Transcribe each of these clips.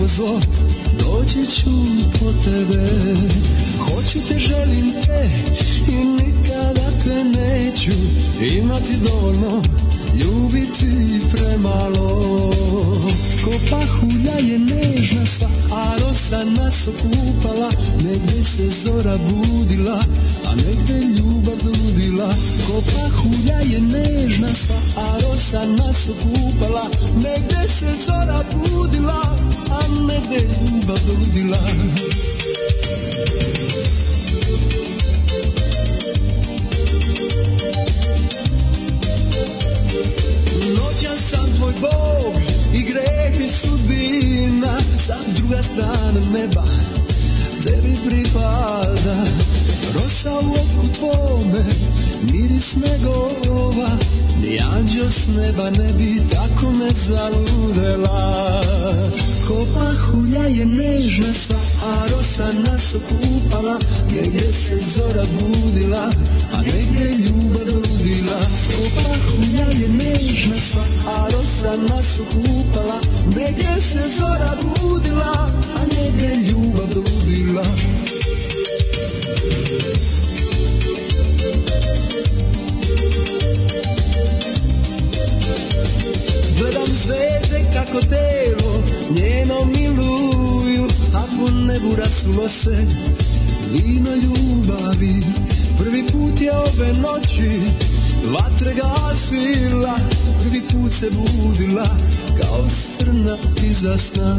brzo doći ću po tebe Hoću te, želim te i nikada te neću Imati dovoljno, ljubiti premalo Ko pahulja je nežna sva, a rosa nas okupala Negdje se zora budila, a negdje ljubav ludila Ko pahulja je nežna sva, a rosa nas okupala Negdje se zora budila, a negdje ljubav ludila Noćan sam tvoj bog i greh mi sudbina Sa druga strana neba tebi pripada Rosa u oku tvome, miris negova Ni anđel s neba ne bi tako me zaludela Ko pahulja je nežna sva, a rosa nas okupala Negdje se zora budila, a negdje ljubav ludila Ko pahulja je nežna sva, a rosa nas okupala Negdje se zora budila, a negdje ljubav ludila Gledam zvijezde kako telo njeno miluju A po nebu rasulo se vino ljubavi Prvi put je ove noći vatre gasila Prvi put se budila kao srna iza sna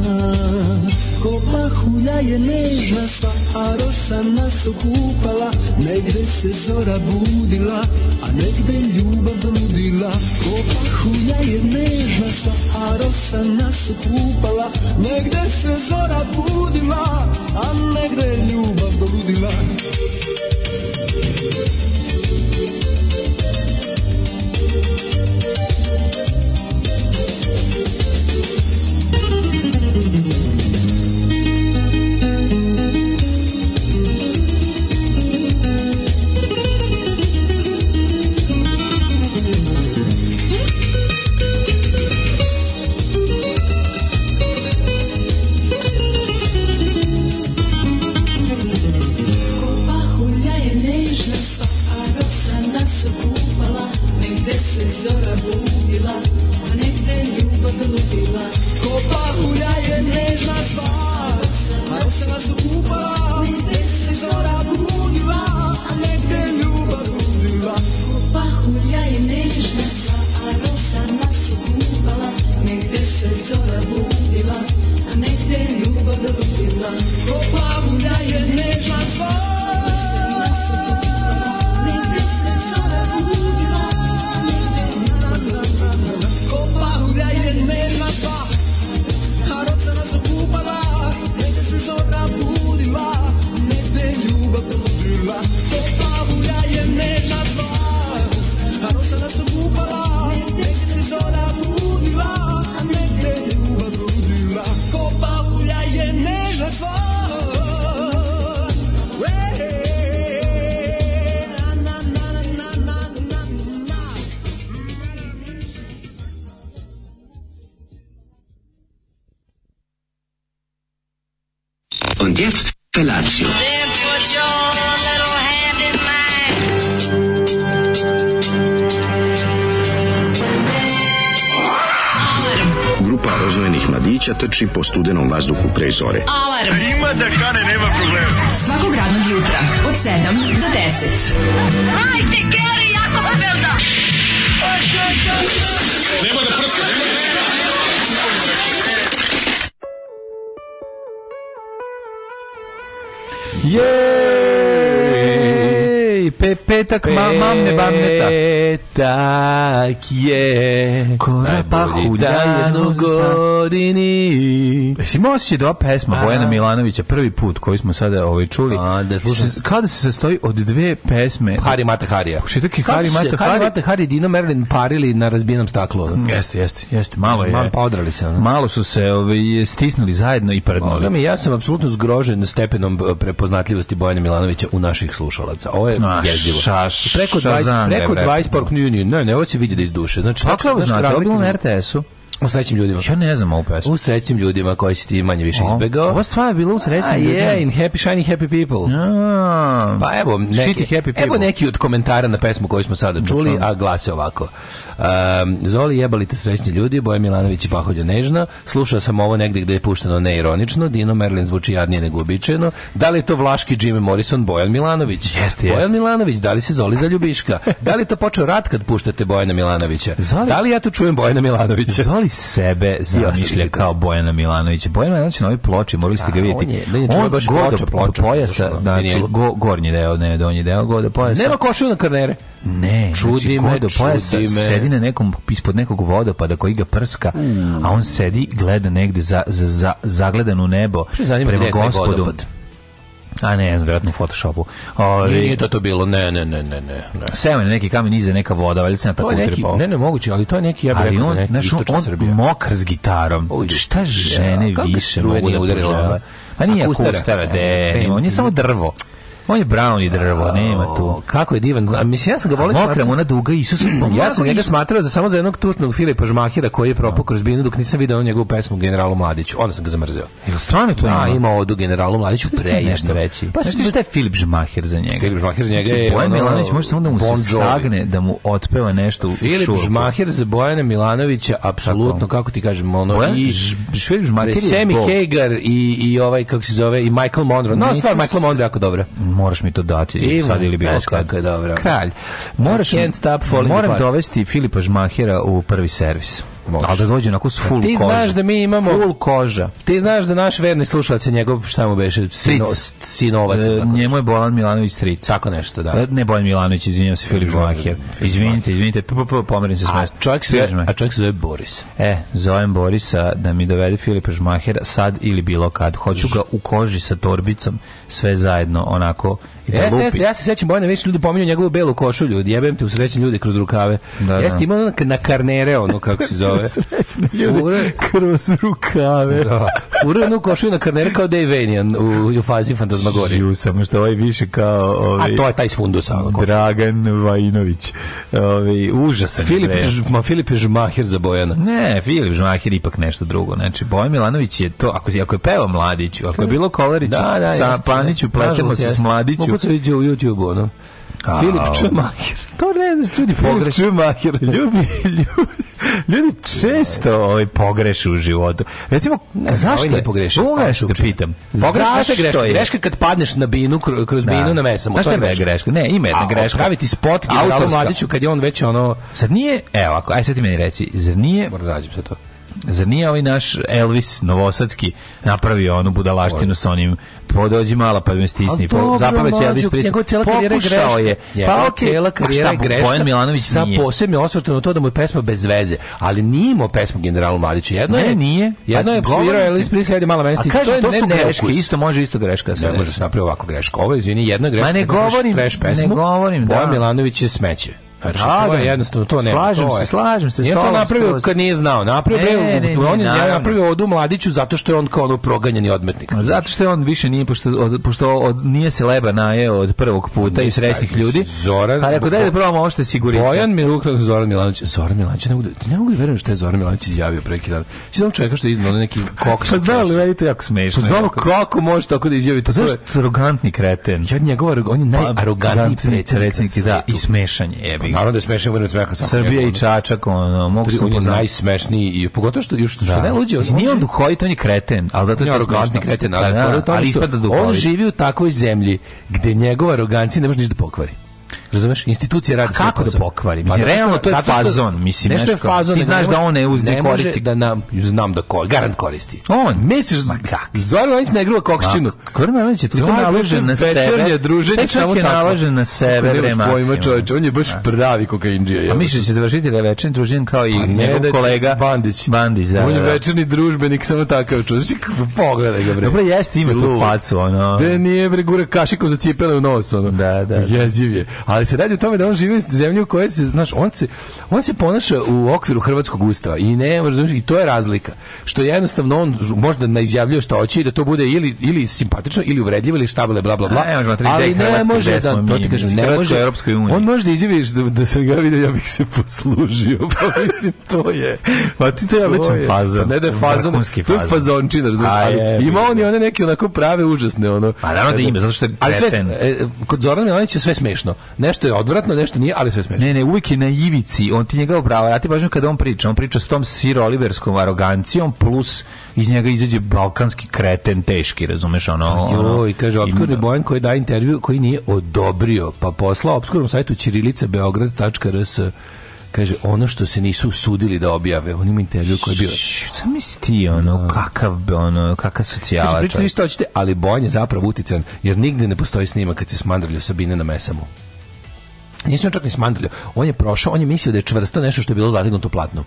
Ko mahulja je nežna sva, a rosa nas okupala Negde se zora budila, a negde ljubav ludila Ko pahulja je nežna sva, a rosa nas okupala Negde se zora budila, a negde ljubav ludila Ko pahulja je nežna sva, a rosa nas okupala, negde se zora budila, a negde ljubav ludila. Ko pahulja je nežna stvar, a rosa nas okupala Negde se zora budila, a negde ljubav budila Ko pahulja je nežna sva, a rosa nas okupala, negde se zora budila, a negde ljubav ludila. Ko pahulja je nežna stvar, Rosa nas okupala, negde se zora budila, a negde ljubav ludila. ko pahulja je nežna stvar A rosa nas okupala, negde se zora budila, a negde ljubav budila Ko pahulja je nežna stvar, a rosa nas okupala, negde se zora budila, a negde ljubav budila Ko pahulja je nežna stvar, uej, na, na, na, na, na, na, na. Und jetzt Felatio. Then put your little hand in mine. Grupa rozvojenih mladića trči po studenom vazduhu pre zore. Alarm. Ima da kane, nema problema. Svakog radnog jutra, od 7 do 10. Jej! Pe, petak, ma, mamne bamneta. Petak je. Kora pa pahulja jednog jednog godini. Jesi imao osjećaj da ova pesma A. Bojana Milanovića, prvi put koju smo sada ovaj, čuli, A, da slušam- se- kao da se sastoji od dve pesme. Hari Mata Harija. Šitaki Kako Hari su se Mata Hari. Mata Hari i Dino Merlin parili na razbijenom staklu. ono? Jeste, jeste, jeste. Malo je. Malo pa odrali se, ono. Malo su se ovaj, stisnuli zajedno i Boga prdnuli. mi, ja sam apsolutno zgrožen stepenom eh, prepoznatljivosti Bojana Milanovića u naših slušalaca. Ovo je Ma, jezivo. šaš- preko 20, šazam ga, preko bre. 20 Park Union. Ne, ne, ovo se vidi da iz duše. Znači, Pa tačno, kao znaš, znate, razlika ovo je bilo između- na RTS-u. U srećim ljudima. Ja ne znam ovu pesmu. U srećim ljudima koji si ti manje više O, izbegao. Ova stvar je bila u srećnim A ljudima. je, in happy, shiny, happy people. A, Pa evo, neki, Shitty happy evo people. neki od komentara na pesmu koju smo sada čuli, čujemo. a glase ovako. Um, Zoli jebali te srećni ljudi, Boja Milanović i Paholja Nežna. Slušao sam ovo negdje gdje je pušteno neironično, Dino Merlin zvuči jadnije nego uobičajeno. Da li je to vlaški Jimmy Morrison, Bojan Milanović? Jeste, Bojan jeste. Milanović, da li se Zoli za ljubiška? da li je to počeo rat kad puštate Bojana Milanovića? Zoli- Da li ja tu čujem Bojana Milanovića? Zoli sebe zamišlja ostali. kao Bojana Milanovića. Bojana Milanović na ovoj ploči, morali ste ga A, vidjeti. on je- da je čuo baš go do ploča, ploča, Pojasa, ploča, da, meni je- znači, go, gornji deo, ne donji deo, go do pojasa. Nema košulju na karnere. Ne, Čudi znači, me, ko do pojasa čudi me. sedi na nekom, ispod nekog vodopada koji ga prska, Mm. a on sedi, i gleda negde za, za, za, zagledan u nebo, Što je zanima prema gdje je taj gospodu. vodopad? A ne, znam, vjerojatno u Photoshopu. Ovi, Nije, nije to to bilo, ne, ne, ne, ne, ne. ne. Seo je na neki kamen iza neka voda, valjda se na To tako je neki, utrpao. ne, ne, moguće, ali to je neki, ja bih ali rekao, on, neki znaš, on, istočna on Srbija. mokar s gitarom. Uj, Šta žene ja, kakve više struje mogu nije da udarila, požele? a? Pa nije Akustara. akustara, E, de, e, on je samo drvo. On je brown i drvo, Pa nema tu. O, Kako je divan. A, mislim, ja sam ga volio Mokra mu ona duga, pa Isus. Ja sam njega smatrao za samo za jednog tužnog Filipa Žmahira koji je propao kroz binu dok nisam video njegovu pesmu Generalu Mladiću. Onda sam ga zamrzeo. Jel stvarno to Da, Pa ima? ima odu Generalu Mladiću Pre nešto preježno. reći. Pa Pa si šta je Filip Žmaher za njega? Filip Žmaher za njega Znači, je Bojan ono- Milanović može samo da mu Bon se Jovi. sagne, da mu otpeva nešto u Filip šurku. Žmahir za Bojana Milanovića, apsolutno, kako ti kažem, ono, Bojan i Ž- Filip Žmaher je Sammy Bog. Hagar i, i ovaj, kako se zove, i Michael Monroe. No, Nisam stvar, se- Michael Monroe je jako dobra. Moraš mi to dati ili Divno, sad ili bilo znaš kad. kako je dobro. Kralj. Moraš, I can't stop falling moram apart. dovesti Filipa Žmahera u prvi servis. Možeš. Ali da dođe onako s full Ti koža. znaš da mi imamo- Full koža. Ti znaš da naš verni slušalac je njegov, šta mu beše, sino, Stric. sinovac. E, tako njemu je Bojan Milanović stric. Tako nešto, da. E, Ne Bojan Milanović, izvinjam se, Filip Žmaher. Izvinite, izvinite, p- p- p- pomerim se s A mesta. čovjek se, Filip Žmaher. a čovjek se zove Boris. E, zovem Borisa da mi dovede Filipa Žmahera sad ili bilo kad. Hoću ga u koži sa torbicom, sve zajedno, onako, i da Jeste, lupi. jeste, ja se sećam Bojana, više ljudi pominju njegovu belu košulju, jebem te u srećni ljudi kroz rukave. Da, da. jeste, imao ono na karnere, ono kako se zove. Srećni ljudi, Fure- kroz rukave. Da. Furao je onu košulju na karnere kao Dave Vanian u, u fazi Fantasmagorije. Ju, samo što ovaj više kao... Ovaj, A to je taj iz fundusa. ono, košulja. Dragan Vajinović. Ovaj, užasan je, Filip, bre. Ž- ma Filip je žmahir za Bojana. Ne, Filip Žmaher ipak nešto drugo. Znači, Bojan Milanović je to, ako, ako je pevao Mladiću, ako je bilo Kolariću, Da, da, sa jeste, Paniću, jeste. pletemo Nažalost, se s jeste. Mladiću. Mogu se vidjeti u YouTube, ono. Au. Filip Čmahir. To ne znaš, ljudi pogreši. Ljudi, ljudi, ljudi često ovaj, pogreše u životu. Recimo, zašto Ovaj je? nije pogrešio. Ovo Ovaj nešto te uopće. pitam. Pogreška je greška. je? Greška kad padneš na binu, kro- kroz Da. binu na mesamo. Znaš to je šta je greška. greška? Ne, ima jedna A, greška. Praviti spot generalu Autorska. Mladiću kad je on već ono... Zar nije, evo, ako, aj sad ti meni reci, zar nije, Moram da nađem se to. zar nije ovaj naš Elvis Novosadski napravio onu budalaštinu sa onim to dođi mala pa me stisni, Ali pa dobro, zapameć mlađo, Elvis Presley. Njegova cijela karijera je Pokušao greška. je. Njegova Pa okej, cijela a karijera je šta, greška. Bojan Milanović sa nije. posebnim osvrtom na to da mu je pesma bez veze, ali nije imao pesmu generalu Mladiću. Jedno Ne, je, nije. Jedno Pa je govorim svirao ti. Elvis Presley, ali mala meni A stisni. kažem, to ne su greške, neukus. isto može isto greška. se Ne desi. može se napraviti ovako greška. Ovo je, izvini, jedna greška. Ma ne kad napraviš govorim, trash ne pesmu, govorim, Bojan da. Milanović je smeće. Znači, Da, to je da. jednostavno, to ne. Slažem se, slažem se, Nije to stolam napravio skroz. kad nije znao. Napravio, Ne, bre, ne, ne, on je naravno. napravio odu mladiću zato što je on kao ono proganjeni odmetnik. Znači, Zato što je on više nije, pošto, od, pošto od, nije se leba najeo od prvog puta i srećnih Mislim, ljudi. Zoran- Pa rekao, daj da probamo ovo što je sigurica. Bojan Milukov, Zoran Milanović. Zoran Milanović, ne mogu da, ne mogu da verujem što je Zoran Milanović izjavio pre neki dan. Si znam čovjeka što je iznao neki koks. Pa znao li, meni je to jako smešno. Znao kako može tako da izjavi to. Znaš, To je- arogantni kreten. Ja njegov, arog- on je najarogantniji Arogantni predsjednik. na da, i svetu. smešan je. jebi ga. Naravno da je smešan, budem smeka sam. Srbija i Čačak, ono, mogu se on je upoznati. najsmešniji i pogotovo što još što ne luđe, on, Nije on duhovit, on je kreten, ali zato on je je to arogantni smešno. kreten, Pa ali, da, fora je u tome ali što ispada on duhovit. živi u takvoj zemlji gde njegova arogancija ne može ništa da pokvari. Razumeš? Institucije radi svoj kako da posao. pokvari? Pa Mislim, zato što- realno to je zato što- fazon, mislim, nešto je nešto. fazon. Ti nego znaš ne da on ne uz- može- ne ne može koristi. da nam znam da koristi, garant koristi. On? misliš kak? Zoran Anić ne gruva kokščinu. Goran Marković je toliko Ovaj naložen na sebe. Večernje druženje Taj čovjek samo je tako. naložen na sebe, Kako bre, nemaš pojma, maksimum. čoveče, on je baš pravi kokaindžija. A jebote. misliš da će završiti da je večernji družin kao i Pa njegov da će- kolega Bandić. Bandić, da. On je da, da. večerni družbenik, samo takav čovjek. Znači, kako- Pogledaj ga, bre. Dobro, jeste ima tu Lud. facu, ono. Bre, nije, bre, gura kašikom za cipele u nos, ono. Da, da. Jeziv je. A ali se radi o tome da on živi u zemlji u kojoj se, znaš, on se, on se ponaša u okviru hrvatskog ustava i ne, razumiješ, i to je razlika. Što jednostavno on možda ne izjavljuje što hoće i da to bude ili, ili simpatično, ili uvredljivo, ili šta bile, bla, bla, bla. A, ne možemo tri ali dek ne Hrvatske, može, gde da, smo to ti mi, kažem, mislim, ne Hrvatska može. u Europskoj uniji. On možda izjaviš da, da sam ga vidio, ja bih se poslužio, pa mislim, to je. Pa ti to je odličan je, fazon. pa Ne da je fazon, Vrhunski to je fazon. fazončina, razumiješ, A, znači, ali je, ima on i one neke onako prave, užasne, ono. Pa naravno da ima, zato što je Ali sve, kreten. e, kod Zorana Milanovića je sve smešno. Nešto je odvratno, nešto nije, ali sve smešno. Ne, ne, uvijek je na ivici, on ti njega obrava, ja ti pažnju kada on priča, on priča s tom Sir Oliverskom arogancijom, plus iz njega izađe balkanski kreten teški, razumeš, ono... ono- Joj, kaže, obskurni Bojan koji daje intervju koji nije odobrio, pa poslao obskurnom sajtu ćirilicabeograd.rs kaže, ono što se nisu usudili da objave, on ima intervju koji je bio... Š, Sam misli ti, ono, kakav, bi, ono, kakav Kaže, socijala pričate vi čovjek. što hoćete, ali Bojan je zapravo utican, jer nigde ne postoji snimak kad se smandrljio Sabine na mesamu. Nisam čak ni smandrljio. On je prošao, on je mislio da je čvrsto nešto što je bilo zategnuto platno.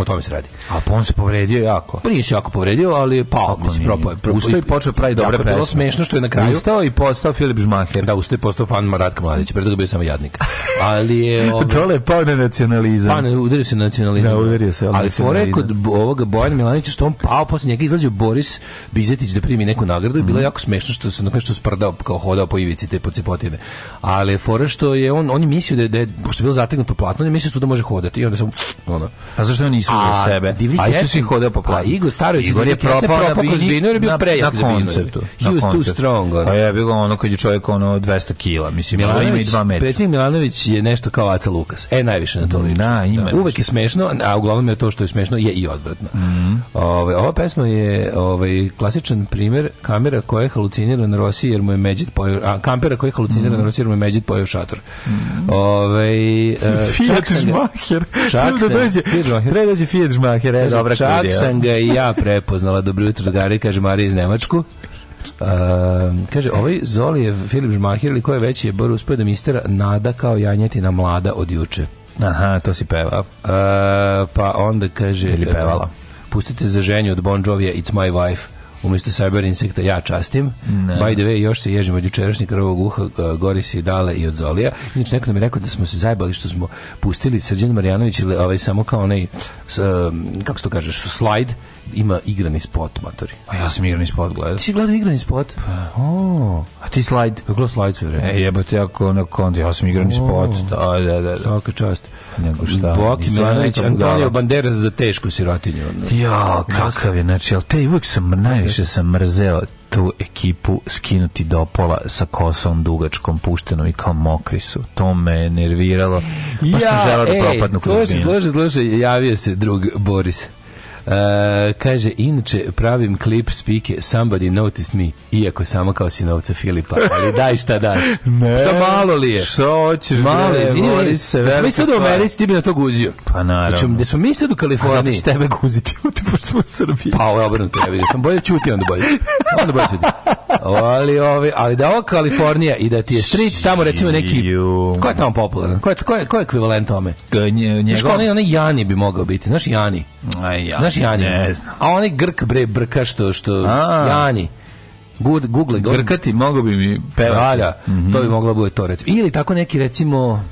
O tome se radi. A pa on se povredio jako. Pa nije se jako povredio, ali je pao, mislim, Nije. propao je. Propao je. Ustao i počeo pravi Jako dobre je pesme. bilo smešno što je na kraju... Ustao i postao Filip Žmaher. Da, ustao je postao fan Maratka Mladića, pre toga je bio samo jadnik. Ali je... ovaj, Dole je pao na nacionalizam. Pa ne, udario se na nacionalizam. Da, udario se na Ali fora je nacionalizam. kod bo- ovoga Bojana Milanića što on pao, posle njega izlazio Boris Bizetić da primi neku nagradu i bilo Mhm. je jako smešno što se nakon što sprdao kao hodao po ivici te pocepotine. Ali fora što je on on je mislio da je, da je pošto je bilo zategnuto platno, on je mislio da tu da može hodati i onda samo ono. A zašto on nisu za sebe? Divlji A Isus Kesten- je hodao po planu. A Igor Starović Igor je propao, na kroz bini- binu jer je bio na- prejak na za binu. koncertu. He na was too koncertu. strong. ono. A je bilo ono kad je čovjek ono 200 kila, mislim, Milanović, ima i dva metra. Predsjednik Milanović je nešto kao Aca Lukas. E, najviše na to liči. Da, ima Da. Uvek je smešno, a uglavnom je to što je smešno je i odvratno. Mhm. Ovaj, ova pesma je ovaj, klasičan primjer kamera koja je halucinira na Rosiji jer mu je Međid pojeo, a, kampera koja je halucinira Mhm. na Rosiji jer mu je Međid pojeo šator. Ovaj, e, čak sam ga- Čak sam- Fiat Schumacher. treba dođe Fiat Žmaher, e, Kaže, dobra čak kudija. sam ga i ja prepoznala. Dobro jutro, drugari, kaže Marija iz Nemačku. Ehm, kaže, ovaj Zoli je Filip Žmahir ili ko je veći je bar uspio da mistera nada kao janjetina mlada od juče. Aha, to si peva. E, pa onda kaže... Ili pevala. Pustite za ženju od Bon Jovija It's My Wife umjesto Cyber Insekta ja častim. By the way, još se ježim od jučerašnjeg krvog uha, e, Gorisi i Dale i od Zolija. Inače, neko nam je rekao da smo se zajbali što smo pustili Srđan Marjanović ili ovaj, samo kao onaj, s, e, kako se to kažeš, slajd, ima igrani spot, matori. A ja sam igrani spot gledao. Ti si gledao igrani spot? Pa. O, A ti slajd? je gledao slajd sve vreme. E, jebote, jako na konti, ja sam igrani spot. Da, da, da. da. Svaka čast. Nego šta, Boki nisam ja Milanović, neka budala. Antonio Banderas za tešku sirotinju. ono. Ja, kakav je, znači, ali te uvijek sam, najviše sam mrzeo tu ekipu skinuti do pola sa kosom dugačkom, puštenom i kao mokri su. To me je nerviralo, pa sam želao da ej, propadnu kroz Slušaj, slušaj, slušaj, javio se drug Boris. E, kaže, inače pravim klip spike Somebody Noticed Me, iako samo kao sinovca Filipa, ali daj šta daš. Šta malo li je? Šta hoćeš, Malo je, bre, vidi, vodi se, da smo velika mi sad u stvar. Americi, ti bi na to guzio. Pa naravno. Znači, da smo mi sad u A zato Kaliforniji. ću tebe guziti, ti pošto smo u Srbiji. Pa ovo je obrnuto, ja vidim. Sam bolje čuti, onda bolje. Onda bolje čuti. Ali, ovi, ali da ovo Kalifornija i da ti je stric tamo recimo neki... Čiju. Ko je tamo popularan? Ko je, ko je, ko je ekvivalent tome? Nje, Znaš, kao onaj, onaj Jani bi mogao biti. Znaš, Jani. Aj, ja, Znaš, Jani. Ono? Ne znam. A onaj Grk, bre, brka što... što A. Jani. Good, Google, E, Grkati, mogu bi mi pevati. Valja, Mhm. to bi moglo bude to recimo. Ili tako neki recimo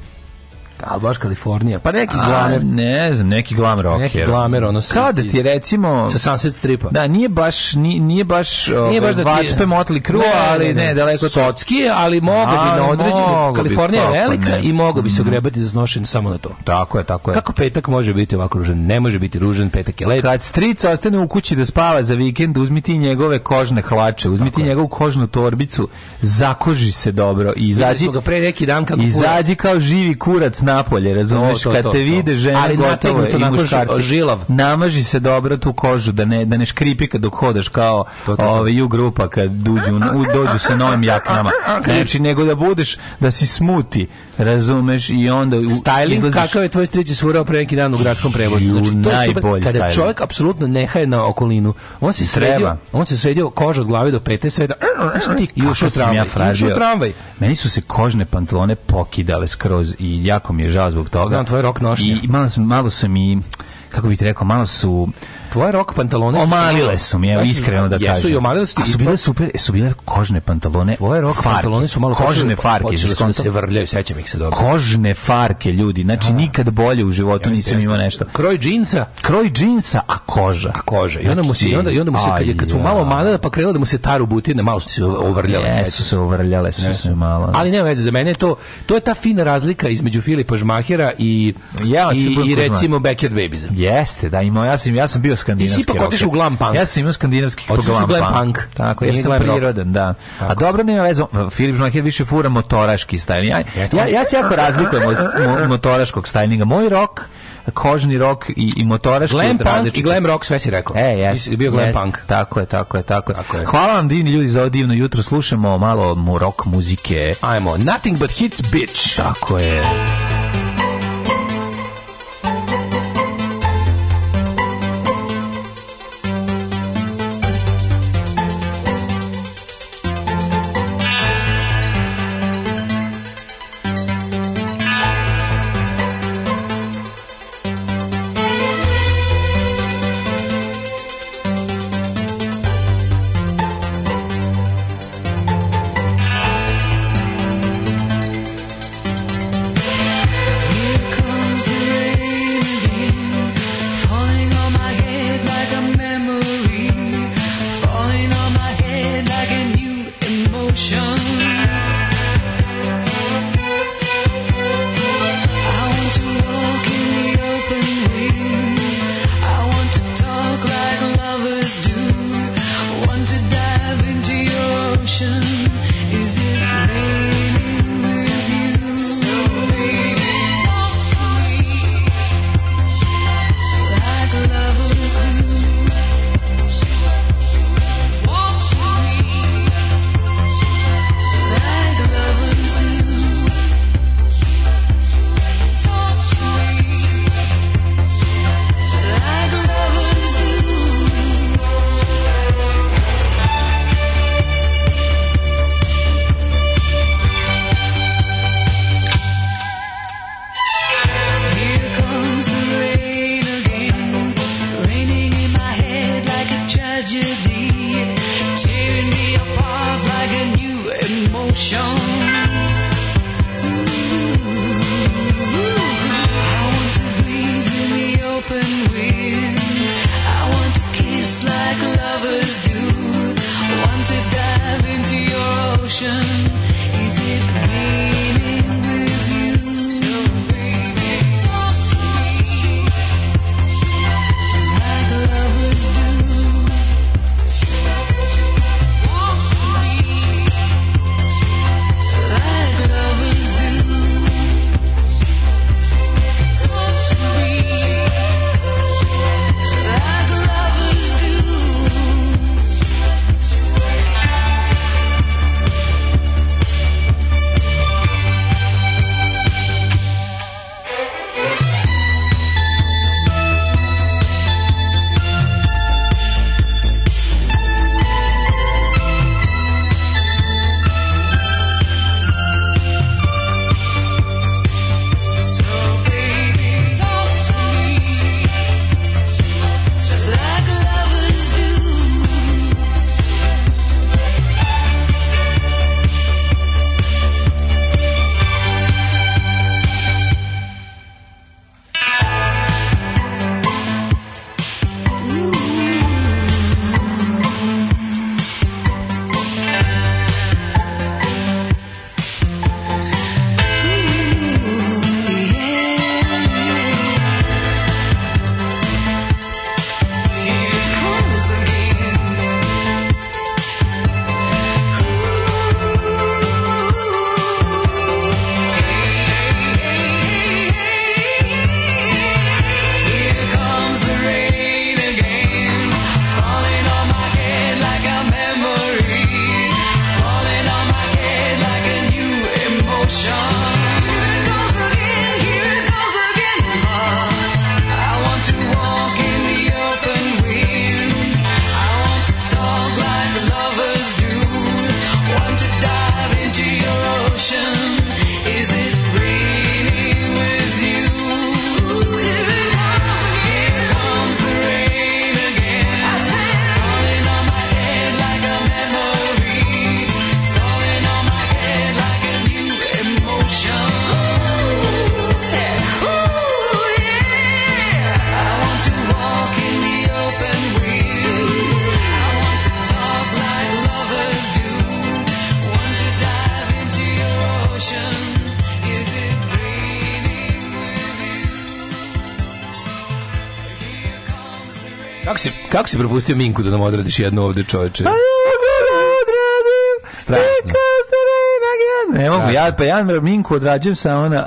a baš Kalifornija, pa neki A, glamer, Ne znam, neki glam rocker. neki glamer, ono sa- Kao da ti je, recimo... sa Sunset Stripa. Da, nije baš, ni- nije baš, ovaj, Nije baš da ti... vačpe motli kru, ali ne, daleko od toga. Socki je, ali mogo bi Ali na određenu... mogo bi, Kalifornija je kako velika ne. i mogo bi se ogrebati za znošenje samo na to. Tako je, tako je. Kako petak može biti ovako ružan? Ne može biti ružan, petak je led. Kad stric ostane u kući da spava za vikend, uzmi ti njegove kožne hlače, uzmi ti njegovu kožnu torbicu, zakoži se dobro i Videli izađi, smo ga pre neki dan kako kurac. izađi kao živi kurac napolje, razumeš? To, to, Kad to, te to. vide žene Ali gotovo nategnuto je i onako muškarci. žilav. Namaži se dobro tu kožu da ne, da ne škripi kad dok hodaš kao To, to, to. ove ju grupa kad dođu, u, dođu sa novim jaknama. Znači, nego da budeš, da si smuti, razumeš? I onda u- Styling izlaziš- kakav je tvoj stric je svirao pre neki dan u gradskom prevozu. Znači, to je super najbolji kada styling. čovjek apsolutno ne haje na okolinu. On se Treba. sredio, on se sredio kožu od glave do pete, sve da... Znaš ti I ušao kako u sam tramvaj. ja I ušao u fražio? tramvaj. Meni su se kožne pantalone pokidale skroz i jako mi je žao zbog toga. Znam, tvoje rok nošnje. I malo, sam, malo sam i, kako bih ti rekao, malo su Tvoje rok pantalone su- Omalile su mi, evo Znači, iskreno da kažem. Jesu i omalile su ti. A su i to- bile super, su bile kožne pantalone. Tvoje rok farke. pantalone su malo kožne počele- farke. Počele znaš su da koncept? se vrljaju, sećam ih se dobro. kožne farke ljudi, znači nikad bolje u životu nisam imao nešto. Kroj džinsa, Kroj džinsa, a koža. a kože. I onda mu se i onda i onda mu se kad je kad su Aj, malo ja. manele pa krenulo da mu se taru butine, malo su se ovrljale. Jesu se uvrljale, su se malo. Ali nema veze, za mene je to, to je ta fina razlika između Filipa Žmahira i, Ja hoću i, da budem i ko recimo Backyard Babies. Jeste, da imao, ja sam, ja sam bio skandinavski. Ti si ipak rocker. otišao u glam punk. Ja sam imao skandinavski Otišao si u glam, glam punk. punk. Tako, ja Nije sam glam rock. prirodan, da. A dobro nema veze, Filip Žmaher više fura motoraški stajl. Ja, Jeste. ja, ja se jako razlikujem od mo- motoraškog stajlinga. Moj rok, kožni rok i, i motoraški Glam od punk i različitih- glam rock, sve si rekao. E, Ti jes, si bio glam jes, punk. Tako je, tako je, tako je. Tako je. Hvala vam divni ljudi za ovo divno jutro. Slušamo malo mu rock muzike. Ajmo, nothing but hits, bitch. Tako je. Here comes the rain again, falling on my head like a memory, falling on my head like a new emotion. I want to walk in the open wind. I want to talk like lovers do. Want to dive into your ocean. Is it raining with you? So baby, talk to me like lovers do. Walk with me like lovers do. Talk to me like lovers do. Here comes the rain again, raining in my head like a tragedy, tearing me apart like a new emotion. I want to breathe in the open wind. I want to kiss like lovers do. Want to dive into your ocean. Is it raining with you? So baby, talk to me like lovers do. Uh, Kako si, kako si propustio Minku da nam odradiš jednu ovde čoveče? Pa- Strašno. Ne mogu, Strašno. ja, pa ja na Minku odrađujem sa ona...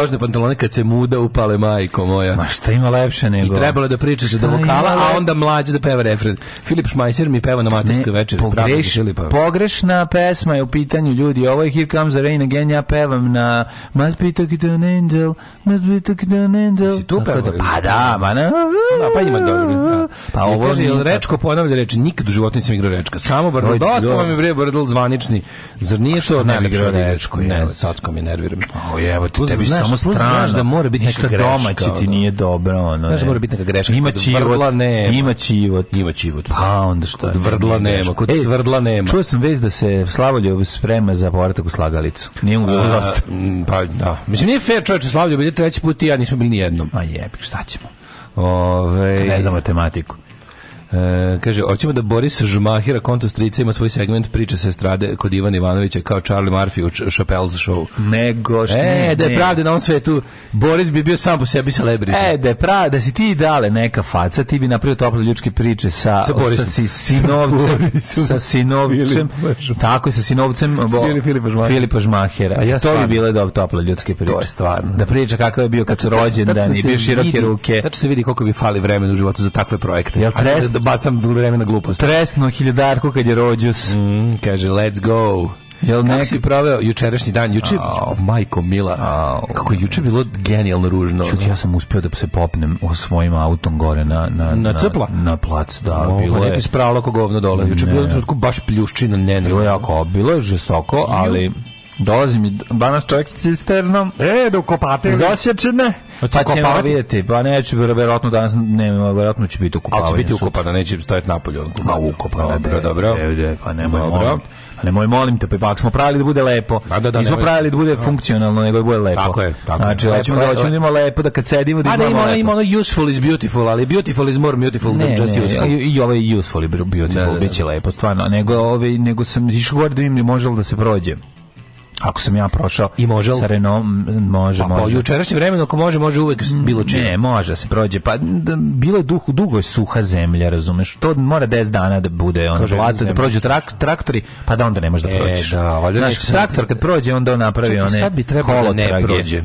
Kožne pantalone kad se muda upale majko moja. Ma šta ima lepše nego... I trebalo je da pričaš do Šta vokala, ima a le- onda mlađe da peva refren. Filip Šmajser mi peva na Ne, materskoj večeri. Pravda pa- za pogreš, Filipa. pogrešna pesma je u pitanju ljudi. Ovo je Here Comes the Rain Again, ja pevam na Must be talking to an angel, must be talking to an angel. Si tu Tako pevao, da- Pa ili? da, ma na... Da, pa ima dobro. Da. Pa Jer ovo kaže, nije jel tako. Rečko ponavlja reči, nikad u životu nisam igrao Rečka. Samo Vrdl, Oj, dosta dobro. vam je bre Vrdl zvanični. Zar nije šta to ne bi najlepše igrao da igraš? Rečko, Ne, jebote. sacko mi nerviram. O jevo, ti Plus tebi znaš- samo plus strano. znaš da mora biti Ništa neka greška, domaće ti ono. nije dobro, ono. Znaš da ne. mora biti neka greška, Ima kod čivot, vrdla nema. ima čivot. Ima čivot. Pa onda šta? Kod vrdla nije nema, kod greška. Ej, svrdla nema. Čuo sam vez da se Slavoljub sprema za povratak u slagalicu. Nije mu bilo A, dosta. m, Pa da. Mislim, nije fair čovječe Slavlju, bili treći put i ja nismo bili nijednom. Ma jebik, šta ćemo? Ove, Ne znam matematiku. E, kaže, hoćemo da Boris Žmahira konto strica ima svoj segment priče sa estrade kod Ivana Ivanovića kao Charlie Murphy u Ch- Chappelle's show. Nego šta? E, da je ne. pravde na ovom svetu, Boris bi bio sam po sebi celebrity. E, da je prav, da si ti dale neka faca, ti bi napravio tople ljudske priče sa, Sa Borisom. sa, si- sinovcem, Borisom. sa sinovcem, Filipom. tako je, sa sinovcem bo, Fili- Filipa Žmahera. Filipa Žmahera. A ja to bi stvarno. bile da tople ljudske priče. To je stvarno. Da priča kakav je bio kad su rođen, da nije bio široke ruke. Tačno se vidi koliko bi fali vremena u životu za takve projekte. Jel A ne tres- da basam vremena glupost. Tresno hiljadarku kad je rođus. Mm, kaže, let's go. Jel Kako nek- si proveo jučerašnji dan? Juče, majko mila, kako je juče bilo genijalno ružno. Čuj, ja sam uspio da se popnem o svojim autom gore na na Na cpla? na, plac, da, Ovo, Pa bilo je. Neki spravilo ko govno dole. Juče je bilo u trenutku baš pljuščina Bilo je nenormalno. jako, bilo je žestoko, ali dolazi mi danas čovjek s cisternom. E, da ukopate. Zasječene. Hoće Pa ćemo ukopavati? vidjeti. Pa neću, verovatno danas nema, verovatno će biti ukupavanje. Ali će biti ukopana, neće stojati napolje. ono, Ma ukopana. ukopana. Dobro, de, dobro. de, de, pa nemoj, Dobro. molim. te. Pa nemoj, molim te, pa ipak smo pravili da bude lepo. A da, da, Nismo nemoj. pravili da bude funkcionalno, nego da bude lepo. Tako je, tako je. Znači, Lepo, hoćemo da lepo, hoćemo da ima lepo, da kad sedimo, da A da imamo ima ono, lepo. ima ono useful is beautiful, ali beautiful is more beautiful Ne, than ne, just useful. i, i ovaj useful je bio Da, da, da. bit će lepo, stvarno. Nego, ovaj, nego sam išao gore da vidim, može li da se prođe. Ako sam ja prošao I može li? sa Renault, m, može, Pa, može. pa jučerašnje vremeno, ako može, može uvek s- bilo čije. Ne, može da se prođe. Pa da, bilo je duh, dugo je suha zemlja, razumeš? To mora 10 dana da bude ono Kaže, blato, da zemlja. prođu trak, traktori, pa da onda ne možeš da E, prođeš. da, valjda Znaš, neće sad- traktor kad prođe, onda on napravi Čekaj, one sad bi trebalo da ne kolotrage. prođe.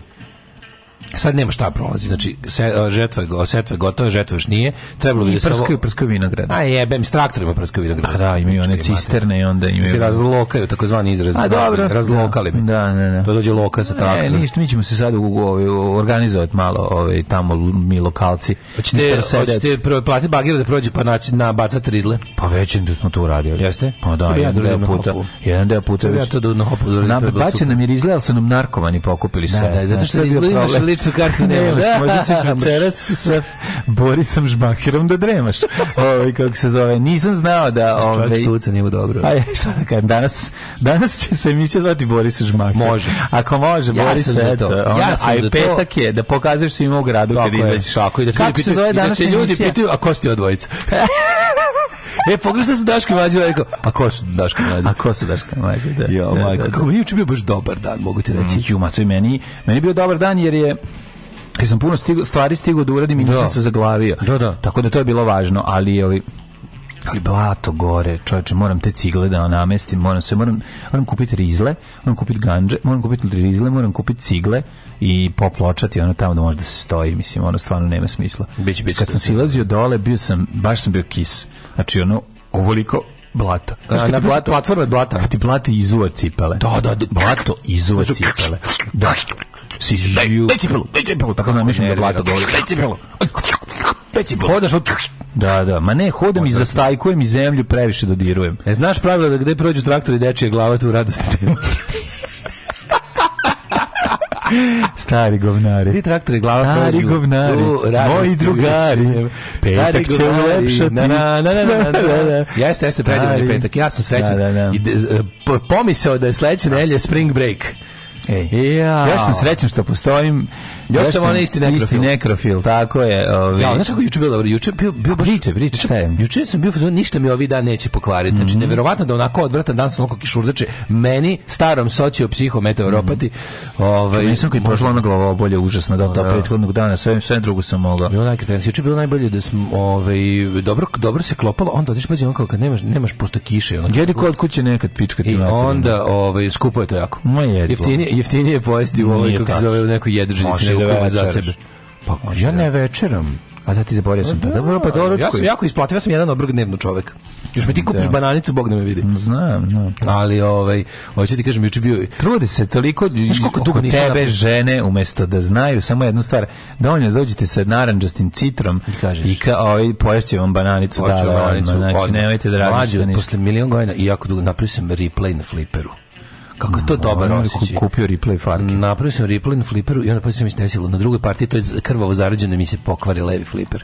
Sad nema šta prolazi, znači se, žetva, je go- setva je gotova, žetva još nije, trebalo bi I da se ovo... prskaju, prskaju vinograd. A jebem, s traktorima prskaju vinograd. Pa da, imaju one cisterne i onda Ti imaju... razlokaju, takozvani izraz. A, dobro. Razlokali mi. Da, da, da. To dođe loka sa Ne, traktorom. ništa, mi ćemo se sad u, ovaj, organizovati malo ovaj, tamo mi lokalci. Hoćete, Mister Sedec. hoćete prvo platiti bagir da prođe pa naći na bacati rizle? Pa već da smo to uradili. Jeste? Pa da, To bi ja jedan da deo uradim na puta. hopu. Jedan deo puta To bi ja to da na hopu da uradim, Na- to bi bilo bacio super. nam je rizle, ali su nam narkomani pokupili sve. da, zato Znaš, što to je bio rizle imaš, problem. a ličnu kartu nemaš. nemaš. Možda ćeš večeras sa Borisom Žbakirom da dremaš. Ovaj, kako se zove. Nisam znao da... Ovaj, Čovječ tuca nije dobro. Aj, šta da kažem, danas, danas će se emisija zvati Boris Žmakir. Može. Ako može, Ja Boris, sam za eto, to. Ja ono, sam a i za to. petak je, da pokažeš svima u gradu kad Tako je, izađeš. tako. I da te ljudi Kako se pitaju- zove i da te danas ljudi emisija? pitaju, a ko si ti od dvojice? e, pogledaj se Daško i Mlađe, ovaj rekao, a ko su Daško i Mlađe? A ko su Daška Mlađe? Da, Jo, da, majko, da, da. kako mi je juče bio baš dobar dan, mogu ti reći. Ju, ma, to je meni, meni je bio dobar dan jer je jer sam puno stigo, stvari stigao da uradim i nisam Da. se zaglavio. Da, da. Tako da to je bilo važno, ali je ovi ali blato gore, čovječe, moram te cigle da namestim, moram se, moram, moram kupiti rizle, moram kupiti ganđe, moram kupiti rizle, moram kupiti cigle i popločati ono tamo da možda se stoji, mislim, ono stvarno nema smisla. Biće, biće Kad to sam sve. silazio dole, bio sam, baš sam bio kis. Znači, ono, ovoliko blata. A, Znaš, kad ti napravio blato- sam platformu od blata. Kad ti blati izuva cipele. Da, da, da. Blato izuva cipele. Da. Si žiju. Daj cipelu, daj cipelu. Tako znam, mišljam da blato govori. Daj cipelu. Daj cipelu. Hodaš od... Da, da. Ma ne, hodam i zastajkujem i zemlju previše dodirujem. E, znaš pravilo da gde prođu traktori dečije glava tu radosti nema. Stari govnari. Ti traktori glava Stari prođu govnari, tu radosti moji više drugari, nema. petak Stari će govnari, ulepšati. Na, na, na, na, Da, na, na, da. na. Jeste, jeste, predivno je Stari. petak. Ja sam srećan. Da, da, da. I de- e, po- pomisao da je sledeće nelje spring break. Ej. Ja. Ja sam srećan što postojim Još sam onaj isti nekrofil. Isti nekrofil, tako je. Ovaj. Ja, znaš kako je juče bilo dobro? Juče bio, bio baš... Priče, priče, šta je? Juče sam bio u fazonu, ništa mi ovi dan neće pokvariti. Znači, neverovatno da onako odvratan dan sam onako kišurdače. Meni, starom sociopsihometeoropati, ovaj... Pa Nisam koji prošla ona glava bolje užasna da ta prethodnog dana sve sve drugo sam mogao. Bilo najkretencije. Juče bilo najbolje da smo, ovaj, dobro, dobro se klopalo, onda odeš, pazi, ono kao kad nemaš, nemaš pošto kiše, ono, Jedi kod kuće nekad pička ti I materinu. onda ovaj skupo je to jako. Ma jedva. jeftinije, jeftinije je pojesti u ovoj Nije kako se tačno. zove u nekoj jedržnici Možeš nego da kupiti za večeraš. sebe. Pa ja ne večeram. A da ti zaboravio sam to. Dobro, pa dobro. Ja sam jako isplatio, ja sam jedan obrok dnevno čovek. Još mi ti kupiš Da. Mm. bananicu, Bog ne me vidi. Znam, znam. Ali ovaj hoću ti kažem juče bio Trudi se toliko koliko oko dugo nisam tebe napravio? žene umjesto da znaju samo jednu stvar dovoljno dođete sa narandžastim citrom i kažeš. ka, ovaj, poješće vam bananicu da, hoću da, bananicu, odmah, znači odmah. nemojte da radite Mlađe, ništa. posle milion godina i jako dugo napravio sam replay na fliperu. Kako je to dobar Ono, osjećaj. kupio replay farke Napravio sam replay na fliperu i onda pa se mi se desilo. Na drugoj partiji to je z- krvavo zarađeno mi se pokvari levi fliper.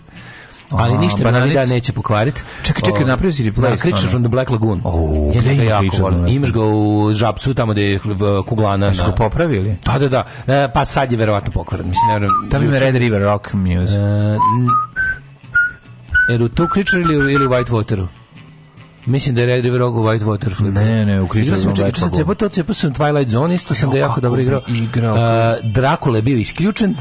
Ali A, ništa me na ovaj bananic? dan neće pokvariti. Čekaj, čekaj, Ovaj, napravio si replay Da, Creature stvarno? from the Black Lagoon. O, Ja gde ga ima jako Creature volim. from the- Imaš ga u Žabcu, tamo gde je eh, kuglana. su ga na- popravili Da, da, da. E, pa sad je verovatno pokvaren. Mislim, ne verujem. da li ima Red River Rock Music Jer u E, tu Creature ili, ili u White Wateru? Mislim da je Red River Rock u White Water flipu. Ne, ne, u Creature Igrao sam, from čekaj, White čekaj, Lagoon. cepao to, cepao sam Twilight Zone, isto sam ga jako kako dobro bi igrao. igrao. A, Dracula je bio isključen,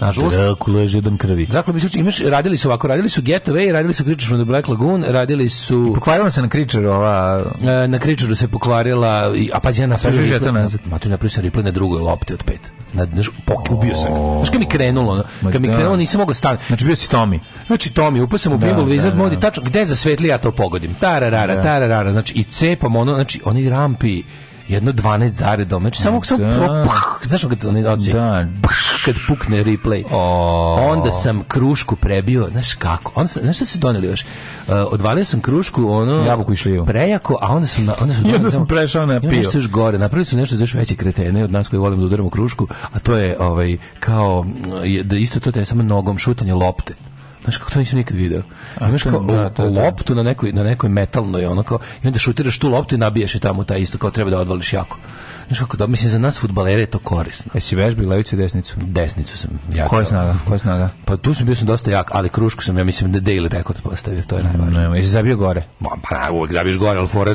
nažalost. Dracula je jedan krvi Dracula je bio isključen. Imaš, radili su ovako, radili su Getaway, radili su Creature from the Black Lagoon, radili su... pokvarila se na Creature ova e, na Creature se pokvarila, i- a pazi, ja napravio Sažuš je replay- to nazad. Ma tu je napravio sam replay na drugoj lopti od pet. Na, znaš, pok- ubio sam ga. Znaš kad mi krenulo, ono, Ma kad mi da. krenulo nisam mogao stati. znači bio si Tommy Znači to mi upao sam u Pinball da, Wizard da. modi tačno gde zasvetli ja to pogodim. Tararara, tararara, znači i cepam ono, znači oni rampi jedno 12 zaredom. Znači samo samo Da. pro, pah, znaš ono kad oni dođe. Da. pah, kad pukne replay. O. Onda sam krušku prebio, znaš kako? Onda sam, znaš šta su doneli još? Uh, odvalio sam krušku ono Jabuku i šljivu. Prejako, a onda sam na- onda su doneli onda sam samo- prešao na i onda pio. nešto još gore. Napravili su nešto za još veće kretene od nas koji volimo da udaramo krušku, a to je ovaj kao je- da isto to te samo nogom šutanje lopte. Znaš kako to nisam nikad video. Imaš to- kao da, lo- to je to. loptu na nekoj, na nekoj metalnoj, ono kao, i onda šutiraš tu loptu i nabiješ je tamo taj isto, kao treba da odvališ jako. Znaš kako, da, mislim, za nas futbalere je to korisno. jesi vežbi levicu i desnicu Desnicu sam jako. koja snaga koja snaga Pa tu sam bio sam dosta jak, ali krušku sam, ja mislim, da daily rekord postavio, to je najvažnije. Nema, jesi zabio gore Ma, pa na, uvek zabiješ gore, ali fora,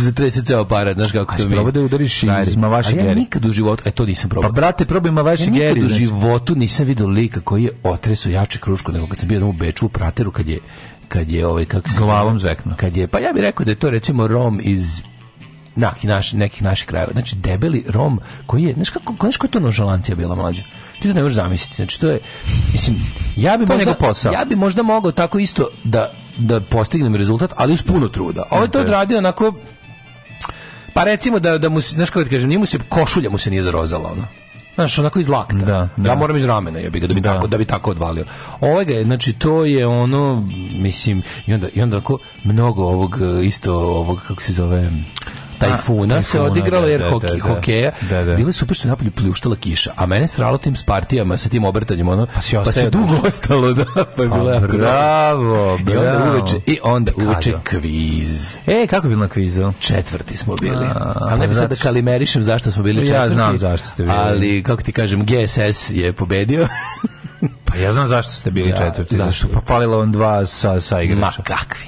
zatrese ceo aparat, znaš kako to mi... probao da udariš iz Frajer. Mavaši A ja Geri? nikad u životu, e, to nisam probao. pa brate probaj ma vaši Ja nikad Geri u znači. životu nisam vidio lika koji je otresao jače kruško nego kad sam bio jednom u Beču u Prateru kad je kad je ovaj kako se zove, Glavom zveknuo. Kad je pa ja bih rekao da je to recimo Rom iz neki naš, nekih naših krajeva. Znači, debeli Rom koji je, znaš kako, znaš koja je to nožalancija bila mlađa? Ti to ne možeš zamisliti. Znači, to je, mislim, ja bi To je možda, njegov posao. ja bi možda mogao tako isto da, da postignem rezultat, ali uz puno truda. E, Ovo je to odradio onako, pa recimo da, da mu, se- znaš kako ti kažem, nije mu se, košulja mu se nije zarozala, ono. Znaš, onako iz lakta. Da, da. Ja moram iz ramena, ja bi ga, da bi, Da. Tako, da bi tako odvalio. Ovo ga je, znači, to je ono, mislim, i onda, i onda ako mnogo ovog, e, isto ovog, kako se zove, tajfuna, A, se tajfuna, odigralo da, jer da, hoke- da, da. hokeja Da, da. bile super što je napolju pljuštala kiša a mene sralo tim spartijama sa tim obrtanjem ono pa, si se ostaje dugo ostalo da pa je bilo A, jako dobro. bravo, i onda bravo. uveče i onda uveče Kadio. kviz E, kako je bilo na kvizu? četvrti smo bili. A, A, ne pa bi sad da zato- kalimerišem zašto smo bili Ja četvrti. znam zašto ste bili. Ali, kako ti kažem, GSS je pobedio. Pa ja znam zašto ste bili Ja, četvrti. zašto? Pa falilo vam dva sa, sa Ma igrača. kakvi.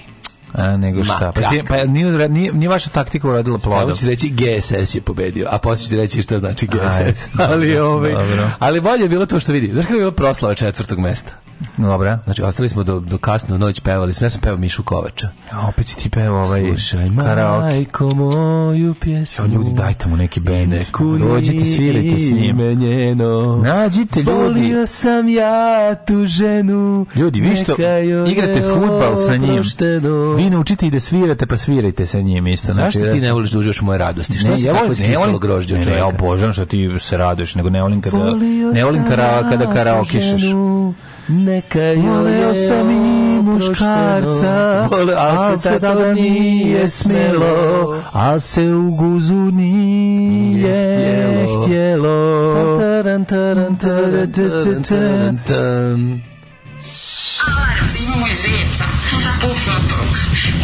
A, nego šta? Pa, kak. ste- pa nije, nije, nije vaša taktika uradila Samo plodom. ću reći GSS je pobedio, a poslije ću reći šta znači GSS. Ajde, ali, dobro, ovaj, dobro. ali bolje je bilo to što vidi. Znaš kako je bila proslava četvrtog mesta? Dobra. Znači, ostali smo do, do kasno u noć, pevali smo. Ja sam pevao Mišu Kovača. A opet si ti pevao ovaj Slušaj, karaoke. majko moju pjesmu. Evo, ljudi, dajte mu neki bend. I neku Dođite, svirajte s njim. ime njeno. Nađite ljudi. Volio sam ja tu ženu. Ljudi, vi što neka joj igrate je futbal sa njim, oprošteno. vi naučite i da svirate, pa svirajte sa njim isto. Znači, Zašto ti ne voliš da uživaš u moje radosti? Što Ne, si ja tako volim- ne iskisalo volim- grožđe od ne, ne, ja čovjeka? obožavam što ti se raduješ, nego ne volim kada, Volio ne volim sam kara, ja kada tu karaokišeš. ženu, Neka joj Voleo je sam i muškarca, oprošteno. Voleo- al se tada nije smelo, al se u guzu nije Nije htjelo. htjelo. Taran, taran, taran, taran, taran, taran. Imamo i zeca, pufnatog.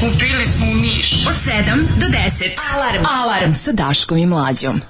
Kupili smo u Niš. Od 7 do 10. Alarm. Alarm. Sa Daškom i Mlađom.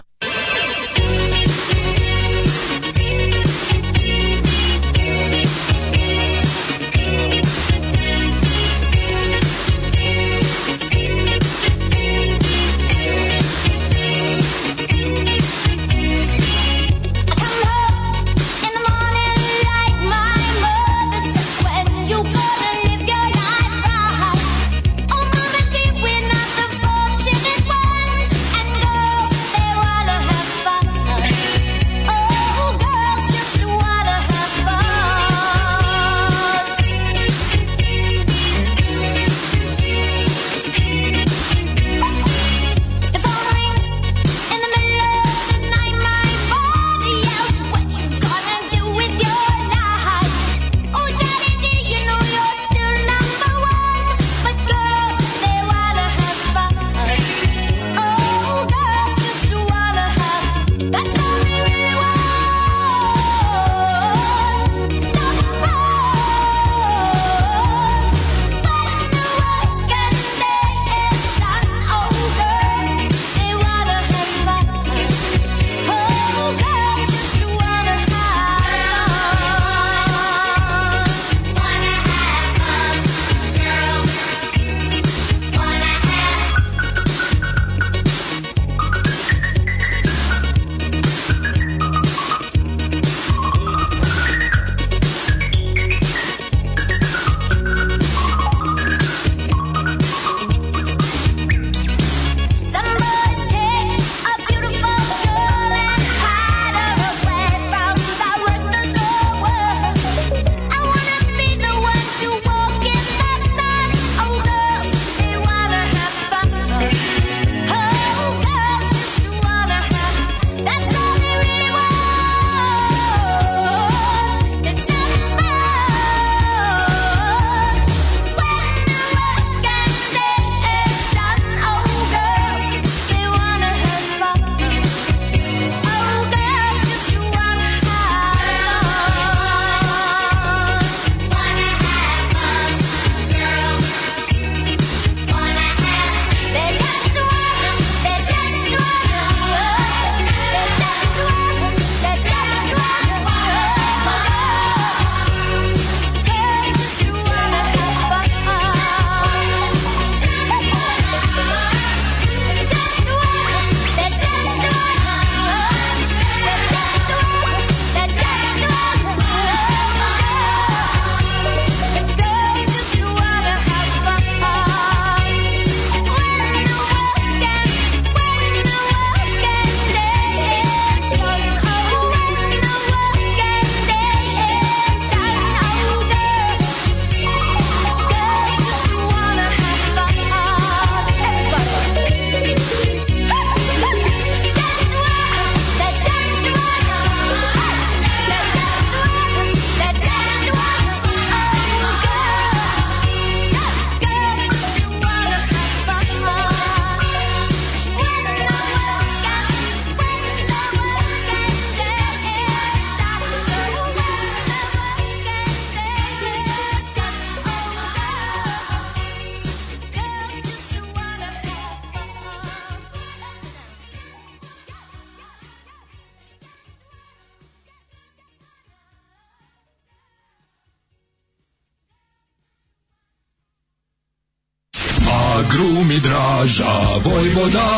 grumi draža vojvoda.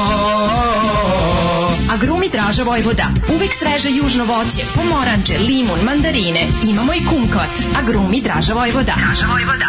A grumi draža Vojvoda. Uvek sveže južno voće, pomoranđe, limun, mandarine. Imamo i kumkot. A grumi draža Vojvoda. Draža Vojvoda.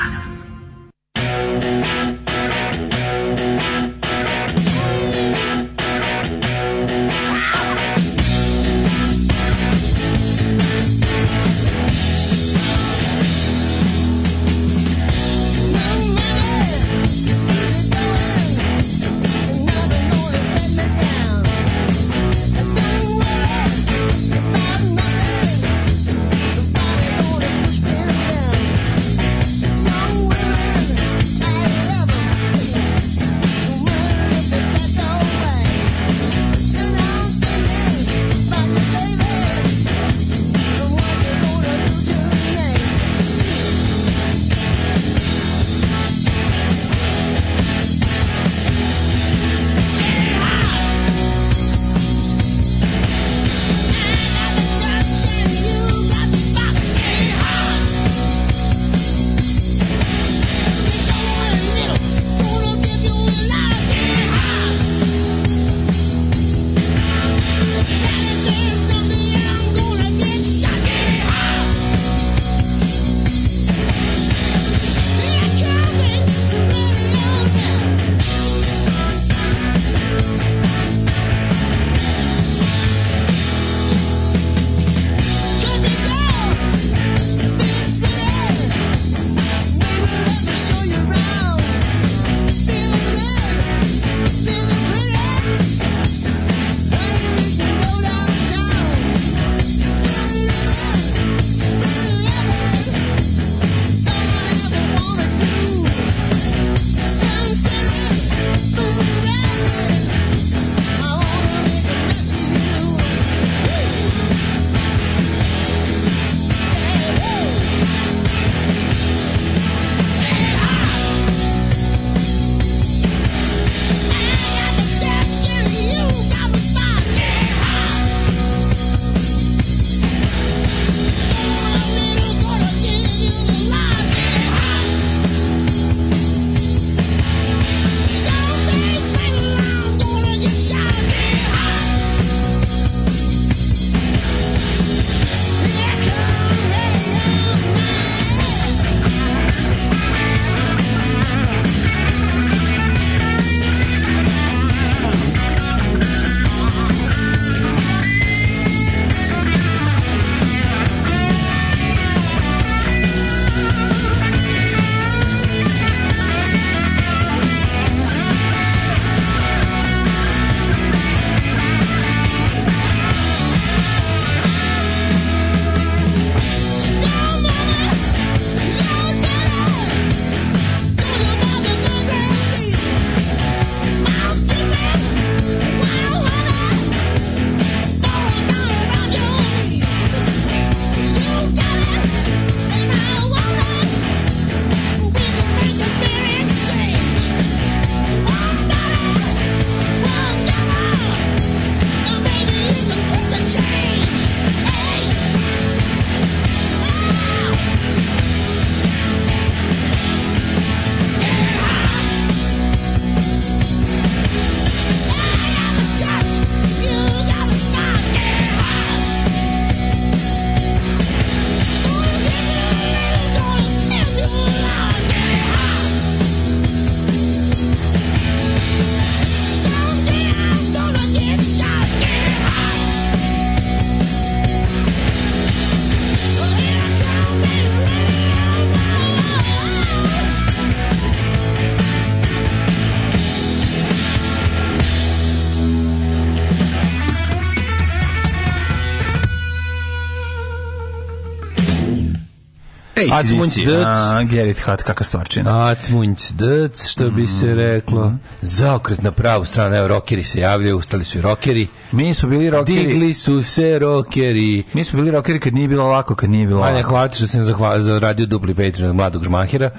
Pa Acmunc A, Gerrit Hat, kakva stvarčina. Acmunc dc, što bi se reklo. Zaokret na pravu stranu, evo, rokeri se javljaju, ustali su i rokeri. Mi smo bili rockeri. Digli su se rokeri. Mi smo bili rockeri kad nije bilo lako, kad nije bilo Vanja, lako. hvala ti što sam zahva- zaradio dupli Patreon od mladog žmahira,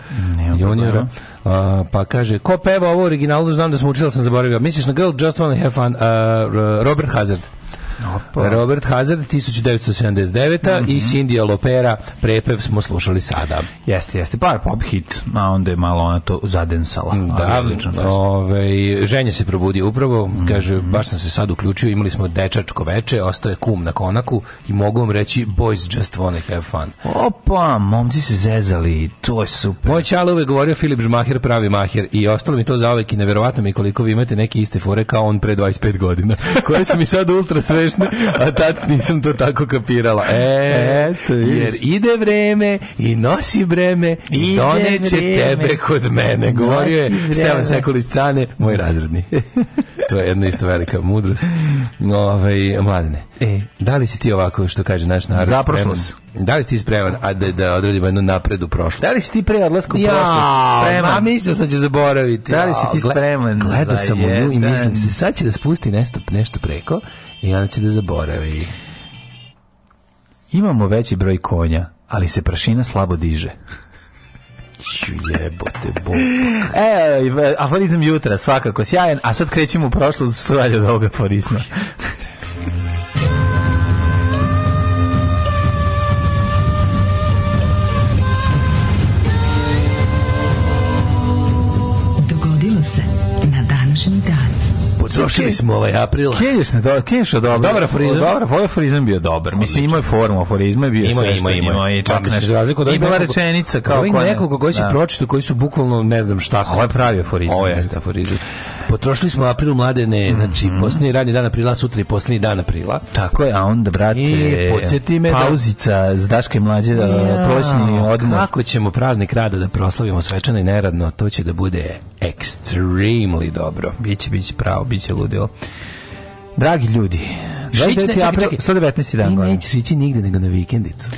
juniora. A, pa kaže, ko peva ovo originalno, znam da sam učila, sam zaboravio. Misliš na Girl Just Wanna Have Fun, a, R- Robert Hazard. pa, Pa. Robert Hazard 1979. i Cindy Lopera prepev smo slušali sada. Jeste, jeste, par pop hit, a onda je malo ona to zadensala. ali Mm, Da, Mm. odlična pesma. ovaj, ženja se probudio upravo, kaže, baš sam se sad uključio, imali smo dečačko veče, ostao je kum na konaku i mogu vam reći, boys just wanna have fun. Opa, momci se zezali, to je super. Moj čalo uvek govorio Filip Žmaher pravi maher i ostalo mi to zaovek i neverovatno mi je koliko vi imate neke iste fore kao on pre 25 godina, koje su mi sad ultra svešne, a tad nisam to tako kapirala. E, Eto, vidiš. jer ide vreme i nosi breme i Ide doneće vreme. tebe kod mene, govorio je Nosi vreme. Stevan Sekulić Cane, moj razredni. to je jedna isto velika mudrost. Ove, mladine, E. da li si ti ovako, što kaže naš narod, Zaprošlo spreman? Da li si ti spreman, a da, da odradimo jednu napredu prošlost? Da li si ti pre odlaska u Ja, prošlost Ma, spreman? mislio sam će zaboraviti. Da li si ti Ja, gle- spreman Gledao za sam u nju i jedan? mislim se, sad će da spusti nešto, nešto preko i onda će da zaboravi. Imamo veći broj konja, ali se prašina slabo diže. Ću jebote, bo. E, aforizam jutra, svakako sjajan, a sad krećemo u prošlost, što dalje od ovoga aforizma. Dogodilo se na današnji dan. Potrošili smo ovaj april. Kenješ na dobro, kenješ od dobro. Dobar aforizam. Dobar, ovaj aforizam bio dobar. Mislim, imao je formu, aforizma je bio Ima, sve ima, što ima. imao. I čak mislim, nešto. za razliku od I ovih bila nekoliko- rečenica kao ovih ko ne- nekoliko koji si Da. pročito, koji su bukvalno, ne znam šta su. Ovo je pravi aforizam. Mhm. Ovo jeste aforizam. Potrošili smo april mladene, znači, posljednji radni dan aprila, sutra i posljednji dan aprila. Tako je, a onda, brate, I podsjeti me da- pauzica s Daške mlađe da Ja, proćni odmah. E, Kako ćemo praznik rada da proslavimo svečano i neradno, to će da bude extremely dobro. Biće, biće pravo, biće ludilo. Dragi ljudi, Šić ne- 29. čekaj, april, čekaj. 119. Ti dan godine. nećeš ići nigde nego na vikendicu.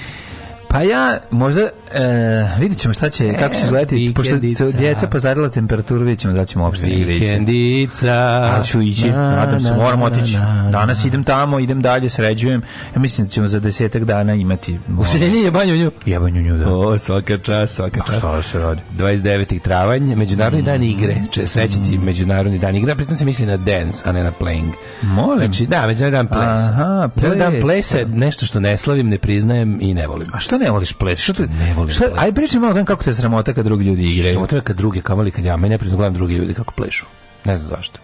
Pa ja, možda, e, vidit ćemo šta će, kako će izgledati, pošto E, vikendica. su djeca pozarila temperaturu, vidit ćemo da ćemo uopšte negdje ići. Vikendica. Ja ću ići, nadam se, moram otići. Danas idem tamo, idem dalje, sređujem. Ja mislim da ćemo za desetak dana imati Useljenje je banju nju. jebanju nju da. Pa O, svaka čast, svaka čast. Šta da se radi? 29. travanj, Međunarodni Mm. dan igre. Če srećiti Međunarodni dan igre, a pritom se misli na dance, a ne na playing. Molim. Znači, da, Međunarodni dan ples. Aha, Međunarodni dan ples. plesa je nešto što ne slavim, ne priznajem i ne volim. A što ne voliš ples? Što ti Ne volim Šta, ples. aj pričaj malo o tom kako te sramota kad drugi ljudi igraju. Samo treba kad druge kamali kad ja, meni ja pritom gledam drugi ljudi kako plešu. Ne znam zašto.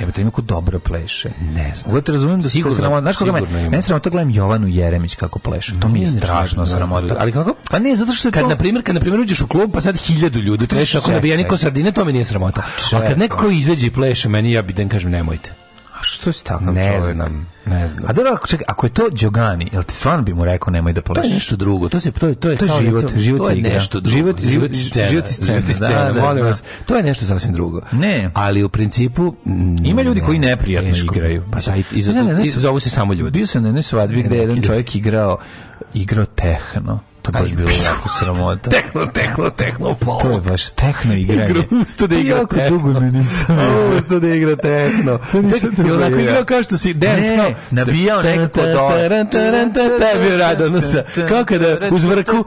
Ja bih imao ko dobro pleše. Ne znam. Uvijek razumem da se Sigurno, to sramota. Znaš koga me, sigurno ima. meni sramota gledam Jovanu Jeremić kako pleše. To mi je Nije nešto strašno nešto, sramota. ali kako? Pa ne, zato što je Kad to... na primjer, kad na primjer uđeš u klub pa sad hiljadu ljudi pleše, ako Čekaj. Pa ne bi ja niko sardine, to mi nije sramota. A kad neko izađe i pleše, meni ja bi da im kažem nemojte. A što si takav Ne Pa čovjek? znam, ne znam. A dobro, ako, čekaj, ako je to Đogani, jel ti stvarno bi mu rekao nemoj da To pleše? je nešto drugo. To se to je to je To je kao, život, recimo, život to je je igra. nešto drugo. Život- život- život i scena, Život i da, scena, da, molim da. vas. To je nešto sasvim drugo. Ne. Ali u principu mm, Ima ljudi koji ne, neprijatno teško. igraju. Pa da, i, i, Ne, ne, ne, i zovu se samo ljudi. Bio sam na jednoj svadbi gde je jedan čovjek igrao igrao tehno. To je baš Ajde. bilo jako sramota. Tehno, tehno, tehno, folk. To je baš tehno igranje. Igrao usta da To igra jako tehno. dugo me nisam igrao. Usto da igra tehno. To nisam Tek- dobro i onako igrao. igrao kao što si dance Ne, kao. nabijao Tek- neko dole. taran, taran, taran, taj bio rad ono sa- Kao kada uz vrku.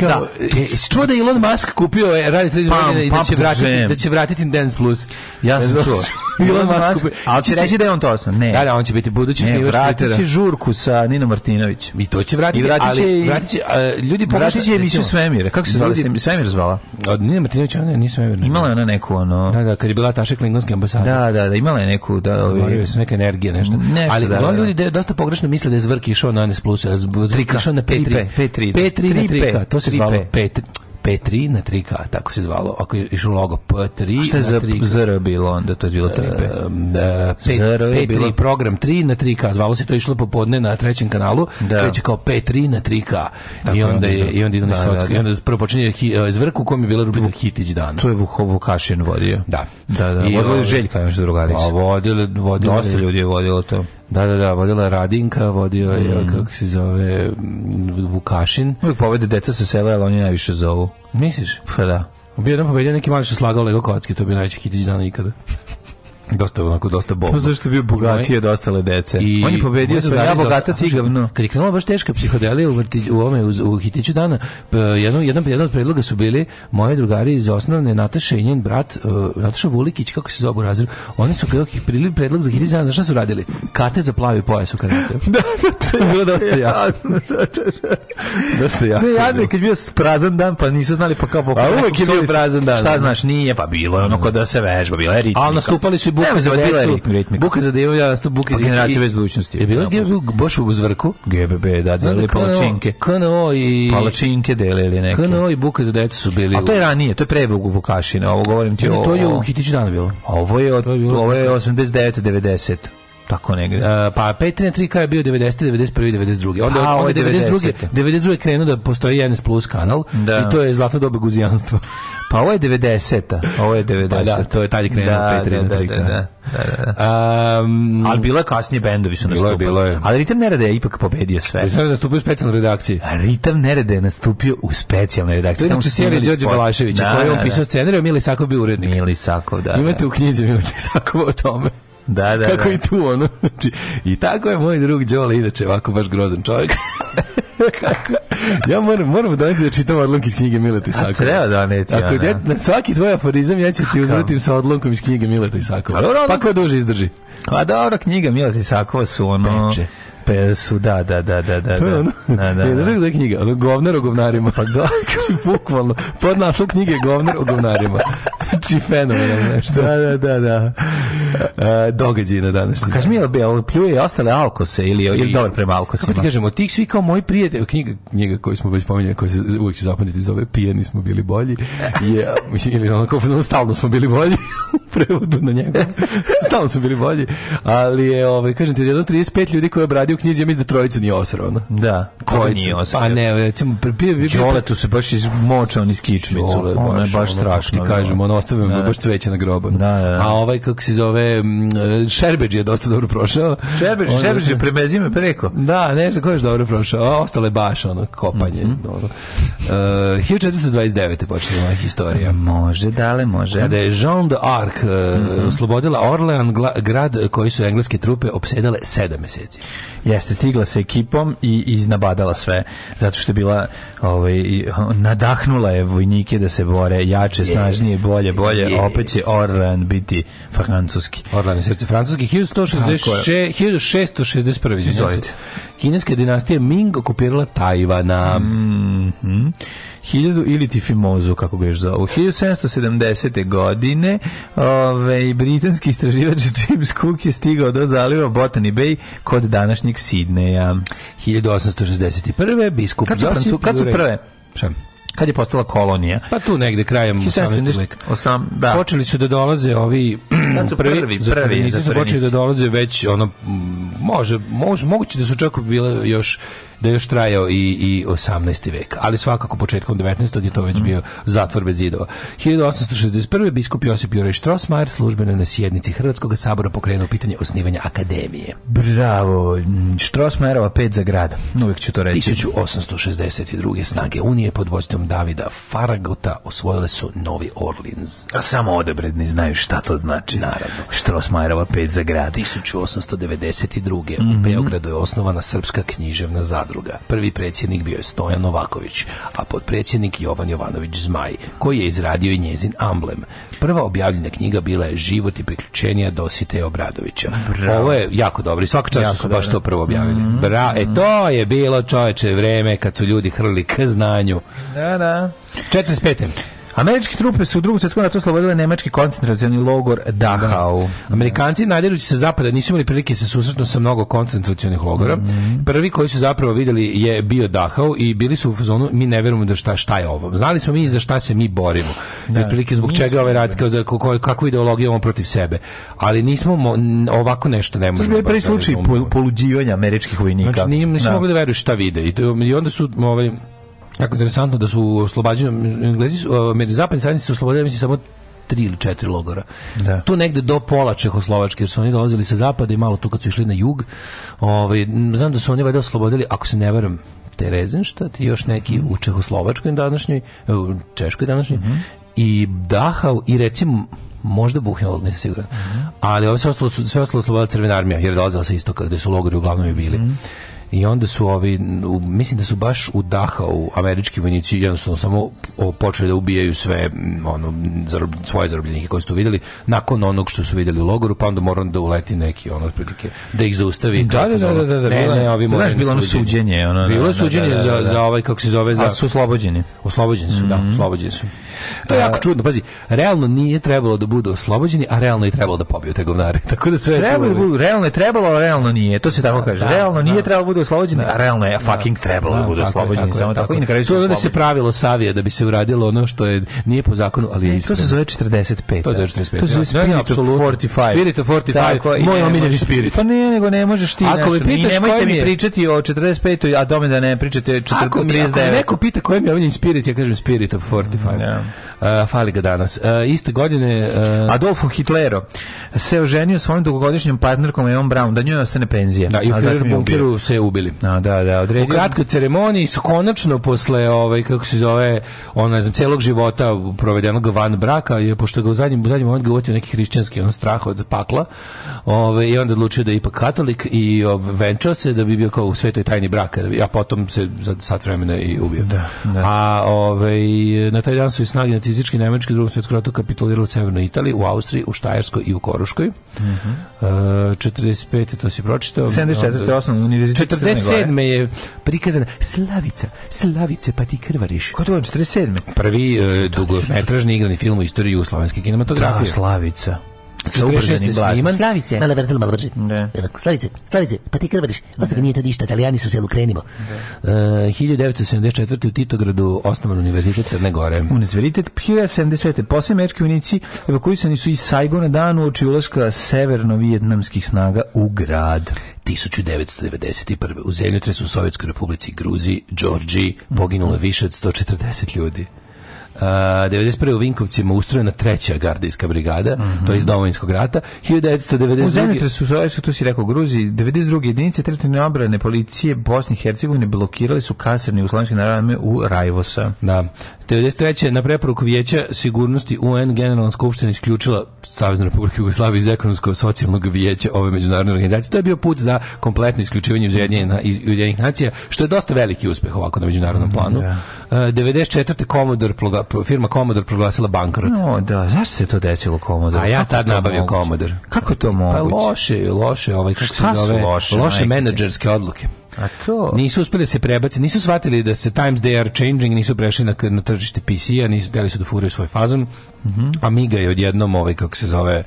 Kao, Da. e, si čuo da je Elon Musk kupio je radio televiziju Pam, i da pam će to vratiti jam. da će vratiti Dance Plus. Ja sam Ne znam, čuo. Elon Musk kupio. E, Ali će reći da je on to osnovno. Ne. Da, da, on će biti budući Ne, snivač vratit će Twittera. žurku sa Nino Martinović. I to će vratiti, I vratit će ali i- vratit će, a, ljudi Vratit će emisiju Svemire. Kako se zvala? Ljudi- Svemir- Svemir zvala. Od Nina Martinovića, ona nisam je Imala je ona neku ono... Da, da, kad je bila Taša Klingonski ambasada. Da, da, da, imala je neku... Da, Zaboravio ovi, sam neka energija, nešto. Nešto, Ali da, uglavnom da, da. ljudi de- dosta pogrešno misle da je Zvrk išao na NS Plus, a Zv- Zvrk Trika. išao na P3. Tripe, P3, da. P3 na Tripe, 3K, to se tripe. zvalo P3. P3 na 3K, tako se zvalo. Ako je išao logo P3 Šta je na za 3K. zr bilo onda? To je bilo tripe. Um, da, P, Zero je P3 bilo- program 3 na 3K, zvalo se to išlo popodne na trećem kanalu, Da. kreće kao P3 na 3K. I Tako, onda je onda i onda ide na da, Sotsko- da, da. i onda prvo počinje hi- eh, Zvrk u kom je bila rubrika Hitić dana. To je Vuho Vukašin vodio. Da. Da, da. I Vodilo je ovaj- Željka, još drugarica. Pa vodile, vodile, Dosta ljudi je vodilo to. Da, da, da, vodila je Radinka, vodio je, kako se zove, m, Vukašin. Uvijek povede deca sa sela, ali oni najviše zovu. Misliš? Pa da. Bio jedan pobedio neki mali što je slagao Lego kocke, to bi najveći hitić dana ikada. Dosta onako, dosta bolno. Pa zašto je bio bogatije od ostale dece? I On je pobedio moji sve, drugari ja za- bogata ti Slušaj, gavno. Kad je krenula baš teška psihodelija u, vrti, u, ovome, u, u hitiću dana, E, p- jedan, jedan, jedan od predloga su bili moji drugari iz osnovne, Nataša i njen brat, uh, Nataša Vulikić, kako se zove u razredu, oni su kada ih prilili predlog za hitiću dana, znaš šta su radili? Kate za plavi pojas u karate. da, to je bilo dosta jako. dosta jako. Ne, je jadno bilo. je kad je bio prazan dan, pa nisu znali pa kao... A uvek je bio solicu. prazan dan, Šta da. znaš, nije, pa bilo je ono ko da se vežba, bila je ritmika. A nastupali su i buke Nemoj za zabaviti, bila je decu. ritmika. Buke za decu, ja nastup buke. Pa generacija bez budućnosti. Je bilo je bio baš u zvrku. GBB, da, delili palačinke. KNO i... Palačinke delili neke. KNO i buke za decu su bili... A to je u- ranije, to je pre Vuku Vukašina, ovo govorim ti Ne, o... to je u Hitiću dana bilo. Ovo je, od, To je bilo- ovo je 89. 90. Tako negde. E, pa 5.3K je bio 90, 91, 92. Onda, A, Pa, ovo je onda 92. 90. 92. krenuo da postoji NS Plus kanal Da. i to je zlatno doba guzijanstva. Pa ovo je 90-a, ovo je 90-a. Pa da, to je tad je krenuo da, da, 5.3 da, na da, trik, da. da, da, da. Um, Ali bilo je kasnije bendovi su Bilo je, nastupali. bilo je. Ali Ritam Nerede je ipak pobedio sve. Znači da stupio u specijalnu redakciji. A Ritam Nerede je nastupio u specijalnoj To redakciji. je Tamo inače su serija snimili Đorđe spot. Balaševića, Da, koji je da, on da. pisao scenarij, a Mili Sakov bio urednik. Mili Sakov, da. Imate u knjizi Mili Sakova o tome. Da, da, Kako da. i tu ono. Znači, I tako je moj drug Đole, inače ovako baš grozan čovjek. Kako? Ja moram, moram doneti da čitam odlomke iz knjige Mileta Isakova. treba doneti, Ako ono. ja, na svaki tvoj aforizam ja ću ti uzvratim sa odlomkom iz knjige Mileta Isakova. A dobro, ono- Pa ko duže izdrži. A Pa dobro, knjiga Milata Isakova su ono... Peče. Pe, su, da, da, da, da, da. To je da. ono. Da, da, Je, znaš da. kako zove knjiga? Ono, govnar o govnarima. Pa da. Znači, bukvalno. Pod naslov knjige je govnar o govnarima. Znači, fenomenalno nešto. Da, da, da, da. E, događaj na današnji. Kaži mi, jel, bi- jel pljuje i ostale alkose ili, ili dobar prema Kako alkosima? ti kažemo, tih svi kao moji prijatelji, knjiga, knjiga koju smo već pominjali, koja se uvijek će zapamtiti zove Pijani smo bili bolji, je, mislim, ili onako, ono, stalno smo bili bolji, u prevodu na njega, stalno smo bili bolji, ali je, ovaj, kažem ti, od jedno 35 ljudi koji je obradio u knjizi, ja mislim da trojicu nije osrao, ono. Da, koji nije Pa Pa osjećao? ne, recimo, pre- bio bio- Đole tu se baš izmočao niz kičmicu. Ole, Ono je baš ono, kako strašno. Ti kažem, ono ostavio Da, me da. baš cveće na grobu. Da, da, da. A ovaj kako se zove mm, Šerbeđ je dosta dobro prošao. Ono, Šebrž, Onda- šebrž je premezi me preko. Da, nešto ko je još dobro prošao. A ostalo je baš ono kopanje. Mhm. ono. E, 1429. počinje moja historija. Može, dale, može. Kada je Jean d'Arc e, Mhm. oslobodila Orlean, gla- grad koji su engleske trupe opsedale sedam meseci. Jeste, stigla sa ekipom i iznabadala sve, zato što je bila, ovaj, i, nadahnula je vojnike da se bore jače, snažnije, bolje, bolje, jest. opet će Orlan biti francuski. Orlan je srce francuski. 1666, 1661. izvinjavam se. Izvolite. Kineska dinastija Ming okupirala Tajvana. Mhm. 1000 ili ti Fimozu, kako ga još zovu. 1770. godine ovaj, britanski istraživač James Cook je stigao do zaliva Botany Bay kod današnjeg Sidneja. 1861. biskup Kad su Josip Francu- kad su Jurek- prve? Šta? Kad je postala kolonija. Pa tu negde krajem 18. 1770, veka. osam- da. Počeli su da dolaze ovi Kad su prvi- prvi zatvorenici su zatvorenici? počeli da dolaze već ono m, može, može moguće da su čak bile još da je još trajao i, i 18. vek, ali svakako početkom 19. je to Mhm. već bio zatvor bez zidova. 1861. biskup Josip Juraj Štrosmajer službeno je na sjednici Hrvatskog sabora pokrenuo pitanje osnivanja akademije. Bravo, mm, Strossmayerova pet za grad. Uvijek ću to reći. 1862. snage Unije pod vojstvom Davida Faragota osvojile su Novi Orleans. A samo odebredni znaju šta to znači. Naravno. Strossmayerova pet za grad. 1892. u Beogradu je osnovana Srpska književna zadruga. Prvi predsjednik bio je Stojan Novaković, a podpredsjednik Jovan Jovanović Zmaj, koji je izradio i njezin amblem. Prva objavljena knjiga bila je Život i priključenja Dositeja Obradovića. Ovo je jako dobro i svaka čast što su baš to prvo objavili. Bra, e to je bilo čoveče vreme kad su ljudi hrli k znanju. Da, da. 45. Američke trupe su u drugom svjetskom ratu oslobodile nemački koncentracioni logor Dachau. Amerikanci nadirući se zapada nisu imali prilike se susretnu sa mnogo koncentracionih logora. Prvi koji su zapravo vidjeli je bio Dachau i bili su u fazonu mi ne verujemo da šta šta je ovo. Znali smo mi za šta se mi borimo. I otprilike zbog čega ovaj rad kao za ko- ko- kakvu ideologiju imamo protiv sebe. Ali nismo mo- n- ovako nešto ne To je možemo. bio baš prvi da slučaj razumemo. pol- poluđivanja američkih vojnika. Znači, nije, nisu Da. mogli da veruju šta vide. I, to- i onda su, ovaj, jako interesantno da su oslobađeni, Englezi su, ovaj, zapadni saveznici su oslobodili, mislim, samo tri ili četiri logora. Da. Tu negde do pola Čehoslovačke, jer su oni dolazili sa zapada i malo tu kad su išli na jug. Ovaj, m, znam da su oni valjda oslobodili, ako se ne varam, Terezenštad i još neki u Čehoslovačkoj današnjoj, e, u Češkoj današnjoj, i Dachau i recimo možda Buchenwald, nisam siguran. Ali ove sve ostalo, su- sve ostalo slobodala crvena armija, jer je dolazila sa istoka, gde su logori uglavnom i bili. I onda su ovi, u- mislim da su baš u Dachau američki vojnici jednostavno samo o- počeli da ubijaju sve mm, ono, zarob- svoje zarobljenike koje su tu vidjeli, nakon onog što su vidjeli u logoru, pa onda moram da uleti neki ono, otprilike, da ih zaustavi. Da, da, da, da, da, da, ono. ne, bilo je- ne, ovi znaš, moraju na bilo ono suđenje, ono, da, bilo da, je suđenje da, da, da, za, da. za ovaj, kako se zove, za... Ali su Mhm. E, oslobođeni. Oslobođeni su, da, oslobođeni su. To je jako čudno, pazi, realno nije trebalo da budu oslobođeni, a realno je trebalo da pobiju te govnare. Tako da sve je Trebalo je, tu- budu- realno je trebalo, a realno nije. To se tako kaže. da, realno znam. nije trebalo bude oslobođeni, a realno je fucking trebalo da Znam, bude tako je, oslobođeni. tako je, Samo tako i na kraju su To je onda se oslobođeni. pravilo savije da bi se uradilo ono što je nije po zakonu, ali je E, To ispravno. se zove 45. To se zove 45, To se zove da. Spirit Da, da, of apsolutno. 45. Spirit of 45, i moj ne omiljeni možeš- Spirit. Pa ne, nego ne možeš ti. Ako znaš, me ono, pitaš i nemojte koji mi mi je- pričati o 45. a dome da ne pričate Ako mi, ako me 39. neko pita koji mi je omiljen spirit, ja kažem Spirit of 45. Da. Uh, fali ga danas. Uh, iste godine... Uh, Adolfo Hitlero se oženio svojim dugogodišnjim partnerkom Evan Brown, da njoj ostane penzija. da, i u A zatim Führer je ubio. bunkeru se ubili. A, da, da, odredio. U kratkoj ceremoniji su konačno posle ovaj kako se zove, ono ne znam, celog života provedenog van braka, je pošto ga u zadnjem u zadnjem momentu ga uvatio neki hrišćanski on strah od pakla. Ovaj i onda odlučio da je ipak katolik i ovaj, venčao se da bi bio kao u svetoj tajni braka, da bi- a potom se za sat vremena i ubio. A ovaj na taj dan su i snage nacističke nemačke u drugom svjetskom ratu kapitulirale u severnoj Italiji, u Austriji, u Štajerskoj i u Koruškoj. E, 45. to si pročitao. 74. Onda- osnovni univerzitet Crne Gore. 47. je prikazana Slavica, Slavice, pa ti krvariš. Ko je to? 47. Prvi e, dugometražni igrani film u istoriji jugoslovenske Da, kinematografije. Slavica. Sa 46 ubrzanim sniman. blaznom. Slavice. Mala vrtala, malo brže. Da. Slavice, Slavice, pa ti krvariš. Osobi nije to ništa, italijani su selu krenimo. E, 1974. u Titogradu osnovan univerzitet Crne Gore. Univerzitet Pira 79. Posle američki vojnici evakuisani su iz Saigona dan uoči ulaska severno-vijetnamskih snaga u grad. 1991. u zemljotresu u Sovjetskoj republici Gruziji, Đorđiji, poginulo je više od 140 ljudi. Uh, 91. u Vinkovcima ustrojena treća gardijska brigada, to je iz domovinskog rata. 1992. U zemljotresu u Sovjetsku, tu si rekao, Gruziji, 92. jedinice teritorijalne obrane policije Bosne i Hercegovine blokirali su kasarne uslanske narame u Rajvosa. Da. 93. na preporuku Vijeća sigurnosti UN Generalna skupština isključila Saveznu Republiku Jugoslaviju iz ekonomsko-socijalnog vijeća ove međunarodne organizacije. To je bio put za kompletno isključivanje iz Ujedinjena- iz Ujedinjenih nacija, što je dosta veliki uspeh ovako na Mm, međunarodnom planu. E, 94. Commodore proga- pro- firma Commodore proglasila bankrot. No, da, zašto se to desilo Komodor? A ja tad nabavio Commodore. Kako je to Pa moguće? loše, je, loše, ovaj kako se Šta su zove, loše, majke loše ti? menadžerske odluke. A to? Nisu uspeli da se prebaciti, nisu shvatili da se times they are changing, nisu prešli na, na tržište PC-a, nisu htjeli su da furaju svoj fazon. Amiga je odjednom ovaj kako se zove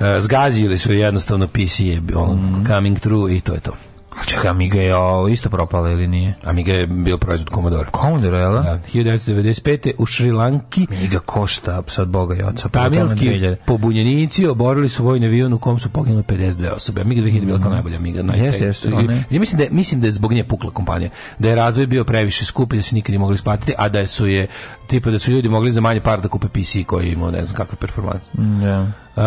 e, zgazili su je jednostavno PC je bio ono, coming through i to je to. A Čekaj, Amiga je ovo isto propala ili nije? Amiga je bio proizvod Commodore. Komodor, jel? da? Da, 1995. u Šrilanki Amiga košta sad Boga i oca. pa Tamilski tamo 2000. pobunjenici oborili su vojni avion u kom su poginule 52 osobe. Amiga 2000 je bila kao najbolja Amiga. Naj, Mhm. Jeste, jeste, ona je. ja mislim da je, mislim da je zbog nje pukla kompanija. Da je razvoj bio previše skup i da se nikad nije mogli isplatiti, a da su je tipa da su ljudi mogli za manje par da kupe PC koji je imao ne znam kakve performanse. Da. Um,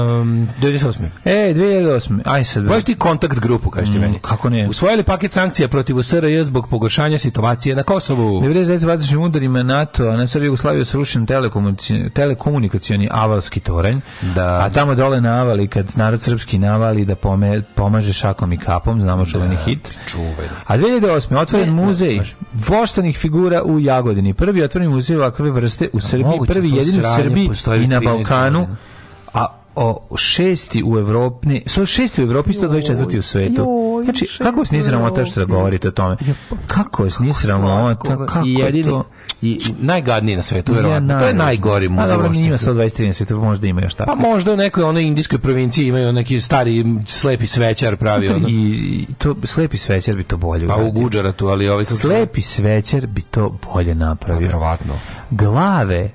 98. E, 2008. Aj sad. bre. Poješ ti kontakt grupu, kažeš ti meni. Mm, kako ne? Usvojili paket sankcija protiv SRJ zbog pogoršanja situacije na Kosovu. 99. vazdušnim udarima NATO na Srbiju Jugoslaviju srušen telekomunici- telekomunikacioni avalski toranj, Da. a tamo dole na avali, kad narod srpski navali da pome, pomaže šakom i kapom, znamo čuveni hit. Čuveni. A 2008. otvoren muzej voštanih figura u Jagodini. Prvi otvoren muzej ovakve vrste u Srbiji, moguće, prvi to jedini u sranje Srbiji postoji i na 13 Balkanu, godina. a o šesti u Evropi, ne, so- šesti u Evropi, 124. u svetu. Znači, kako vas nije sramota što da govorite o tome? pa Kako vas nije sramota? Kako I je jedini, to? i, i najgadniji na svetu, Ja, verovatno. to je naravno. najgori A muzej. dobro, uopšte. ima 123 na svetu, možda ima još Pa tako. možda u nekoj onoj indijskoj provinciji imaju neki stari slepi svećar pravi ono. I i to, slepi svećer bi to bolje Pa u uradio. Guđaratu, ali ovaj kako se- Slepi svećer bi to bolje Pa, napravio. Vjerovatno. glave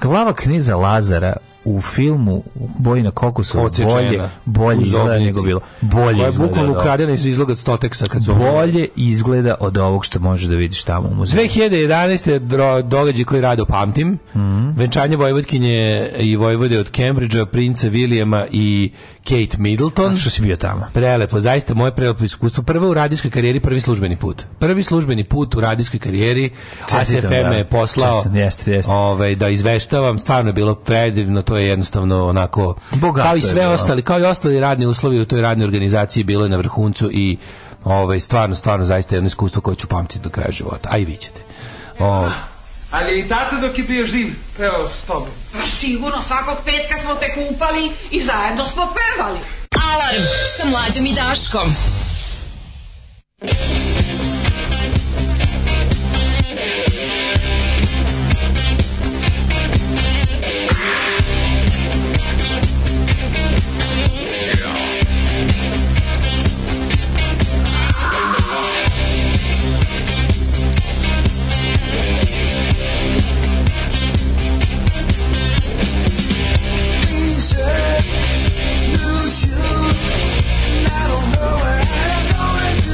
glava kneza Lazara u filmu Boji na kokosu Odsečena. bolje, bolje Uz izgleda obnici. nego bilo. Bolje Koja je izgleda bukvalno od ovog. ukradena iz izloga Stoteksa kad su bolje izgleda od ovog što možeš da vidiš tamo u muzeju. 2011. dro- događaj koji rado pamtim. Mhm. Venčanje Vojvodkinje i Vojvode od Cambridgea, princa Williama i Kate Middleton. Što si bio tamo? Prelepo, zaista moje prelepo iskustvo. Prvo u radijskoj karijeri, prvi službeni put. Prvi službeni put u radijskoj karijeri. ASFM Čestitam, me da. je poslao Čestitam, jeste, jeste. Ovaj, da izveštavam. Stvarno je bilo predivno, to je jednostavno onako... Bogato kao i je sve bilo. ostali, kao i ostali radni uslovi u toj radnoj organizaciji bilo je na vrhuncu i ovaj, stvarno, stvarno zaista jedno iskustvo koje ću pamtiti do kraja života. A i vi ćete. O, Ali i tata dok je bio živ, pevao s tobom. Sigurno svakog petka smo te kupali i zajedno smo pevali. Alarm sa mlađom i Daškom. lose you, and I don't know where I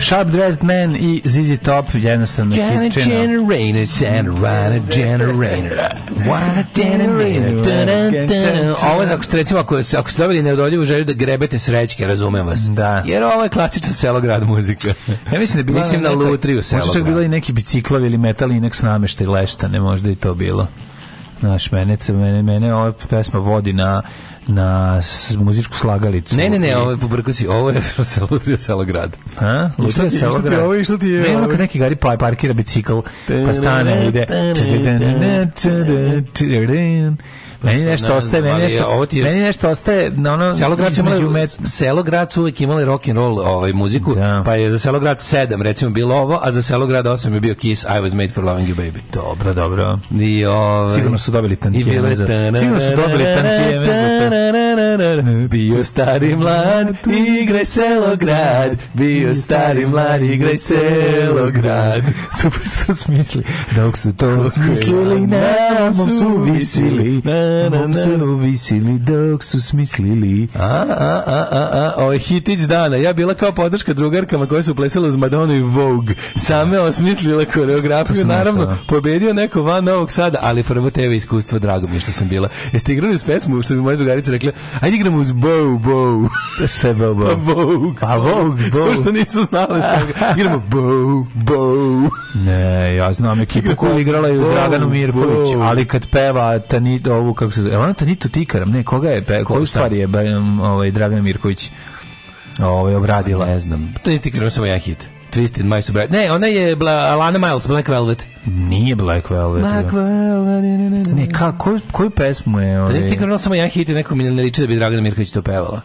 Sharp Dressed Man i ZZ Top jednostavno hitčina. Generator, Generator, Generator. Wanna generator. Dun, dun, dun. Ovo je, ako ste, recimo, ako, se- ako ste dobili neodoljivu želju da grebete srećke, razumem vas. Da. Jer ovo je klasična selograd muzika. Ja mislim da je bila Mislim na nekoj- Lutriju selo. Možda čak bilo i neki biciklovi ili metal inak s nameštaj leštane, možda i to bilo. Znaš, mene, mene, mene ova pesma vodi na, na s- muzičku slagalicu. Ne, ne, I- ne, ovo je pobrko si, ovo je sa Lutrija Selograd. A? Lutrija ti- i selo šta ti je ovo, i šta ti je Ne, ono ovo? kad neki gari pa parkira bicikl, pa stane i ide. Meni nešto ostaje, meni ali nešto, ovo ti je- meni nešto ostaje na ono Selograd su, imali, između met- Selograd su uvijek imali rock and roll ovaj, muziku, Da. pa je za Selograd 7 recimo bilo ovo, a za Selograd 8 je bio Kiss I was made for loving you baby. Dobro, dobro. I, ovaj, Sigurno su dobili I bilo tantijeme je za... Sigurno su dobili tantijeme za... to. tantijem. Bio stari mlad, igraj Selograd. Bio stari mlad, igraj Selograd. Super su smisli, dok su to smislili, na mom su visili, na mom su visili, dok su smislili. A, a, a, a, a, ovo je hitić dana. Ja bila kao podrška drugarkama koje su plesale uz Madonu i Vogue. Same osmislila To koreografiju, sam naravno, našao. pobedio neko van Novog Sada, ali prvo TV iskustvo, drago mi je što sam bila. Jeste igrali uz pesmu, što bi moje drugarice rekle, ajde igramo uz Bow, Bow. Šta je Bobo? Pa Vogue. Pa Vogue, Vogue. Samo što nisu znali šta igra- igramo Bow, Bow. Ne, ja znam ekipu koja je igrala i u Wow, Draganu Mirković, wow. ali kad peva Tanit, ovu, kako se zove, ona Tanito Tikaram, ne, koga je, pe, koju šta? stvar je be- um, ovaj, Dragan Mirković ovaj, obradila? Ne znam. To nije ti krenuo samo jedan hit. Twisted My Sobriety. Ne, ona je bila Alana Miles, Black Velvet. Nije Black Velvet. Black Velvet. ne, ne, ne. Ne, ka, koju, koju pesmu je? To Ovaj? nije ti krenuo samo jedan hit i neko mi ne liči da bi Dragana Mirković to pevala.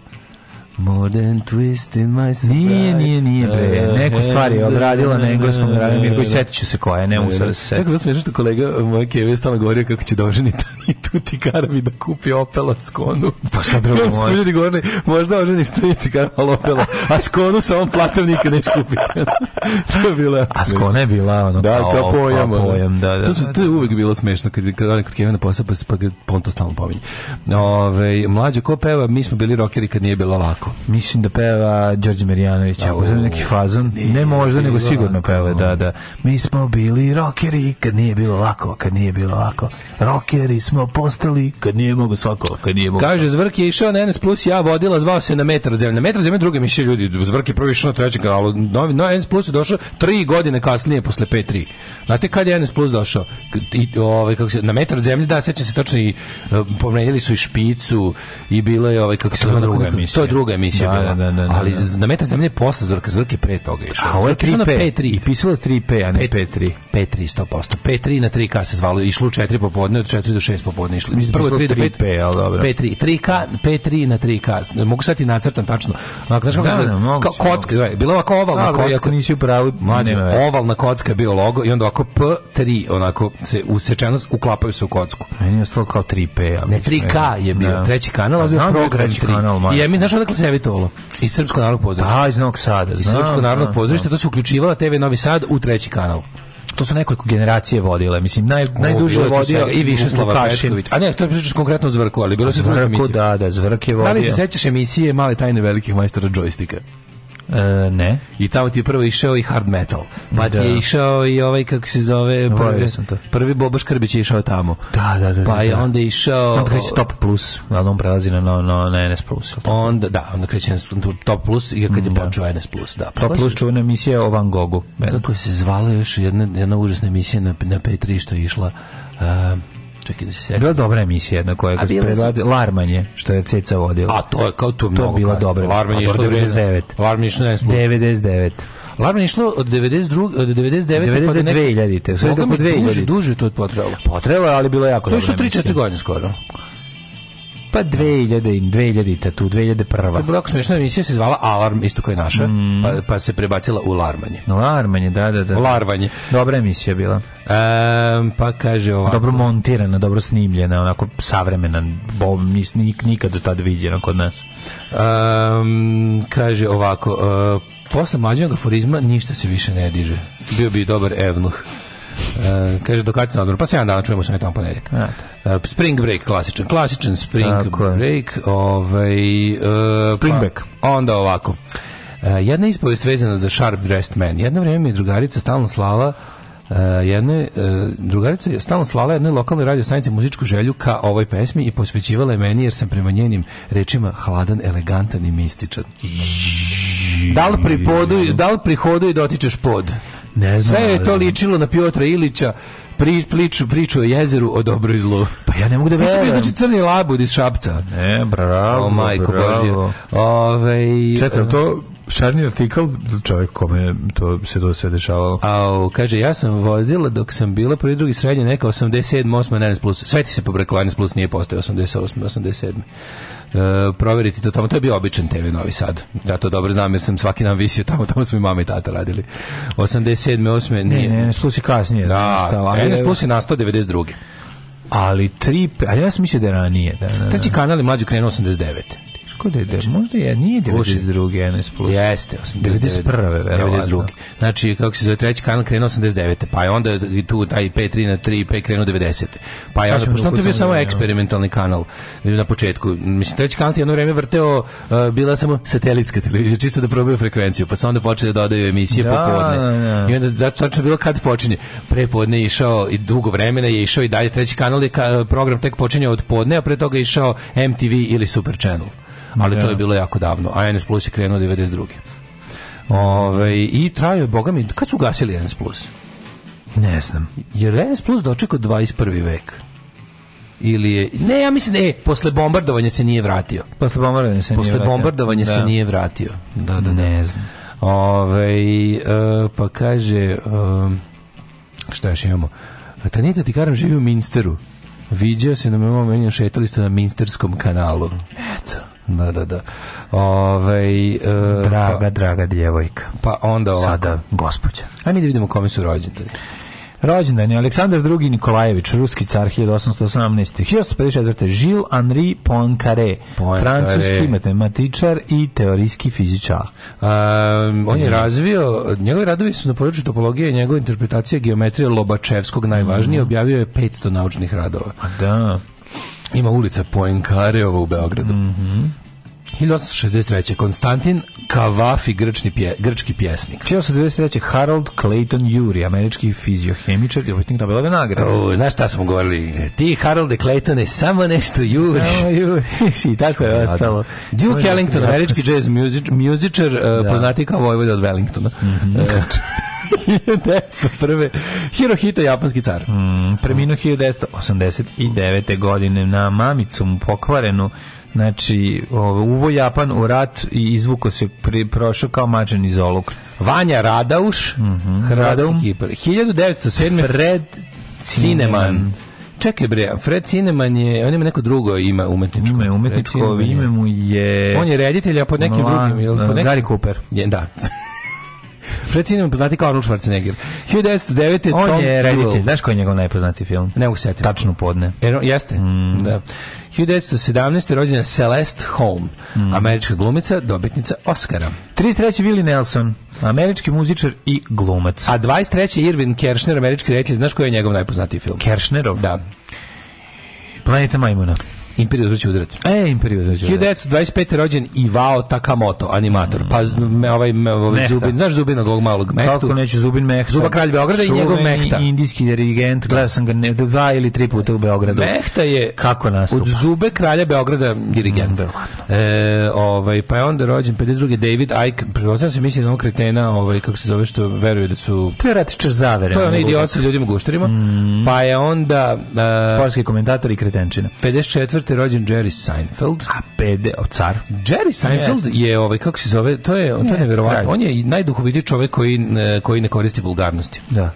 More than twisted my sobriety. Nije, nije, nije, bre. E, Neku stvar je obradila na engleskom Dragan Mirković, setit ću se koja je, ne mogu sad da se Kako setim. vas smiješno što kolega moj Keve je stalno govorio kako će doženiti i tu ti karam i da kupi Opela Skonu. Pa šta drugo Onda su može? ljudi govorili, možda oženiš ti ti karam, ali Opela, a Skonu sa ovom platom nikad neće kupiti. to je bilo jako A smešno. skona je bila ono Da, kao, pojam. ono. da, da. To, su, to je uvek bilo smešno kad, kad onaj kod Kevina posao, pa, se- pa, ga- pa on to stalno pominje. Ove, mlađe, ko peva, mi smo bili rockeri kad nije bilo lako. Mislim da peva Đorđe Mirjanović, ako znam neki fazon. Ne možda, nego bilo sigurno lako. peva, da, da. Mi smo bili rockeri kad nije bilo lako, kad nije bilo lako. Rockeri smo postali kad nije mogo svako, kad nije mogo Kaže, Zvrk je išao na NS Plus, ja vodila, zvao se na metar od zemlje. Na metar od zemlje druga mišlja ljudi, Zvrk je prvi išao na trećem kanalu, novi, no, NS Plus je došao tri godine kasnije, posle P3. Znate kad je NS Plus došao? K- I, ovaj, kako se, na metar od zemlje, da, sećam se točno i e, pomenjali su i špicu i bilo je, ovaj, kako E, se, To je onako druga neko- emisija. To je druga emisija Da, bila. da, da, da, da. Ali na metar od zemlje je posle Zvrka, Zvrk je pre toga išao. A ovo je Zvrk išao na 3P. P3. I pisalo je 3P, a ne P3. P3 100%. P3 na 3K se zvalo, išlo u 4 popodne, od 4 do 6 popodne išlo. Mislim da Prvo je 3 do pisalo 5. 3P, ali dobro. P3, 3K, P3 na 3K. Mogu sad i nacrtam tačno. Onako, znaš kako Da, se- da, kao moguće, kocka, gledaj, bila ovako ovalna Dobro, kocka. ako nisi u pravu, Mlađe, nema veze. ovalna kocka je bio logo i onda ovako P3, onako se usečeno uklapaju se u kocku. Meni je ostalo kao 3P. ali Ne, mislim, 3K je bio, da. treći kanal, A ali je znam da je program treći 3. kanal, I majko. ja mi, znaš odakle se javitolo? Iz Srpskog narodnog pozorišta. Da, Pa, iz Novog Sada. Iz znam, Srpskog znam, narodnog pozorišta, to se uključivala TV Novi Sad u treći kanal. To su nekoliko generacije vodile, mislim, naj, najduže Najduže je vodio i Višeslava Vukašin. Petković. A ne, to je pričaš konkretno o Zvrku, ali bilo se druga Zvrko, emisija. da, da, Zvrk je vodio. Da li se sećaš emisije Male tajne velikih majstora džojstika? E, ne. I tamo ti je prvo išao i hard metal. Pa ti Da. je išao i ovaj, kako se zove, prvi, Volio sam to. prvi Bobo Škrbić je išao tamo. Da, da, da, Pa da, je da. onda išao... Onda kreće Top Plus, ali on prelazi na, na, na, na NS Plus. jel tako? Onda, da, onda kreće na Top Plus i kad je počeo NS Plus. Da. Pa Top kako Plus se- čuvena emisija o Van Gogu. Ben. Kako se zvala još jedna, jedna užasna emisija na, na P3 što je išla... Uh, čekaj da se setim. Bila dobra emisija jedna koja A je bile su- prevadi Larmanje, što je Ceca vodila. A to je kao tu mnogo. bila kasnije. dobra. Larman je A išlo dobro, 99. 99. Larman je išlo 11 plus. 99. Larman je išlo od 92 od 99 pa do 92.000, sve Boga do mi, 2000. Duže, duže to je potrajalo. Potrebalo je, ali bilo je jako To je dobro. išlo 3-4 godine skoro. Pa 2000 i 2000 tu, To je 2001. bila jako smiješna emisija, se zvala Alarm, isto kao i naša, pa, pa se prebacila u Larmanje. Larmanje, da, da, da. Larvanje. Dobra emisija bila. Ehm, pa kaže ovako. Dobro montirana, dobro snimljena, onako savremena, bo, nis, nik, nikad tad viđena kod nas. Ehm, kaže ovako. e, posle mlađeg aforizma ništa se više ne diže. Bio bi dobar evnuh. E, kaže, do kada se odmor? Pa 7 dana čujemo se tamo ponedjeljak. Eto. E, spring break, klasičan. Klasičan spring Tako je. break. Ovaj, e, Spring pa break. Onda ovako. E, E, jedna ispovest vezana za Sharp Dressed Man. Jedno vrijeme mi je drugarica stalno slala Uh, jedne, e, drugarica je stalno slala jednoj lokalnoj radio stanici muzičku želju ka ovoj pesmi i posvećivala je meni jer sam prema njenim rečima hladan, elegantan i mističan. Da li, pripoduj, da li prihoduj dotičeš pod? Ne znam, Sve je to ali- ličilo na Piotra Ilića, pri, priču, priču o jezeru, o dobro i zlu. Pa ja ne mogu da Ti si bio, verujem. znači, crni labud iz Šapca. E, bravo, O, majko bravo. Božja. Ovaj, Čekaj, jel to šarni artikl čovjek kome to se to sve dešavalo. Au, kaže, ja sam vozila dok sam bila prvi drugi srednje, neka 87, 8, 11 plus. Sve ti se pobrkalo, 11 plus nije postao 88, 87. E, proveriti to tamo, to je bio običan TV Novi Sad. Ja to dobro znam jer sam svaki dan visio tamo, tamo smo i mama i tata radili. 87, 8, Ne, nije. ne, ne, plus i kasnije. Da, nastao, ali, 11 plus je nastao 92. e, ali tri, pe- ali ja sam mislio da je ranije. Da, da, da. Treći kanal je mlađu krenuo 89. Teško da je, da, možda znači, je, nije Slušaj. 92. NS plus. Jeste, 89. 91., verovatno. 92. Znači, kako se zove, treći kanal krenuo 89. Pa je onda i tu taj P3 na 3 P krenuo 90. Pa je Sad onda, ćemo pošto on to je bio ukucati, samo da, eksperimentalni kanal e, na početku. Mislim, treći kanal ti je jedno vreme vrteo, uh, bila samo satelitska televizija, čisto da probaju frekvenciju, pa su onda počeli da dodaju emisije Da, popodne. da, da. I onda zato tačno je bilo kad počinje. Prepodne je išao i dugo vremena je išao i dalje treći kanal je ka- program tek počinje od podne, a pre toga je išao MTV ili Super Channel. Ali to je bilo jako davno. A NS Plus je krenuo 92. Ove, I trajao je, boga mi, kad su gasili NS Plus? Ne znam. Jer NS Plus dočekao 21. vek. Ili je, ne, ja mislim, e, posle bombardovanja se nije vratio. Posle bombardovanja se nije Posle vratio. bombardovanja se Da. nije vratio. Da, da, da. Ne znam. Ove, pa kaže, um, šta još imamo? Tanita Tikaram živi u Minsteru. Viđao se na mojom menju šetali ste na Minsterskom kanalu. Eto. Da, da, da. Ove, Draga, draga djevojka. Pa, pa onda ovako. Sada, gospođa. Ajde mi da vidimo kome su rođendani. Rođendan je Aleksandar II. Nikolajević, ruski car 1818. 1854. Žil Henri Poincaré, Poincaré. francuski matematičar i teorijski fizičar. Um, on je razvio, njegovi radovi su na području topologije i njegove interpretacije geometrije Lobačevskog najvažnije, Mhm. objavio je 500 naučnih radova. Da. Ima ulica Poenkareova u Beogradu. 1863. Konstantin Kavafi, grčni pje, grčki pjesnik. 1893. Harold Clayton Urey, američki fiziohemičar i obitnik Nobelove nagrade. O, znaš šta smo govorili? Ti, Harolde Claytone, samo nešto juriš. Samo juriš I tako je ostalo. Duke Ellington, Ja, američki jazz muzič- muzičar, eh, poznati kao Vojvoda od Wellingtona. Eh, 1901. Hirohito, japanski car. Mm, Preminuo 1989. godine na mamicu mu pokvarenu Znači, ovo, uvo Japan u rat i izvuko se pri, prošao kao mađan iz oluk. Vanja Radauš, Mhm. hrvatski Radaum. kipar. 1907. Fred Cineman. Cineman. Čekaj bre, Fred Cineman je, on ima neko drugo ime umetničko. Ime Fred umetničko, Cineman je- ime mu je... On je reditelj, a pod nekim Mla- drugim, jel, pod nekim... Gary Cooper. Je, da. Fred Cineman poznati kao Arnold Schwarzenegger. 1909. On Tom je Cruise. reditelj. Znaš koji je njegov najpoznatiji film? Ne mogu se setiti. Tačno podne. Mhm. Jer on- jeste. Da. 1917. rođena Celeste Holm, Mhm. američka glumica, dobitnica Oscara. 33. Willie Nelson, američki muzičar i glumac. A 23. Irvin Kershner, američki reditelj, znaš koji je njegov najpoznatiji film? Kershnerov? Da. Planeta Majmuna. Imperiju zvuči udarac. E, Imperiju zvuči udarac. 1925. rođen Ivao Takamoto, animator. Pa z- me, ovaj, me, ovaj Mehta. Zubin, znaš Zubinog ovog malog mehtu? Kako neću Zubin Mehta. Zuba kralj Beograda i Čuveni njegov Mehta. indijski dirigent, gledao sam ga ne, dva ili tri puta u Beogradu. Mehta je Kako nastupa? Mm, od zube kralja Beograda dirigent. e, ovaj, pa je onda rođen 52. David Icke. Prepostavljam se misli na onog kretena, ovaj, kako se zove, što veruje da su... To je ratičar zavere. To je onaj ono, idiot sa ljudima gušterima. Mm. Pa je onda... e, Sportski komentator i kretenčina. 54. rođen Jerry Seinfeld. A pede, o car. Jerry Seinfeld je ovaj kako se zove, to je to je Jeste, neverovatno. kralj. On je i najduhovitiji čovjek koji ne- koji ne koristi vulgarnosti. Da.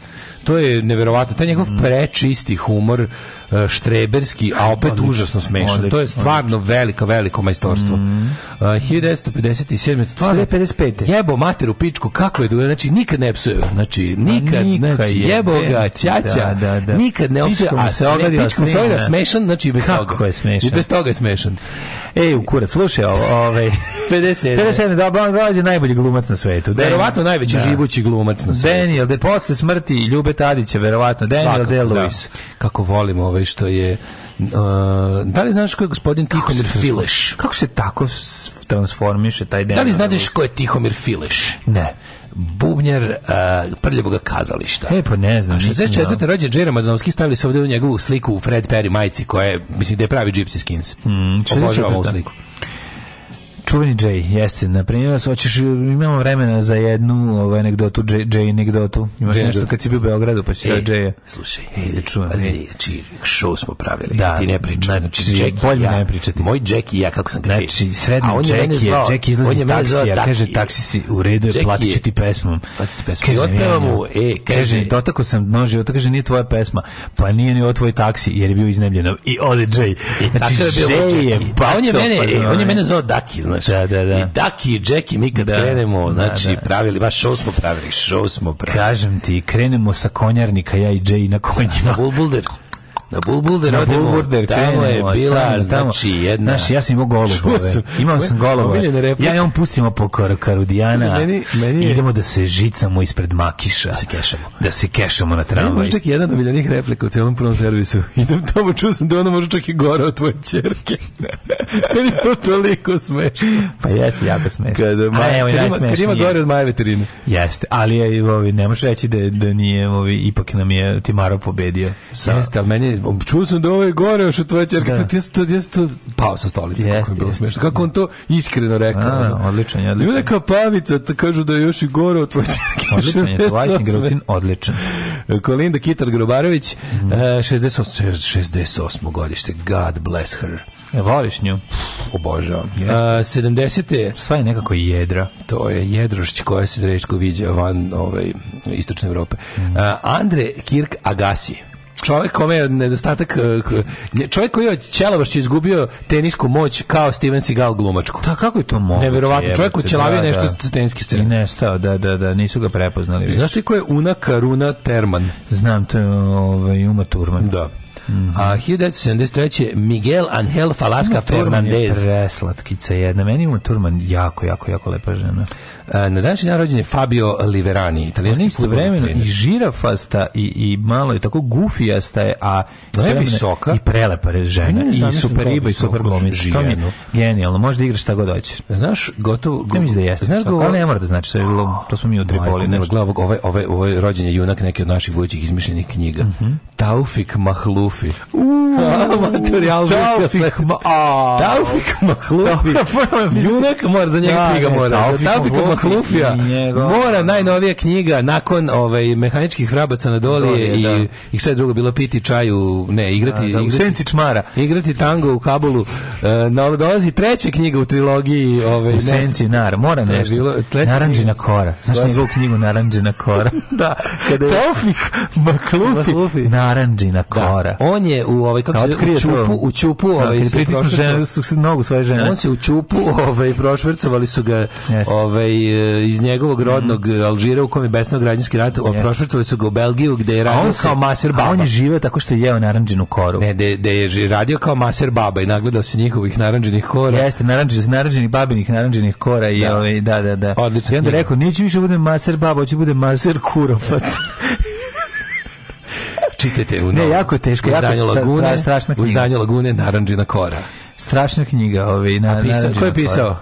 To je neverovatno, taj Mhm. njegov prečisti humor, e, štreberski, a opet užasno smešan. Odlično, Mhm. To je stvarno veliko, veliko majstorstvo. Uh, 1957. Stvarno, 1955. jebo materu pičku, kako je dugo, znači nikad ne psuje, znači nikad, Pa nikad znači je, jebo ga, da, ćaća, da, da. nikad ne psuje, Pičkom a se sme- ogadi, a pičkom se ogadi, a snima. smešan, znači i bez Kako toga. je smešan. I bez toga je smešan. Ej, E, u kurac, slušaj ovo, ovaj... 57. 57. da, Bon Rođe, najbolji glumac na svetu. Dan- Verovatno najveći Da. živući glumac na svetu. Daniel, da je posle smrti Ljube Stipe Tadića, verovatno. Daniel Svakako, Day-Lewis. da. Kako volim ovaj što je... Uh, da li znaš ko je gospodin Tihomir Fileš? Kako se tako s- transformiše taj Daniel Da li Day-Lewis? znaš ko je Tihomir Fileš? Ne. Bubnjar uh, prljavoga kazališta. E, pa ne znam. A nisam znao. 64. rođe Jeremy Madanovski stavili su ovdje u njegovu sliku u Fred Perry majici koja je, mislim, da je pravi Gypsy Skins. Mm, 64.. Obožavam ovu sliku. Čuveni Jay, jeste. Na primjer, s- hoćeš, imamo vremena za jednu ovaj, anegdotu, Jay, Jay anegdotu. Imaš Jay nešto anegdotu. E, kad si bio u Beogradu, pa si dao Jaya. slušaj, Ej, da čujem, ej. Pazi, znači, show smo pravili, Da, da, ti ne pričaj. znači, Znači, Jack- bolje ne pričati. Moj Jack i ja, kako sam ga Znači, srednji A on je mene Jack je, zvao- Jack izlazi on je iz mene zvao taksija, Taki. kaže taksisti, u redu je, Jack platit ću je- ti pesmom. Platit ću ti pesmom. I Kaže, otpeva "Mijenja." mu, e, kaže- kaže, dotakao sam nož života, kaže, nije tvoja pesma, pa nije ni ovo tvoj taksi, jer je bio iznemljeno. I ode Jay. Znači, Tako je bio Jay Jack. je Pa on je baco, mene, pa e, on je zove. mene zvao Daki, znaš. Da, da, da. I Daki i Jackie mi kad Da. krenemo, Da, znači, da. pravili, baš show smo pravili, show smo pravili. Kažem ti, krenemo sa konjarnika, ja i Jay na konjima. Na Bulbulder. Na Bulbulder Na odemo, Bulburder tamo je krenemo, bila, stvarno, tamo. znači, jedna... Znaš, ja sam imao Čuo golubove. sam. Imao sam Moje golubove. omiljene replike. Ja i on pustimo po kar Karudijana. Čuj, meni- meni je- Idemo da se žicamo ispred makiša. Da se kešamo. Da se kešamo na Ne, tramvaj. možda čak i jedan od miljenih replika u cijelom prvom servisu. Idem tamo, čuo sam da ona može čak i gore od tvoje čerke. Meni je to toliko smešno. Pa jeste, jako smešno. Kada, ma, A evo, kad ima, kad ima najsmešnije. gore od maje veterine. Jeste, ali je, ovi, ne možeš reći da, da nije, ovi, ipak nam je Timaro pobedio. Sa, Jeste, ali meni, je- čuo sam da ovo je ovaj gore još od tvoje čerke. Da. Da. Ja sam to, ja sam to pao sa stolice. Jeste, kako je bilo jeste. smešno. Kako on to iskreno rekao. A, ono. odličan je, odličan. Ima neka pavica, ta kažu da je još i gore od tvoje čerke. odličan je, 68. Vajsni Grutin, odličan. Kolinda Kitar Grobarović, Mhm. mm. 68, 68. godište. God bless her. E, voliš nju? Obožavam. A, 70. Sva je nekako jedra. To je Jedrošć koja se rečko viđa van ovaj, istočne Evrope. Mhm. A, Andre Kirk Agassi. Čovjek kome je nedostatak e, k- nje- čovjek koji je od ćelavošća izgubio tenisku moć kao Steven Seagal glumačku. Da, kako je to moguće? Neverovatno, jebote, čovjek učelavio nešto s scenske scene. I nestao, da, da, da, nisu ga prepoznali. više. Znaš ti ko je Una Karuna Terman? Znam, to je ovaj, Uma Turman. Da. A 1973. Miguel Angel Falasca Turman je Fernandez. preslatkica jedna. Meni je Uma Turman jako, jako, jako lepa žena. E, Na današnji dan rođen je Fabio Liverani, Ona italijanski istovremeno i fudbaler. žirafasta i, i malo je tako gufijasta je, a istovremeno visoka. i prelepa je žena. Ja ne I zamislim super kako riba i super visoku glumica. To mi je ženu. genijalno. Može da igraš šta god hoćeš. Znaš, gotovo... Ne mislim da jeste. Znaš, visoka, ali ne mora da znači, to, je, bilo- to smo mi u Tripoli. Majko, nešto. mila, gle, ovog- ovaj, ovaj, ovaj rođen je junak neke od naših budućih izmišljenih knjiga. Mhm. Taufik Mahlufi. Materijal Taufik Ma- a. Taufik Mahlufi. Taufik Mahlufi. junak mora za njega Da, knjiga ne, mora. Taufik Taufik, Taufik Mahlufi Mahlufija i njegov- mora najnovija knjiga nakon ovaj mehaničkih vrabaca na dolje Dolje, i, da. i sve drugo bilo piti čaju, ne, igrati, Da, u igrati senci čmara. igrati tango u Kabulu. E, na dolazi treća knjiga u trilogiji, ovaj U ne- senci nar, mora To je nešto. bilo- treća Naranđina knjiga. kora. Znaš To je- njegovu knjigu Naranđina kora? Da, kada je- Taufik Maklufi. Maklufi. Naranđina kora. Da, on je u ovaj kako Da, se zove, otkrio u to. čupu, u čupu, Da, ovaj kad je se pritisnu prošvercao. ženu, su- su- nogu svoje žene. On se u čupu, ovaj prošvercovali su ga Jeste. Mhm. ovaj e, iz njegovog rodnog Alžira u kom je besno građanski rat, ovaj, Jeste. prošvercovali su ga u Belgiju gde je radio se- kao maser A baba. on je živeo tako što je jeo naranđinu koru. Ne, de, de je ži- radio kao maser baba i nagledao se njihovih naranđenih kora. Jeste, naranđenih, naranđenih babinih, naranđenih kora i Da. ovaj, da, da, da. Odlična I onda knjiga. rekao, neću više budem maser baba, hoću budem maser kurofat. Čitajte u Ne, novom- jako je teško, u jako Zdanju je stra- Lagune, stra- strašna u knjiga. Zdanju Lagune naranđina kora. Strašna knjiga, ovaj, na, A pisao- naranđina ko je kora. pisao?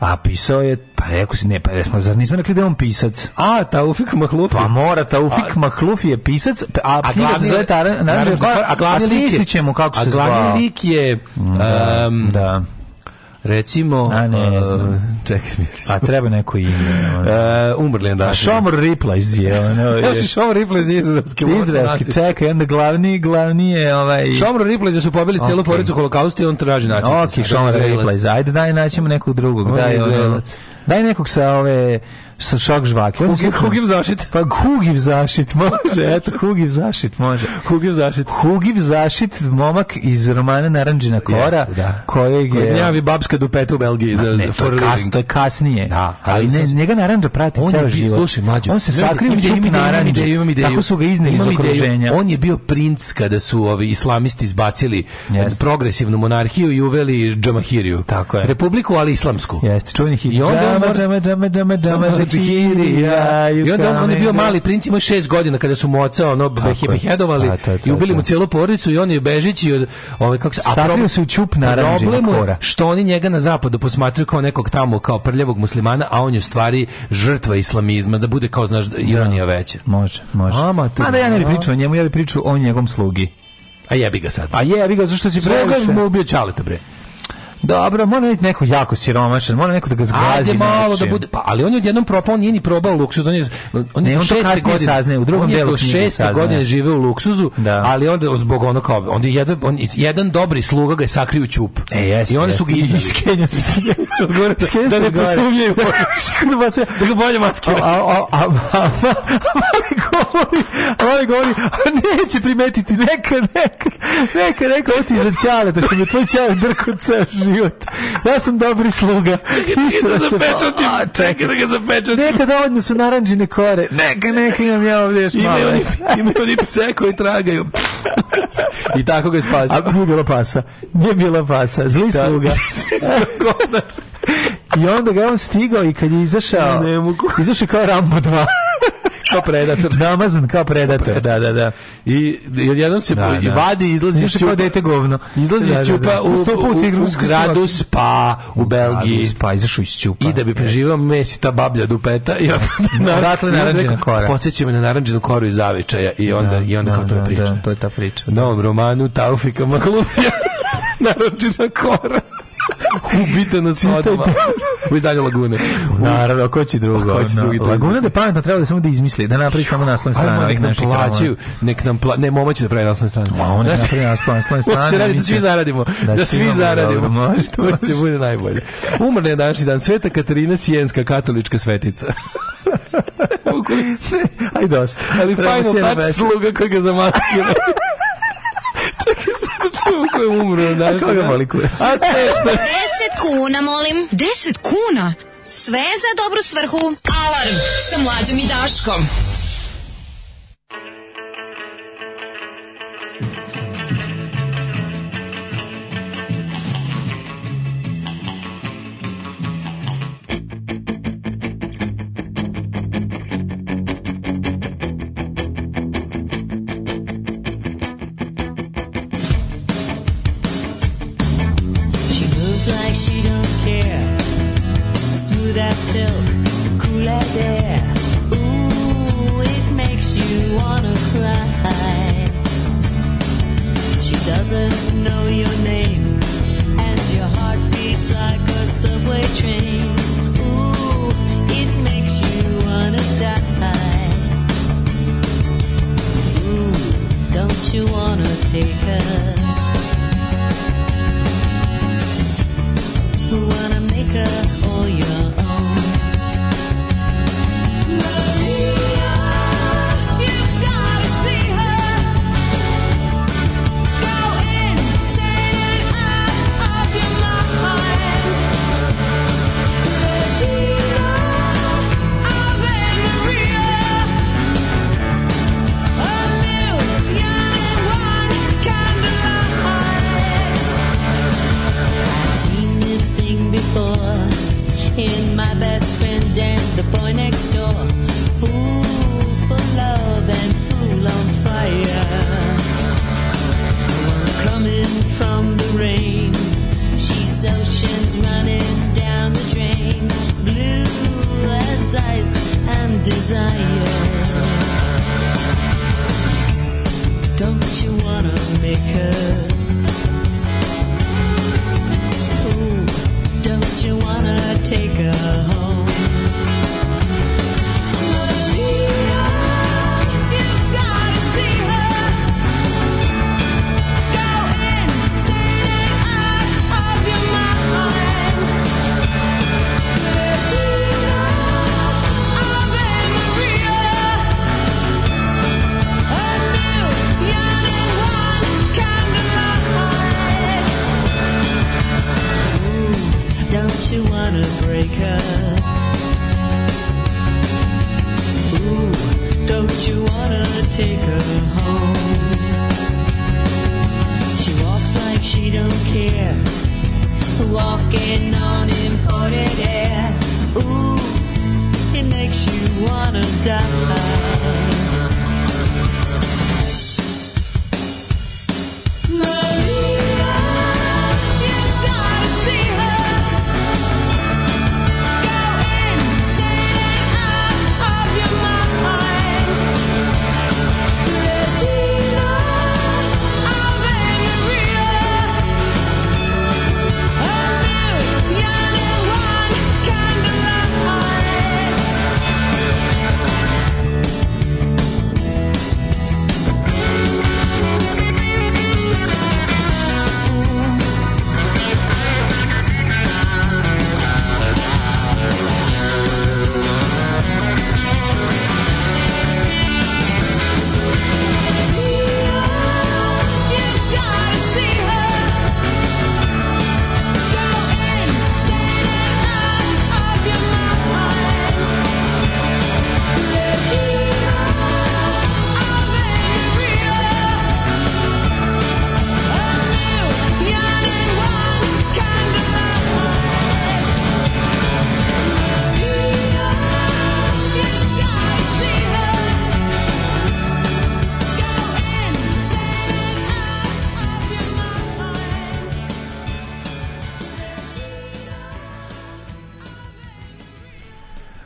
A pisao je, pa rekao si, ne, pa jesmo, zar nismo rekli da je on pisac? A, Taufik Mahlufi. Pa mora, Taufik Mahlufi je pisac, a, A knjiga se glavni- zove Taran, naranđina kora, a glavni lik je... ćemo kako a se zvao. Mm, glavni lik je em, Da. recimo A, ne, ne e, znam. čekaj smisli A treba neko ime. ono. Uh, umrli je A danas. Šomor Ripla iz je, ono, je- Još i Šomor Ripley iz izraelske vojske. Izraelski, čekaj, onda glavni, glavni je ovaj... Šomor Ripley da su pobili cijelu Ok. porodicu u holokaustu i on traži nacista. Ok, Šomor Ripla, ajde daj naćemo nekog drugog, On je daj, ono, Izraelac. daj nekog sa ove, sa šok žvake. On je slučajno- Hugiv zašit. Pa Hugiv zašit može, eto, Hugiv zašit može. Hugiv zašit. Hugiv zašit, momak iz romana Naranđina kora, Jeste, da. kojeg je... Gnjavi babska dupeta u Belgiji za Ne, to for je, a kas, to je living. kasnije. Da, ali ali ne, sam- njega naranđa prati On ceo je bio, život. slušaj, mlađo. On se gledaj, sakrio u imam ideju, čup imam ideju, imam naranđe. ideju, imam ideju. Tako su ga izneli iz Imam ideju. okruženja. On je bio princ kada su ovi islamisti izbacili Jeste. progresivnu monarhiju i uveli džamahiriju. Tako je. Republiku, ali islamsku. Jeste, čuveni I onda džama, mora- džama, džama, džama, džama, džakirija, Znači, I onda on, on je bio coming mali princ, imao je šest godina kada su mu oca ono Tako je. behedovali A, to je to, i ubili to. mu cijelu porodicu i on je bežeći od ove kako se a Sakrio problem- se u ćup naranđina problem mu je kora. Što oni njega na zapadu posmatraju kao nekog tamo kao prljavog muslimana, a on je u stvari žrtva islamizma, da bude kao znaš ironija veća. Može, može. Ama tu- Ma da ja ne bi pričao o njemu, ja bi pričao o njegovom slugi. A jebi ga sad. A je, vi ga zašto si previše? Sluga mu ubio Ćaleta bre. Dobro, mora biti neko jako siromašan, mora neko da ga zgazi. Ajde malo da nečim. bude, pa ali on je odjednom propao, on nije ni probao luksuz, on je on je Ne, do on to šeste kasnije godine- saznaje, u drugom on je delu do knjige šeste saznaje. godine žive u luksuzu, Da. ali onda zbog ono kao, onda je jedan on jedan dobri sluga ga je sakrio u ćup. E, jeste, I oni su ga jeste. izdali. Iskenja se. Iskenja da se ne gore. posumnjaju. Da vas- da ga bolje maskira. A, a, a, a, a, ali govori, ali govori, a neće primetiti, neka, neka, neka, neka, ovo ti za čale, da što me tvoj čale drko ceo život. Ja sam dobri sluga. Isra se, a, čekaj, da ga zapečatim. neka da odnju su naranđine kore. Neka, neka, imam ja ovdje još malo. Imaju oni, imaju oni pse koji tragaju. I tako ga je spasio. A nije bilo pasa. Nije bilo pasa. Zli sluga. I onda ga je on stigao i kad je izašao, Ne mogu. izašao kao Rambo 2. Kao predator. Namazan kao predator. Da, da, da. I jednom se Da, i da. vadi, izlazi iz Izašao kao ćupa. dete govno. Izlazi Da, da, iz da. ćupa u, Stopao u- cigru, u gradu Spa u Belgiji. Pa izašao iz ćupa. I da bi preživao mesi ta bablja dupeta i onda Odatle naranđina kora. Podsjeća me na naranđinu koru iz zavičaja i onda, i onda kao to je priča. Da, to je ta priča. U novom romanu Taufika Mahlufija naranđina kora. Ubita na sodama. U izdanju Lagune. Naravno, ko će drugo? Ko će ono? drugi, to je Laguna drugo. da je pametno treba da samo da izmisli, da napravi samo naslovne strane. Ajmo, ovih nek nam naših romana. plaćaju, nek nam pla... Ne, moma će da pravi naslovne strane. A on je Znaš, napravio naslovne strane. To će raditi mi da svi zaradimo. Da, svi svi imamo, zaradimo. dobro, može, to će bude najbolje. Umrne je današnji dan. Sveta Katarina Sijenska, katolička svetica. Aj dosta. Ali Treba final si jedna touch pesma. sluga koji ga zamaskira. Čekaj, sad da čujemo ko je umro na današnji A koga dan. boli kurac? A smešno je. 10 kuna, molim. 10 kuna? Sve za dobru svrhu. Alarm sa mlađom i Daškom. She moves like she don't care. Smooth as silk, cool as air. Ooh, it makes you wanna cry. She doesn't know your name, and your heart beats like a subway train. Ooh, it makes you wanna die. Ooh, don't you wanna take her? who wanna make her all your own. Maria, you've gotta see her. Go insane out of your mind. Regina, Ave Maria. A million and one candlelights. I've seen this thing before in my best friend and the boy next door. Fool for love and fool on fire. One coming from the rain. She's oceans running down the drain. Blue as ice and desire. Don't you wanna make her? Ooh, don't you wanna take her home? Maria, you've gotta see her. Go insane and out of your mind. Regina, Ave Maria. A million and one candlelights. Ooh, don't you wanna break her? Ooh, don't you wanna take her home? She walks like she don't care, walking on imported air. Ooh, gonna die.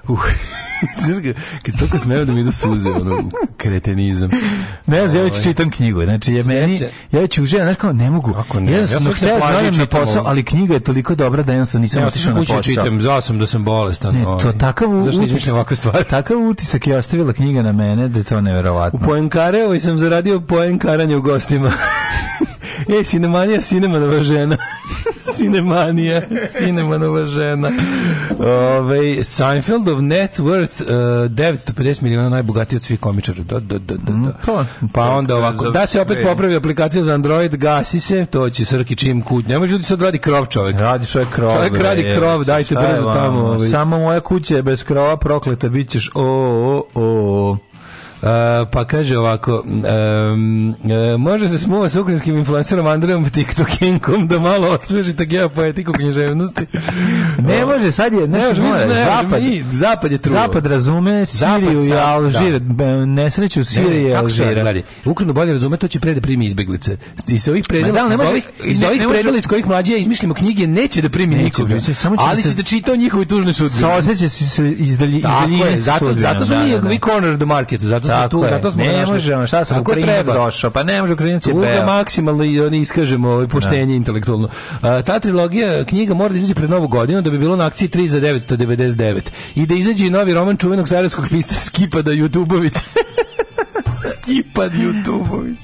Uh, znaš ga, kad se toliko smeju da mi idu suze, ono, kretenizam. Ne znam, ja već Ovaj. čitam knjigu, znači ja meni, Sljedeće. ja već uživam, znaš kao, ne mogu, Kako ne? ja Ja sam svaki hteo dan se plažem javim na čitam posao, ovo. ali knjiga je toliko dobra da jednostavno nisam Ne, otišao otišao na kući posao. i čitam, zvao sam da sam bolestan. Ne, to ovaj. takav Zašto utisak, izmišljam ovakve stvari? takav utisak je ostavila knjiga na mene da je to neverovatno. Poenkareo i sam zaradio poenkaranje u gostima. Ej, sinemanija, sinemanova žena. sinemanija, sinemanova žena. Ove, Seinfeldov net worth uh, 950 miliona najbogatiji od svih komičara. Da, da, da, da, da. to- Pa onda ovako, da se opet popravi aplikacija za Android, gasi se, to će Srki čim kut. Ne može ljudi sad radi krov čovek. Radi čovjek krov. Čovjek bre, radi jebote, krov, dajte šta je brzo vama? tamo, ovaj. Samo moja kuća je bez krova prokleta, bit ćeš o, o, o. E, pa kaže ovako, em, e, može se smuva s ukrajinskim influencerom Andrejom TikTokinkom da malo osvežite geopoetiku književnosti. Ne može, sad je, Ne, znači, mi- mora, ne, zapad, mi- zapad je truo. Zapad razume Zapad Siriju i sad, Alžir, be- nesreću Sirije i E, Kako se radi? Alžira. Gledaj, Ukrajinu bolje razume, to će pre da primi izbeglice. I sa ovih predela, Ma da, ali ne iz može- ovih, iz ne- ne ovih može- predela iz kojih mlađe ja izmišljamo knjige, neće da primi Neće, nikoga. neće, samo će da ali se- se da čita o njihovoj tužnoj sudbini. Saoseća si se iz dalji- iz Tako daljine je, sa zato, sudbinom, zato smo da, mi da, da. we corner the market, zato smo Tako tu, je. zato smo ne našli. može, ono, šta sam Tako Ukrajinac treba. došao, pa ne može Ukrajinac je Tuga beo. maksimalno i oni iskažemo ovaj poštenje intelektualno. A, ta trilogija knjiga mora da izađe pred novu godinu da bi bilo na akciji 3 za 999. I da izađe i novi roman čuvenog sarajevskog pisca Skipada Jutubović. Skipad Jutubović.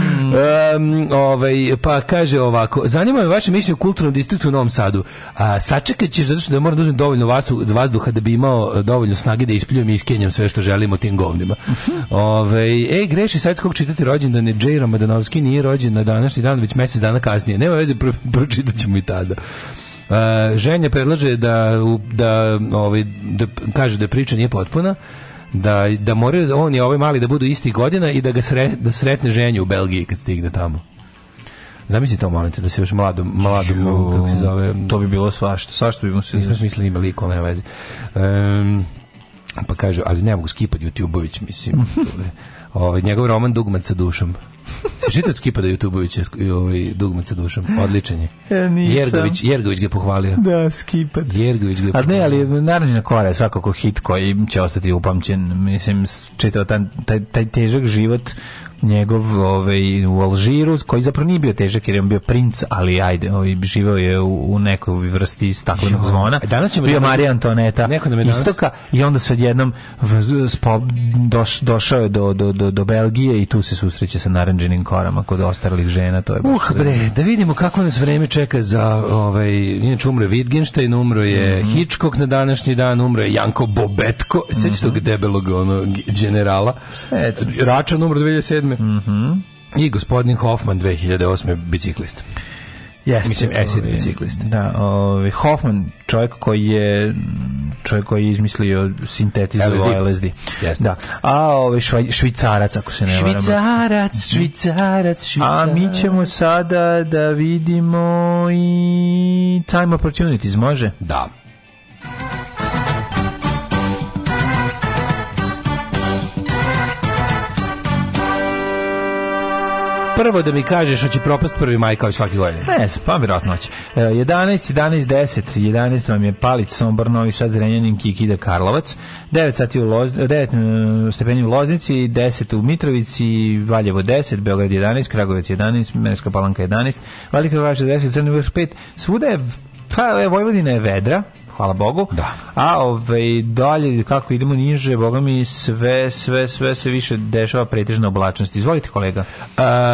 Um, ovaj, pa kaže ovako, zanima me vaše mišljenje o kulturnom distriktu u Novom Sadu. A, sačekat ćeš zato što da moram da uzmem dovoljno vasu- vazduha da bi imao e, dovoljno snage da ispljujem i iskenjam sve što želimo tim govnima. Ove, e, greši sajt s kog čitati rođendan je Jay Ramadanovski, nije rođen na današnji dan, već mjesec dana kasnije. Nema veze, pro, pročitat ćemo i tada. E, ženja predlaže da, u- da, ovaj, da p- kaže da priča nije potpuna da, da moraju da on i ovaj mali da budu istih godina i da ga sre, da sretne ženju u Belgiji kad stigne tamo. Zamisli to, molim te, da se još mladom, mladom, kako se zove, To bi bilo svašta, svašta bi mu se... nismo smislili ima liko, nema veze. Ehm, pa kaže, ali ne mogu skipati Jutubović, mislim. to je. ovaj, njegov roman Dugmat sa dušom. Se čitao skipa da Jutubovića ovaj, Dugmat sa dušom? Odličan je. Ja E, nisam. Jergović, Jergović ga je pohvalio. Da, skipad. Jergović ga je A Pa ne, pohvalio. ali Naranđina kora je svakako hit koji će ostati upamćen. Mislim, s- čitao taj, taj, taj težak život njegov ovaj, u Alžiru, koji zapravo nije bio težak jer je on bio princ, ali ajde, ovaj, živeo je u, u nekoj vrsti staklenog zvona. A e, danas ćemo- bio Marija Antoneta Neko nam je danas- istoka i onda se odjednom v- spo- doš- došao je do, do, do, do Belgije i tu se susreće sa naranđinim korama kod ostarlih žena. To je baš Uh, bre, da vidimo kako nas vreme čeka za, ovaj, inače umro je Wittgenstein, umro je Mhm. Hitchcock na današnji dan, umro je Janko Bobetko, sećaš se tog debelog ono, g- generala? Mhm. Sećam se. Mhm. Račan umro 2007. I gospodin Hoffman 2008. biciklist. Jeste, Mislim, acid ovaj, biciklist. Da, ovaj, Hoffman, čovjek koji je mm, čovjek koji je izmislio sintetizovao LSD. LSD. Jeste. Da. A ovaj švaj- švicarac, ako se ne varam. Švicarac, švicarac, A mi ćemo sada da vidimo i Time Opportunities, može? Da. prvo da mi kažeš hoće propast prvi maj kao i svake godine. Ne, znam, pa vjerojatno će. 11, 11, 10, 11 vam je Palić, Sombor, Novi Sad, Zrenjanin, Kikida, Karlovac, 9 sati u Loz, 9 e, stepeni u Loznici, 10 u Mitrovici, Valjevo 10, Beograd 11, Kragovec 11, Merska Palanka 11, Velika Vaša 10, Crni Vrh 5, svuda je, pa e, Vojvodina je vedra, hvala Bogu. Da. A ovaj dalje kako idemo niže, Boga mi sve sve sve se više dešava pretežna oblačnost. Izvolite kolega.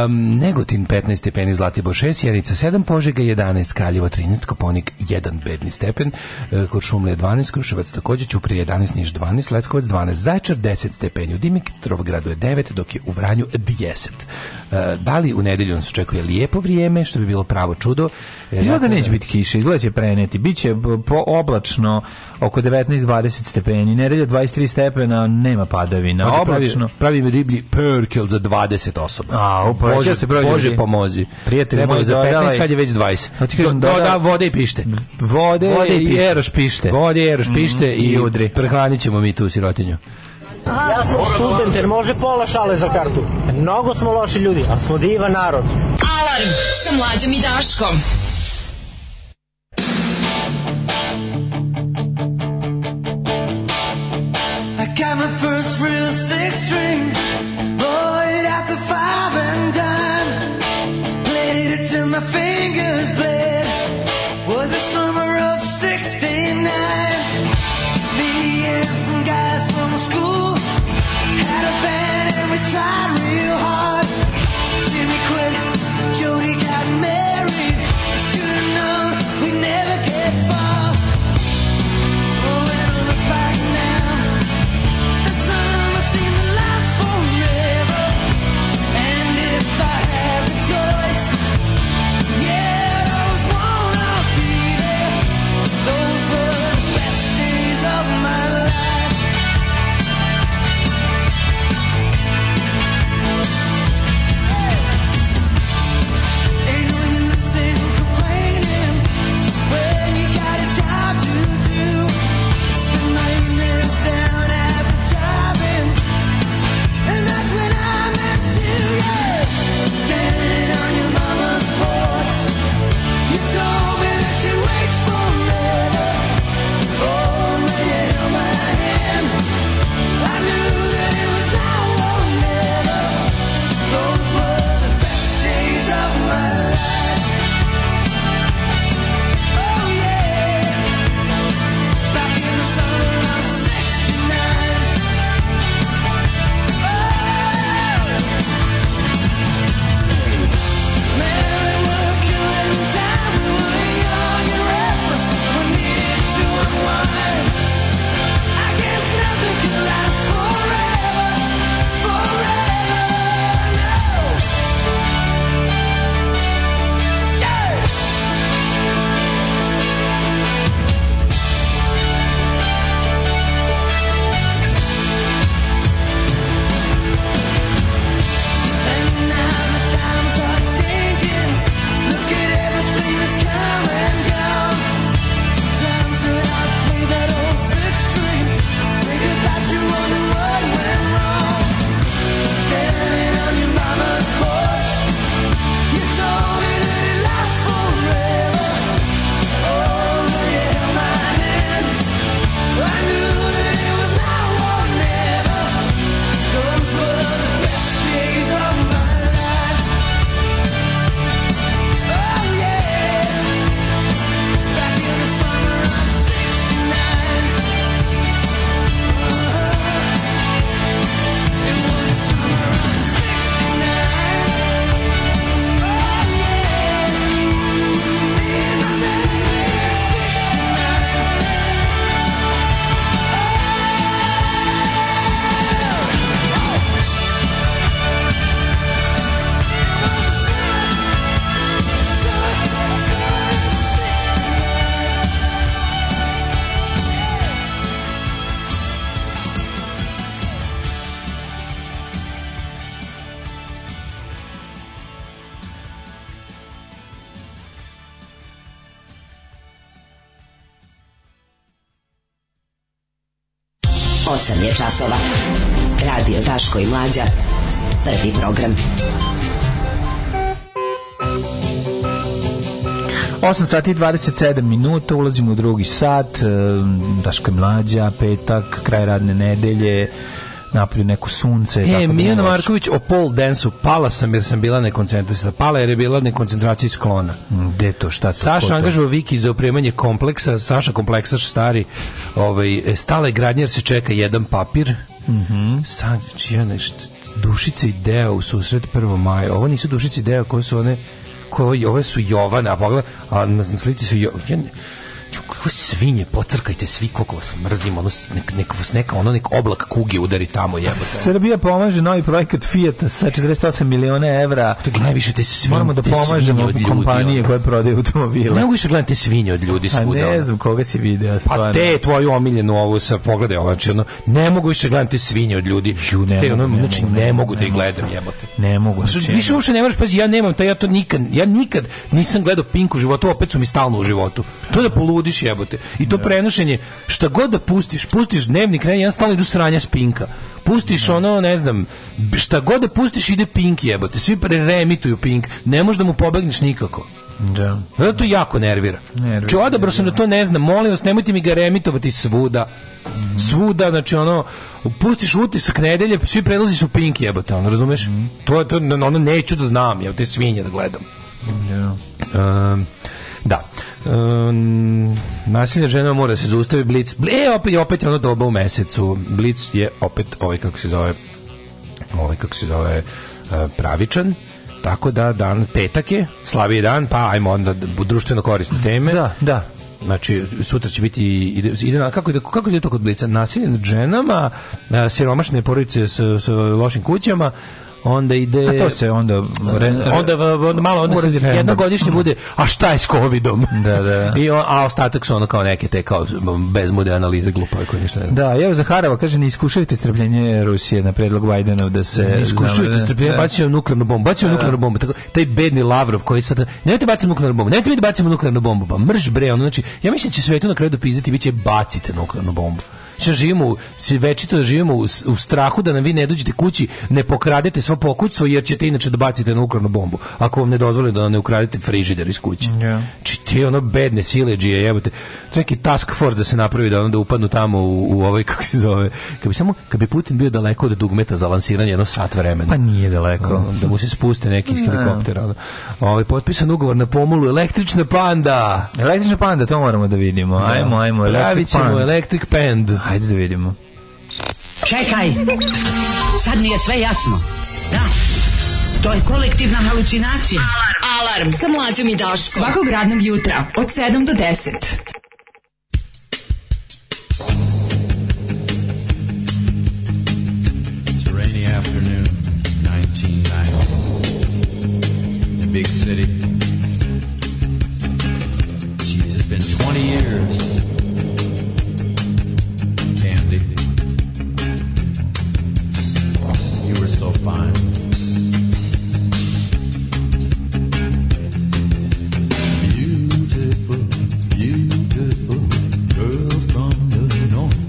Um, Negotin 15 stepeni, Zlatibor 6, Sjenica 7, Požega 11, Kraljevo 13, Koponik 1 bedni stepen, e, kod Šumlije 12, Kruševac također, Ćuprije 11, Niš 12, Leskovac 12, Zaječar 10 stepeni, u Dimitrovgradu je 9, dok je u Vranju 10. E, da li u nedelju nas očekuje lijepo vrijeme, što bi bilo pravo čudo? E, Izgleda da jako- neće biti kiše, izgleda će preneti. Biće b- po oblačno oko 19-20 stepeni. Nedelja 23 stepena, nema padavina. Pazi, oblačno. Pravi, pravi mi riblji perkel za 20 osoba. A, upravo, Bože, ja se pravi Bože riblji. pomozi. Prijatelju Trebalo moj, je za 15, dodavaj- sad je već 20. Pa ti kažem, Mm. Do- doda dodavaj- vode i pište. Vode, Vode i eroš pište. Vode i eroš pište i, i udri. Prehranit ćemo mi tu sirotinju. Ja sam student jer može pola šale za kartu. Mnogo smo loši ljudi, ali smo divan narod. Alarm sa mlađom i Daškom. I got my first real six string, bought it at the five and dime. Played it till my fingers bled. Was the summer of '69. Me and some guys from school had a band and we tried real hard. Jimmy quit, Jody got married. Should've known we never get far. Oh, when I look back now. The summer seemed to last forever, and if I had the choice, yeah, those wanna be there. Those were the best days of my life. Ain't no use in complaining when you got a job to do. Spend my evenings down at the job and and that's when I met you. Yeah. Standing on your mama's porch, you told me that you wait forever. Oh, when you held my hand, I knew that it was now or never. Those were the best days of my life. Oh yeah, back in the summer of '69. Oh, I knew that it was now or never. Those were the best days of my life. Oh yeah, back in the summer of '69. It was the summer of '69. Oh yeah, me and my baby '69. Osam je časova. Radio Daško i Mlađa. Prvi program. 8 sati i 27 minuta, ulazimo u drugi sat, e, Daško i mlađa, petak, kraj radne nedelje, napravio neko sunce. tako da E, je Mijana loše. Marković o pol densu pala sam jer sam bila nekoncentrisana. Pala jer je bila nekoncentracija sklona. Mm, Gde to, šta to? ko Saša to? angažuo Viki za opremanje kompleksa, Saša kompleksaš stari, ovaj, e, stala je gradnja jer se čeka jedan papir. Mhm. Sad, čija nešto, dušice i deo u susret 1. maja. Ovo nisu dušice i deo, koje su one, koje, ove su Jovane, a pogled, a na na slici su Jovane. Kako svinje, pocrkajte svi koliko vas mrzim, ono, s- nek, nek vas neka, ono nek oblak kuge udari tamo, jebote. Srbija pomaže novi projekat Fiat sa 48 miliona evra. najviše te svinje, Moramo da te svinje pomažemo od ljudi, kompanije ono. koje prodaju automobile. Ne mogu više gledati svinje od ljudi A svuda. ne ono. znam koga si video, Pa stvarno. te tvoju omiljenu ovu sa pogledaj ovo, znači ono, ne mogu više gledam te svinje od ljudi. ne te, mogu, ono, ne znači mogu, ne ne mogu mogu, da ne ih mogu. gledam jebote. Ne mogu. Znači, znači, više uopšte ne možeš, pazi, ja nemam, taj, ja to nikad, ja nikad nisam gledao Pink u životu, opet su mi stalno u životu. To da poludiš jebote. I to prenošenje, šta god da pustiš, pustiš dnevnik, ne, jedan stalno idu sranja s Pinka. Pustiš ono, ne znam, šta god da pustiš ide Pink jebote. Svi preremituju Pink. Ne možeš da mu pobegneš nikako. Da. Zato to jako nervira. Nervira, Znači, odabrao sam da to ne znam, molim vas, nemojte mi ga remitovati svuda. Svuda, znači ono, pustiš utisak nedelje, svi predlazi su pink jebote, ono, razumeš? To je to, ono, neću da znam, jebote, te svinje da gledam. Um, da. Um, nasilje žena mora da se zaustavi blic. E, opet, opet je ono doba u mesecu. Blic je opet ovaj kako se zove ovaj kako se zove e, pravičan. Tako da dan petak je, slavi dan, pa ajmo onda d- društveno korisne teme. Da, da. Znači, sutra će biti, ide, ide na, kako, ide, kako ide to kod blica? Nasilje nad ženama, e, siromašne porodice s, s lošim kućama, onda ide... A to se onda... re- Onda, v- onda malo, onda se uradi random. jednogodišnje bude, a šta je s covidom? Da, da. I on, a ostatak su ono kao neke te kao bezmude analize glupave koje ništa ne znam. Da, evo Zaharova kaže ne iskušajte strpljenje Rusije na predlog Bajdenov da se... Ne iskušujete strpljenje, Da. bacio je nuklearnu bombu, bacio je nuklearnu bombu, tako, taj bedni Lavrov koji sada, nemojte baciti nuklearnu bombu, nemojte mi da bacimo nuklearnu bombu, pa mrš bre, ono, znači, ja mislim da će svetu na kraju dopizditi, bit će bacite nuklearnu bombu. Znači, živimo, u- svi večito živimo u, s- u strahu da nam vi ne dođete kući, ne pokradete svo pokućstvo, jer ćete inače da bacite nuklearnu bombu, ako vam ne dozvole da ne ukradete frižider iz kuće. Znači ti ono bedne sileđije, jebote. Čak i task force da se napravi da onda upadnu tamo u, u ovaj, kako se zove, kad bi samo, kad bi Putin bio daleko od dugmeta za lansiranje jedno sat vremena. Pa nije daleko. Da mu se spuste neki iz Ne. helikoptera. ono. Ovaj, potpisan ugovor na pomolu, električna panda. Električna panda, to moramo da vidimo. Ajmo, ajmo, Pravit Electric ćemo Pand. electric pand. Ajde da vidimo. Čekaj, sad mi je sve jasno. Da, to je kolektivna halucinacija. Alarm sa mlađom i Daškom. Svakog radnog jutra od 7 do 10. It's a rainy afternoon, 1990. In a big city. Geez, it's been 20 years. Candy. You were so fine. Beautiful, beautiful girl from the north.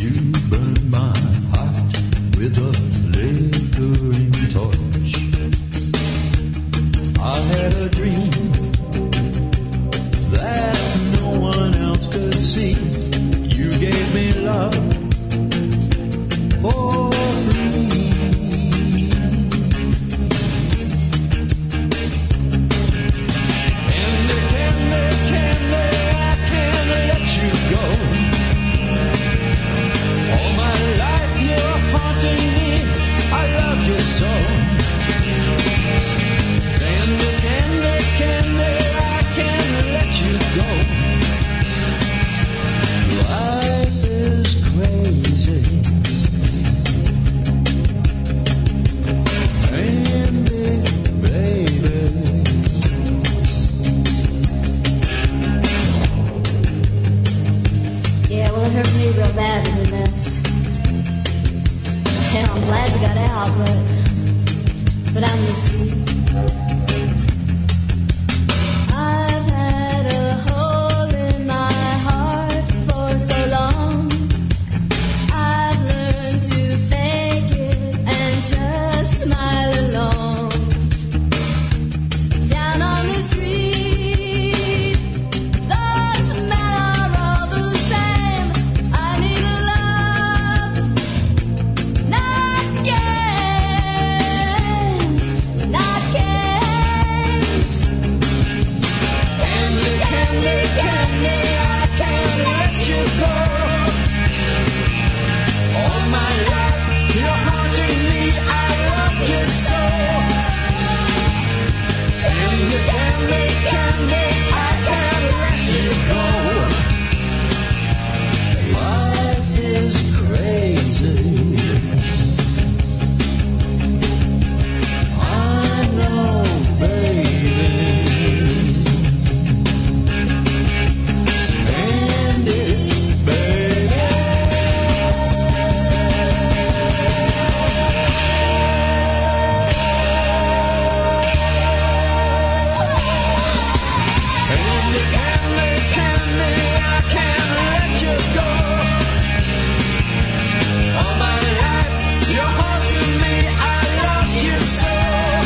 You burn my heart with a flickering torch.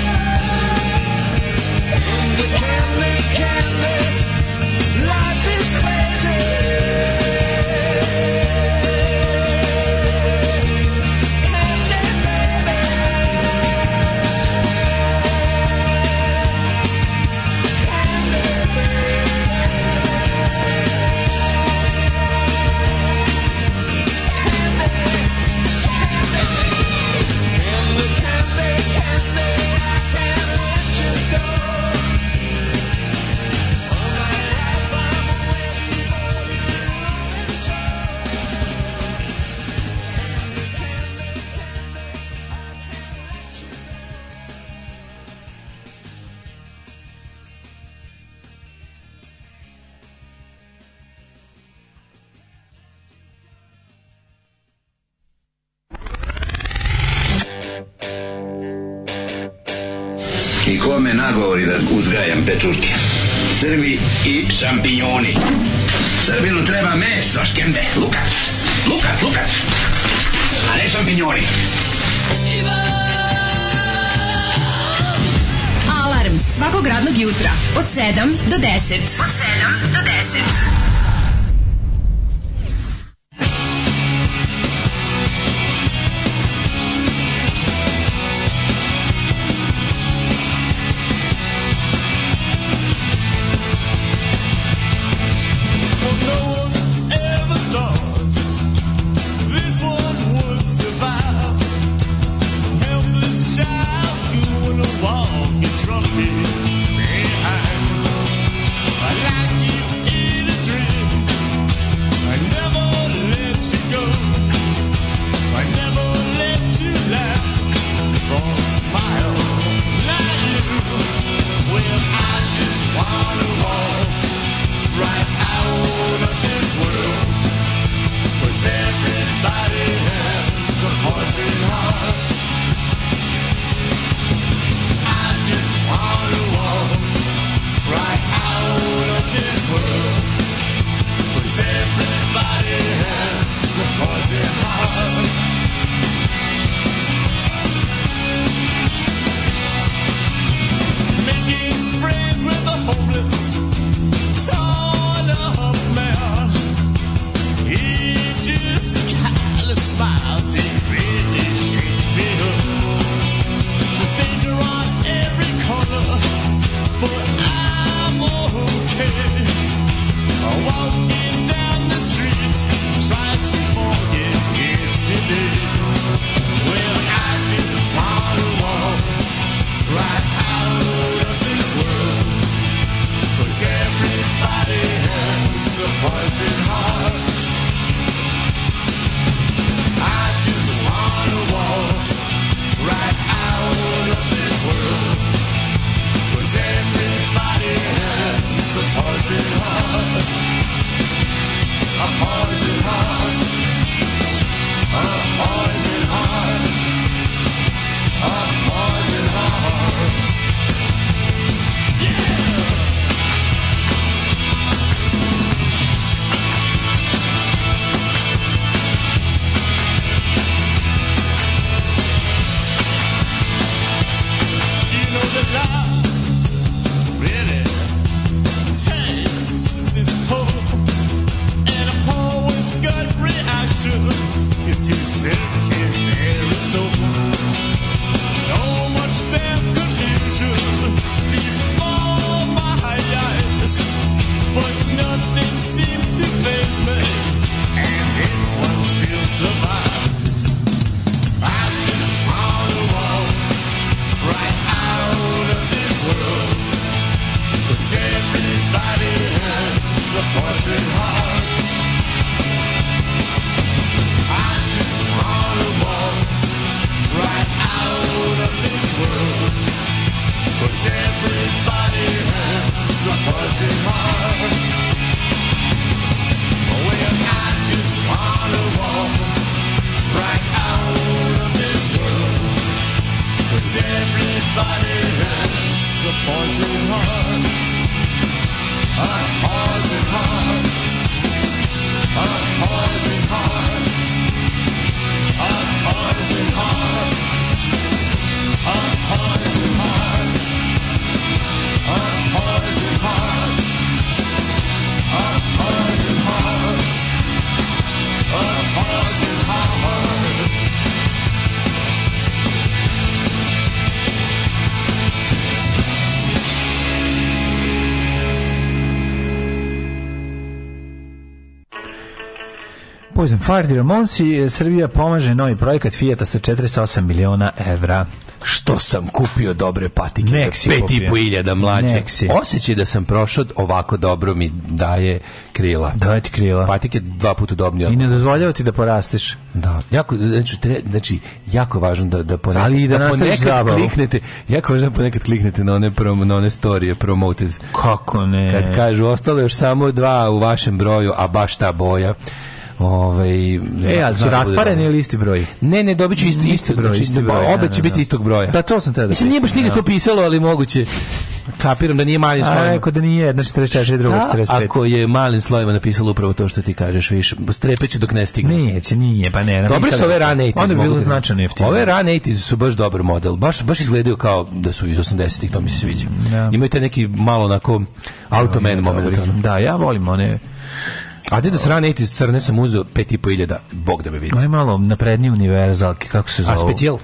Oh I kome nagovori da uzgajam pečurke? Srbi i šampinjoni. Srbinu treba meso, škembe, lukac. Lukac, lukac. A ne šampinjoni. Alarm svakog radnog jutra od 7 do 10. Od 7 do 10. Well, no one ever thought this one would survive. Helpless child doing a walk and trumpet behind. Like you in a dream, I never let you go. I never let you laugh or smile like you. Well, I just wanna walk right out of this world. 'Cause everybody has a poison heart. I just wanna walk right out of this world. 'Cause everybody has a poison heart. Making friends with the homeless torn up man. He just kinda smiles, he really shakes me up. There's danger on every corner, but I'm okay. I'm Walking down the street, trying to forget yesterday. Well, I just wanna walk right out of this world. Cause everybody has a poison heart. I just wanna walk right out of this world. Cause everybody has a poison heart. A poison heart. A poison heart. A poison heart. You know that love really takes its toll, and a poet's gut reaction is to sink his very soul. So much damn confusion before my eyes, but nothing seems to faze me, and this one still survives. I just wanna walk right out of this world. Cause everybody has a poison heart. I just wanna walk right out of this world. Cause everybody has a poison heart. Well, I just wanna walk right out of this world. Cause everybody has a poison heart. A poison heart. A poison heart. A poison heart. A poison heart. A poison heart. A poison heart. A poison heart. Poison Fart i Ramonsi, Srbija pomaže novi projekat Fijata sa 48 miliona evra. Što sam kupio dobre patike Nek si za pet i kupio. po iljada mlađe. Nek si. Osjećaj da sam prošao ovako dobro mi daje krila. Daje ti krila. Patike dva puta udobnije. I ne dozvoljava ti da porasteš. Da, jako, znači, tre, znači jako važno da da ponekad, Ali i da nastaviš ponekad zabavu. kliknete, jako važno da ponekad kliknete na one prom, na one storije promoted. Kako ne? E. Kad kažu ostalo je još samo dva u vašem broju, a baš ta boja. Ovaj E, a su raspareni ili isti broj? Ne, ne, dobit ću isti, isti broj. znači, Isti broj. Obe će biti istog broja. Da, to sam tada. Mislim, nije baš nigde to pisalo, ali moguće. Kapiram da nije malim slojima. A rekao da nije jedna 44, druga 45. Ako je malim slojima napisalo upravo to što ti kažeš, više, strepeću dok ne stigne. Neće, nije, pa ne. Dobre su ove rane 80s. Onda je bilo značajno jeftino. Ove rane 80s su baš dobar model. Baš, baš izgledaju kao da su iz 80-ih, to mi se sviđa. Ja. Imaju te neki malo onako automan moment. Da, ja volim one... A da se rane iz crne sam uzeo 5.500, bog da me vidi. Aj malo naprednije univerzalke, kako se zove? A specijal?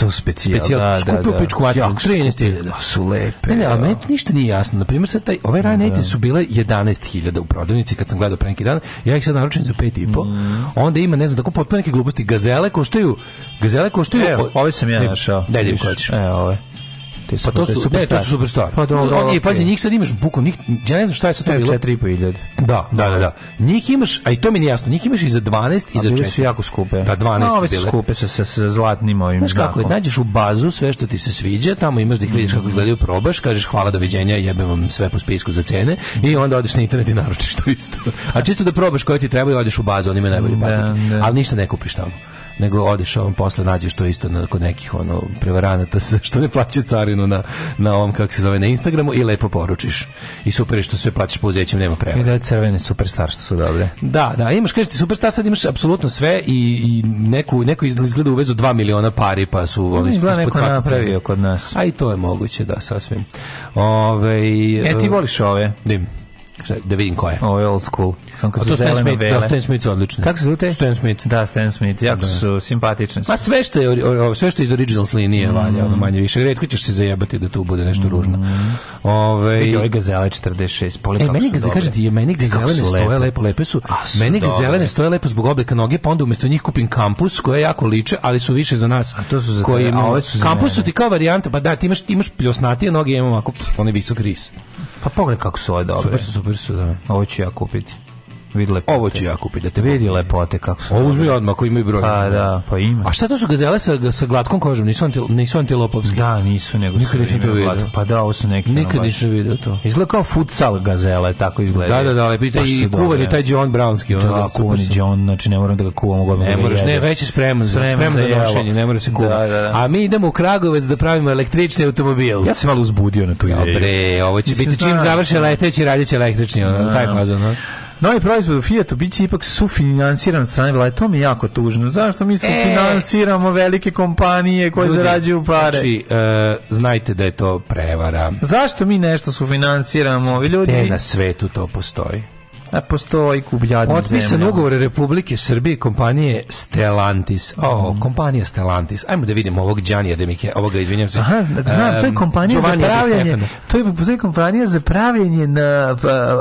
To specijal, specijal da, da, da. pičku vatru, 13.000. Su lepe. Ne, ne, ali meni ništa nije jasno. Na primjer, sad taj, ove rane da. su bile 11.000 u prodavnici kad sam gledao pre neki dan. Ja ih sad naručujem za 5.500. Mhm. Mm. Onda ima, ne znam, tako potpuno neke gluposti. Gazele koštaju... Gazele koštaju... Evo, ove sam ja našao. Daj, idem koja ćeš. Evo, ove. Te pa to su, super ne, to su superstar. Pa dobro, E, okay. pazi, njih sad imaš buku, njih, ja ne znam šta je sad to bilo. 4.500. Da, da, da, da. Njih imaš, a i to mi nije jasno, njih imaš i za 12 i za 4. A bile su jako skupe. Da, 12 no, ove su bile. skupe sa, sa, sa zlatnim ovim Znaš kako, znakom. nađeš u bazu sve što ti se sviđa, tamo imaš da ih vidiš kako izgledaju, probaš, kažeš hvala, doviđenja, jebem vam sve po spisku za cene i onda odeš na internet i naručiš to isto. A čisto da probaš koje ti treba i odeš u bazu, oni imaju najbolje patike. Ali ništa ne kupiš tamo nego odeš ovom posle nađeš to isto na, kod nekih ono prevaranata što ne plaćaju carinu na na ovom kako se zove na Instagramu i lepo poručiš. I super je što sve plaćaš pouzećem nema prevare. I da crvene superstar što su dobre. Da, da, imaš kažete superstar sad imaš apsolutno sve i, i neku neko izgleda u vezu 2 miliona pari pa su oni ispod Mm, neko napravio kod nas. A i to je moguće da sasvim. Ovaj E ti voliš ove? Dim da vidim ko je. Ovo je old school. Sam kad su Stan Smith, vele. da, Stan Smith su odlični. Kako se zove? Stan Smith. Da, Stan Smith, jako da. su simpatični. Su. Ma sve što je, o, sve što je iz originals linije mm. valja, ono manje više. Redko ćeš se zajebati da tu bude nešto ružno. Mm. Ove, Vidi, ove gazele 46, poli e, meni gazele, kaže ti, meni E, gazele ne stoje lepe. lepo, lepe su. A, su meni gazele ne stoje lepo zbog oblika noge, pa onda umjesto njih kupim kampus, koje jako liče, ali su više za nas. A to su za koji a ove su za Kampus su ti kao varijanta, pa da, ti imaš, ti imaš pljosnatije noge, ja imam ovako, onaj visok ris. Pa pogledaj kako su ove dobre. Super su, super su, da. Ovo ću ja kupiti. Vidi lepote. Ovo ću ja kupiti, da te vidi lepote kako su. Ovo uzmi odmah koji imaju broj. Pa da, pa ima. A šta to su gazele sa, sa glatkom kožom? Nisu, antil, nisu antilopovski? Da, nisu, nego Nikad nisam to vidio. Pa da, ovo su neki. Nikad nisam vidio to. Izgleda kao futsal gazele, tako izgleda. Da, da, da, lepi. Pa I kuvani, taj John Brownski. Ono, da, da kuvani John, znači ne moram da ga kuvam. Mogu ne moraš, ne, već je spreman, spreman, spreman za, za nošenje, ne mora se kuvam. Da, da, da. A mi idemo u Kragovec da pravimo električni automobil. Ja sam malo uzbudio na tu ideju. Dobre, ovo će biti čim završe leteći, radit će električni, ono, taj fazon, Novi proizvod u Fiatu biće ipak sufinansiran od strane vlade. To mi je jako tužno. Zašto mi sufinansiramo e, velike kompanije koje ljudi, zarađuju pare? Znači, uh, znajte da je to prevara. Zašto mi nešto sufinansiramo? Ovi ljudi... Znači, Te na svetu to postoji. A postoji kubljadni Otpisan ugovor Republike Srbije kompanije Stellantis. O, oh, kompanija Stellantis. Ajmo da vidimo ovog Đanija Demike, ovoga, izvinjam se. Aha, znam, to je kompanija um, za pravljanje, to je, to je kompanija za pravljanje na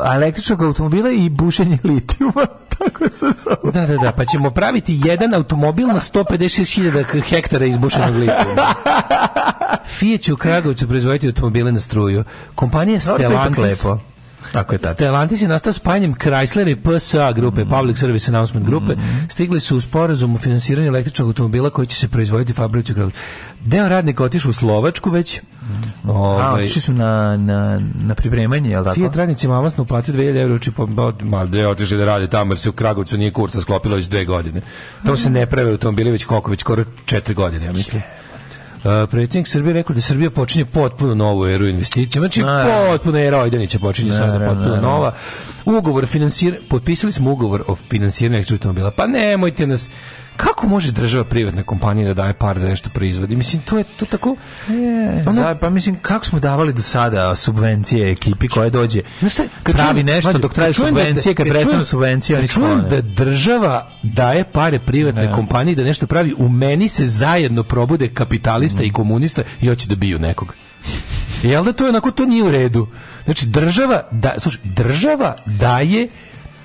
uh, električnog automobila i bušenje litijuma. Tako se zove. Da, da, da, pa ćemo praviti jedan automobil na 156.000 hektara izbušenog litijuma. Fiat će u Kragovicu proizvoditi automobile na struju. Kompanija Stellantis... No, tako je tako. Stellantis je nastao spajanjem Chrysler i PSA grupe, mm. Public Service Announcement grupe. Mm. Stigli su u sporazum o finansiranju električnog automobila koji će se proizvoditi fabrici u Deo radnika otišu u Slovačku već. Mm. Ovaj, A, su na, na, na pripremanje, je li tako? Fiat radnicima amasno uplatio 2000 euro, uči pa, ma, gde otišli da rade tamo, jer se u Kragovicu nije kursa sklopilo već dve godine. Tamo se ne prave automobili već koliko, već skoro četiri godine, ja mislim. Uh, predsjednik Srbije rekao da Srbija počinje potpuno novu eru investicija. Znači, A, potpuno era Ojdanića počinje sada potpuno nova. Ugovor finansir... Potpisali smo ugovor o finansiranju električnog automobila. Pa nemojte nas... Kako može država privatna kompanija da daje par da nešto proizvodi? Mislim, to je to tako... Je, ono, da, pa mislim, kako smo davali do sada subvencije ekipi koja dođe? Šta, kad pravi čujem, nešto mađu, dok traje subvencije, kad, kad prestanu subvencije, oni čujem da država daje pare privatne ne. kompanije da nešto pravi, u meni se zajedno probude kapitalista mm. i komunista i hoće da biju nekog. Jel da to je onako, to nije u redu. Znači, država, da, slušaj, država daje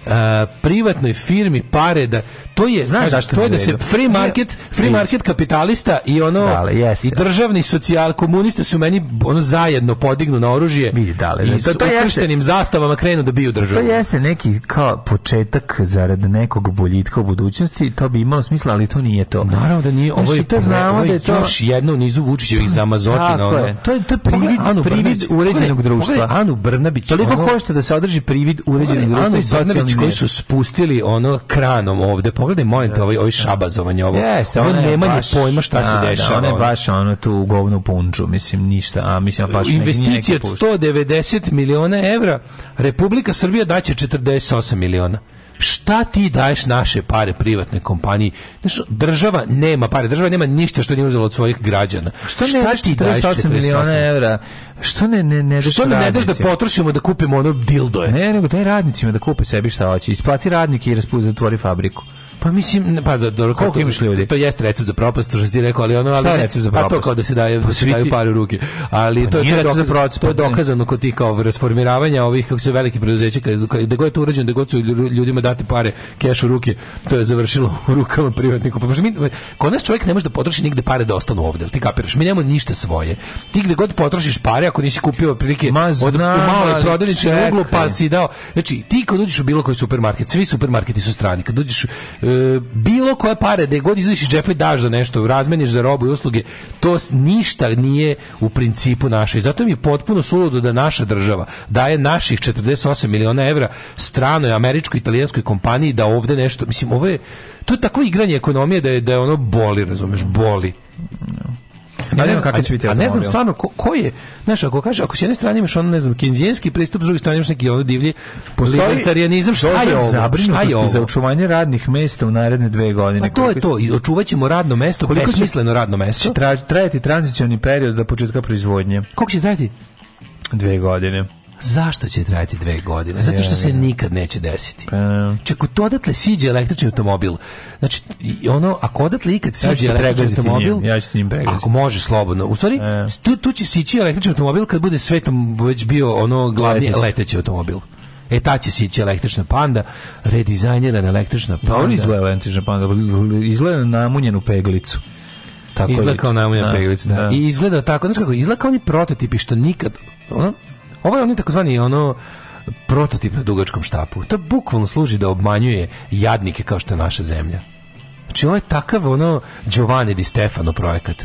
Uh, privatnoj firmi pare da to je znaš zašto to je da se free market free market kapitalista i ono dale, i državni socijal komunista su meni ono zajedno podignu na oružje vidi dale i to, to jeste zastavama krenu da biju državu to jeste neki kao početak zarad nekog boljitka u budućnosti to bi imalo smisla ali to nije to naravno da nije ovo znači, je to znamo da je to još jedno u nizu Vučićevih zamazotina ono je. to je to je privid, Anu privid uređenog društva Anu Brnabić ono- toliko košta da se održi privid uređenog društva i koji su spustili ono kranom ovde. Pogledaj, molim te, ovaj, ovaj šabazovanje ovo. Jeste, ono ona je nemanje baš- pojma šta se da, da, dešava. ona je baš ono tu u govnu punču, mislim ništa, a mislim a baš neki- neki investicija od pušta. 190 miliona evra, Republika Srbija daće 48 miliona. Šta ti daješ naše pare privatnoj kompaniji? Znaš, država nema pare, država nema ništa što nije uzela od svojih građana. Što ne daš 48 miliona evra? Što ne ne ne daš Što mi ne daš da radnicima? potrošimo da kupimo ono dildoje? Ne, nego daj radnicima da kupe sebi šta hoće. Isplati radnike i raspu zatvori fabriku. Pa mislim, ne, pa za dobro, Koliko to- imaš ljudi? To jeste recept za propast, što si ti rekao, ali ono, ali Šta je ne, recept za Pa to propast? kao da se daju, Pa da se svi daju ti- pare u ruke. Ali Pa to, je- to, nije je recept za dokazano, propast, to je pa ne. dokazano kod tih kao rasformiravanja ovih, kako se veliki preduzeća, kada kada god je to urađeno, da god su lju- ljudima date pare, keš u ruke, to je završilo u rukama privatnika. Pa možda mi, kod nas čovjek ne može da potroši nigde pare da ostanu ovde, jel ti kapiraš? Mi nemamo ništa svoje. Ti gde god potrošiš pare, ako nisi kupio prilike od, u znam, maloj ali prodavnici na čekaj. uglu, pa si dao. Znači, ti kad uđeš u bilo koji supermarket, svi supermarketi su strani, kad uđeš e, bilo koje pare, da je god izliš iz džepa i daš za nešto, razmeniš za robu i usluge, to s- ništa nije u principu naše. I zato mi je potpuno suludo da naša država daje naših 48 miliona evra stranoj američkoj italijanskoj kompaniji da ovde nešto, mislim, ovo je, to je takvo igranje ekonomije da je, da je ono boli, razumeš, boli. Ja ne znam, znam kakav će biti a ne znam automobil. stvarno ko, ko je, znaš, ako kaže, ako s jedne strane imaš ono, ne znam, kinzijenski pristup, s druge strane imaš neki ono divlji libertarijanizam, šta je ovo? Šta je Zabrinutost za ovo? očuvanje radnih mesta u naredne dve godine. Pa to je to, i očuvat ćemo radno mesto, Koliko će- besmisleno radno mesto. Će traž- Znači, trajati tranzicioni period do početka proizvodnje? Koliko će trajati? Dve godine. Pa Zašto će trajati dve godine? Zato što Ja, se ja. Pa, nikad neće desiti. Čak to odatle siđe električni automobil. Znači, i ono, ako odatle ikad Ja ću te siđe električni pregaziti automobil, njim, ja ću ti njim pregaziti. Ako može slobodno. U stvari, tu, tu će sići električni automobil kad bude svetom već bio ono glavni Leteći. leteći automobil. E ta će sići električna panda, redizajnirana električna panda. Dobro izgleda lentična panda, izgleda namunjenu peglicu. Tako izgleda liči. kao najmanja Pa Da, peglica. da. da. I izgleda tako, znaš kako, izgleda kao oni prototipi što nikad, ono, ovo je oni takozvani, ono, prototip na dugačkom štapu. To bukvalno služi da obmanjuje jadnike kao što je naša zemlja. Znači, ovo je takav, ono, Giovanni di Stefano projekat.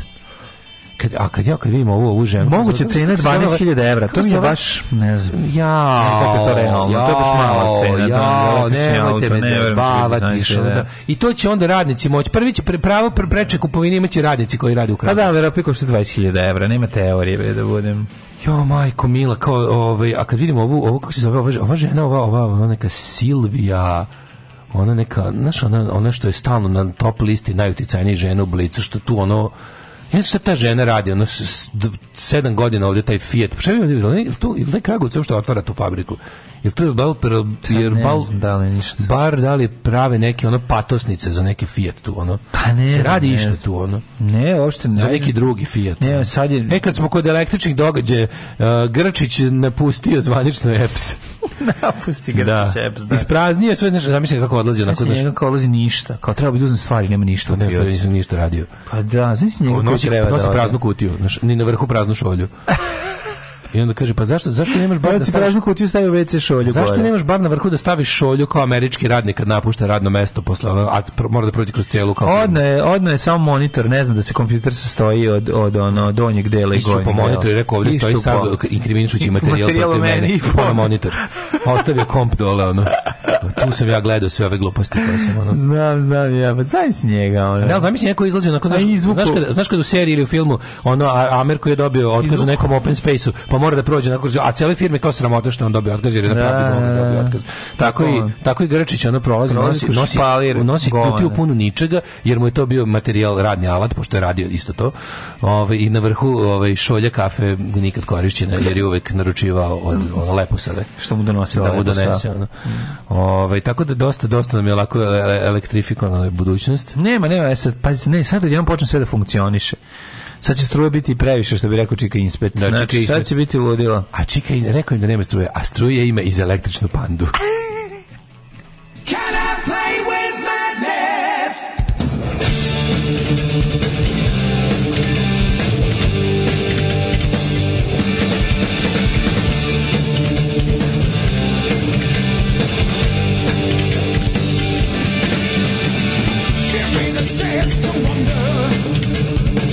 Kad, a kad ja kad vidim ovu, ovu ženu... Moguće Znaš kako cena se zove ovaj- 12.000 evra, to kako mi se je zove- baš, ne znam. Ja, Kako je to realno? To je baš mala cena, to je Ja, električni nemojte auto, ne me verujem da će biti zajebavati, zaista, što da. da. I to će onda radnici moći. Prvi će pre- pravo pre- preče kupovine imaće radnici koji rade u Pa kraju. da, verovatno košta 20.000 evra, nema teorije, bre, da budem. Jo, majko mila, kao, ovaj, a kad vidimo ovu, ovu kako se zove, ova, ž- ova žena, ova, ova, ona neka Silvija, ona neka, znaš, ona, ona što je stalno na top listi najuticajnijih žena u Blicu, što tu ono, ja ne znam šta ta žena radi, ono, s- s- dv- sedam godina ovdje taj Fiat, pa šta je bilo, je li tu, je li taj Kragovic uopšte otvara tu fabriku? Je li tu je bal, per- jer Pa ne bal, znam da li ništa. bar da li prave neke ono patosnice za neki Fiat tu, ono? Pa ne Se znam, radi ne išta znam. tu, ono? Ne, uopšte ne. Za neki drugi Fiat. Ne, sad je... E kad smo kod električnih događaja, uh, Grčić je napustio zvanično EPS. Napusti Grčić Eps, da. Ispraznio je sve, znaš, zamisli kako odlazi onako Znači znaš. Pa njega kao ulazi ništa, kao treba bi da uzmem stvari, nema ništa u Ne, fioci. stvari nisam ništa radio. Pa da, znači njega On koji nosi, treba da nosi ode. praznu kutiju, znaš, ni na vrhu praznu šolju. I onda kaže, pa zašto, zašto nemaš bar da Nosi staviš, praznu kutiju, stavio WC šolju zašto gore. nemaš bar na vrhu da staviš šolju kao američki radnik kad napušta radno mesto posle, ono, a pro- mora da prođe kroz celu kao Odno je, odno je samo monitor, ne znam da se kompjuter sastoji od, od ono, donjeg dela i Išću gornjeg po dela. monitor i rekao ovdje stoji sad Iščupao. inkriminišući I materijal materijal protiv o meni mene. i Pa na ponovo. monitor. A Ostavio komp dole, ono. Tu sam ja gledao sve ove gluposti koje sam, ono. Znam, znam, ja, pa znam s njega. Ono. Ne, ali zamisli neko izlazi onako, znaš, A izvuku- znaš, kada, znaš kada u seriji ili u filmu, ono, A- Amer koji je dobio otkaz u nekom open space-u, pa mora da prođe onako, a cijele firme kao sramota što je on dobio otkaz, jer je na Da, pravdi Boga dobio otkaz. Tako, Tako i, tako i Grčić, ono prolazi, Prolazi nosi, kroz nosi, špalir, nosi kutiju govane. punu ničega, jer mu je to bio materijal, radni alat, pošto je radio isto to, ovaj, i na vrhu ovaj, šolja kafe nikad korišćena, jer je uvek naručivao od ono, leposave Što mu donosi da mu lepo sve. donese. Ono. Ovaj, tako da dosta, dosta nam je lako e, elektrifikovana budućnost. Nema, nema, e sad, pazi, ne, sad odjednom počne sve da funkcioniše. Sad će struja biti i previše, što bi rekao Čika Inspet. Da, znači, Čika Inspet. sad će biti ludila. A čekaj, rekao im da nema struje, a struje ima i za električnu pandu. Can I play with madness? Give me the sense to wonder,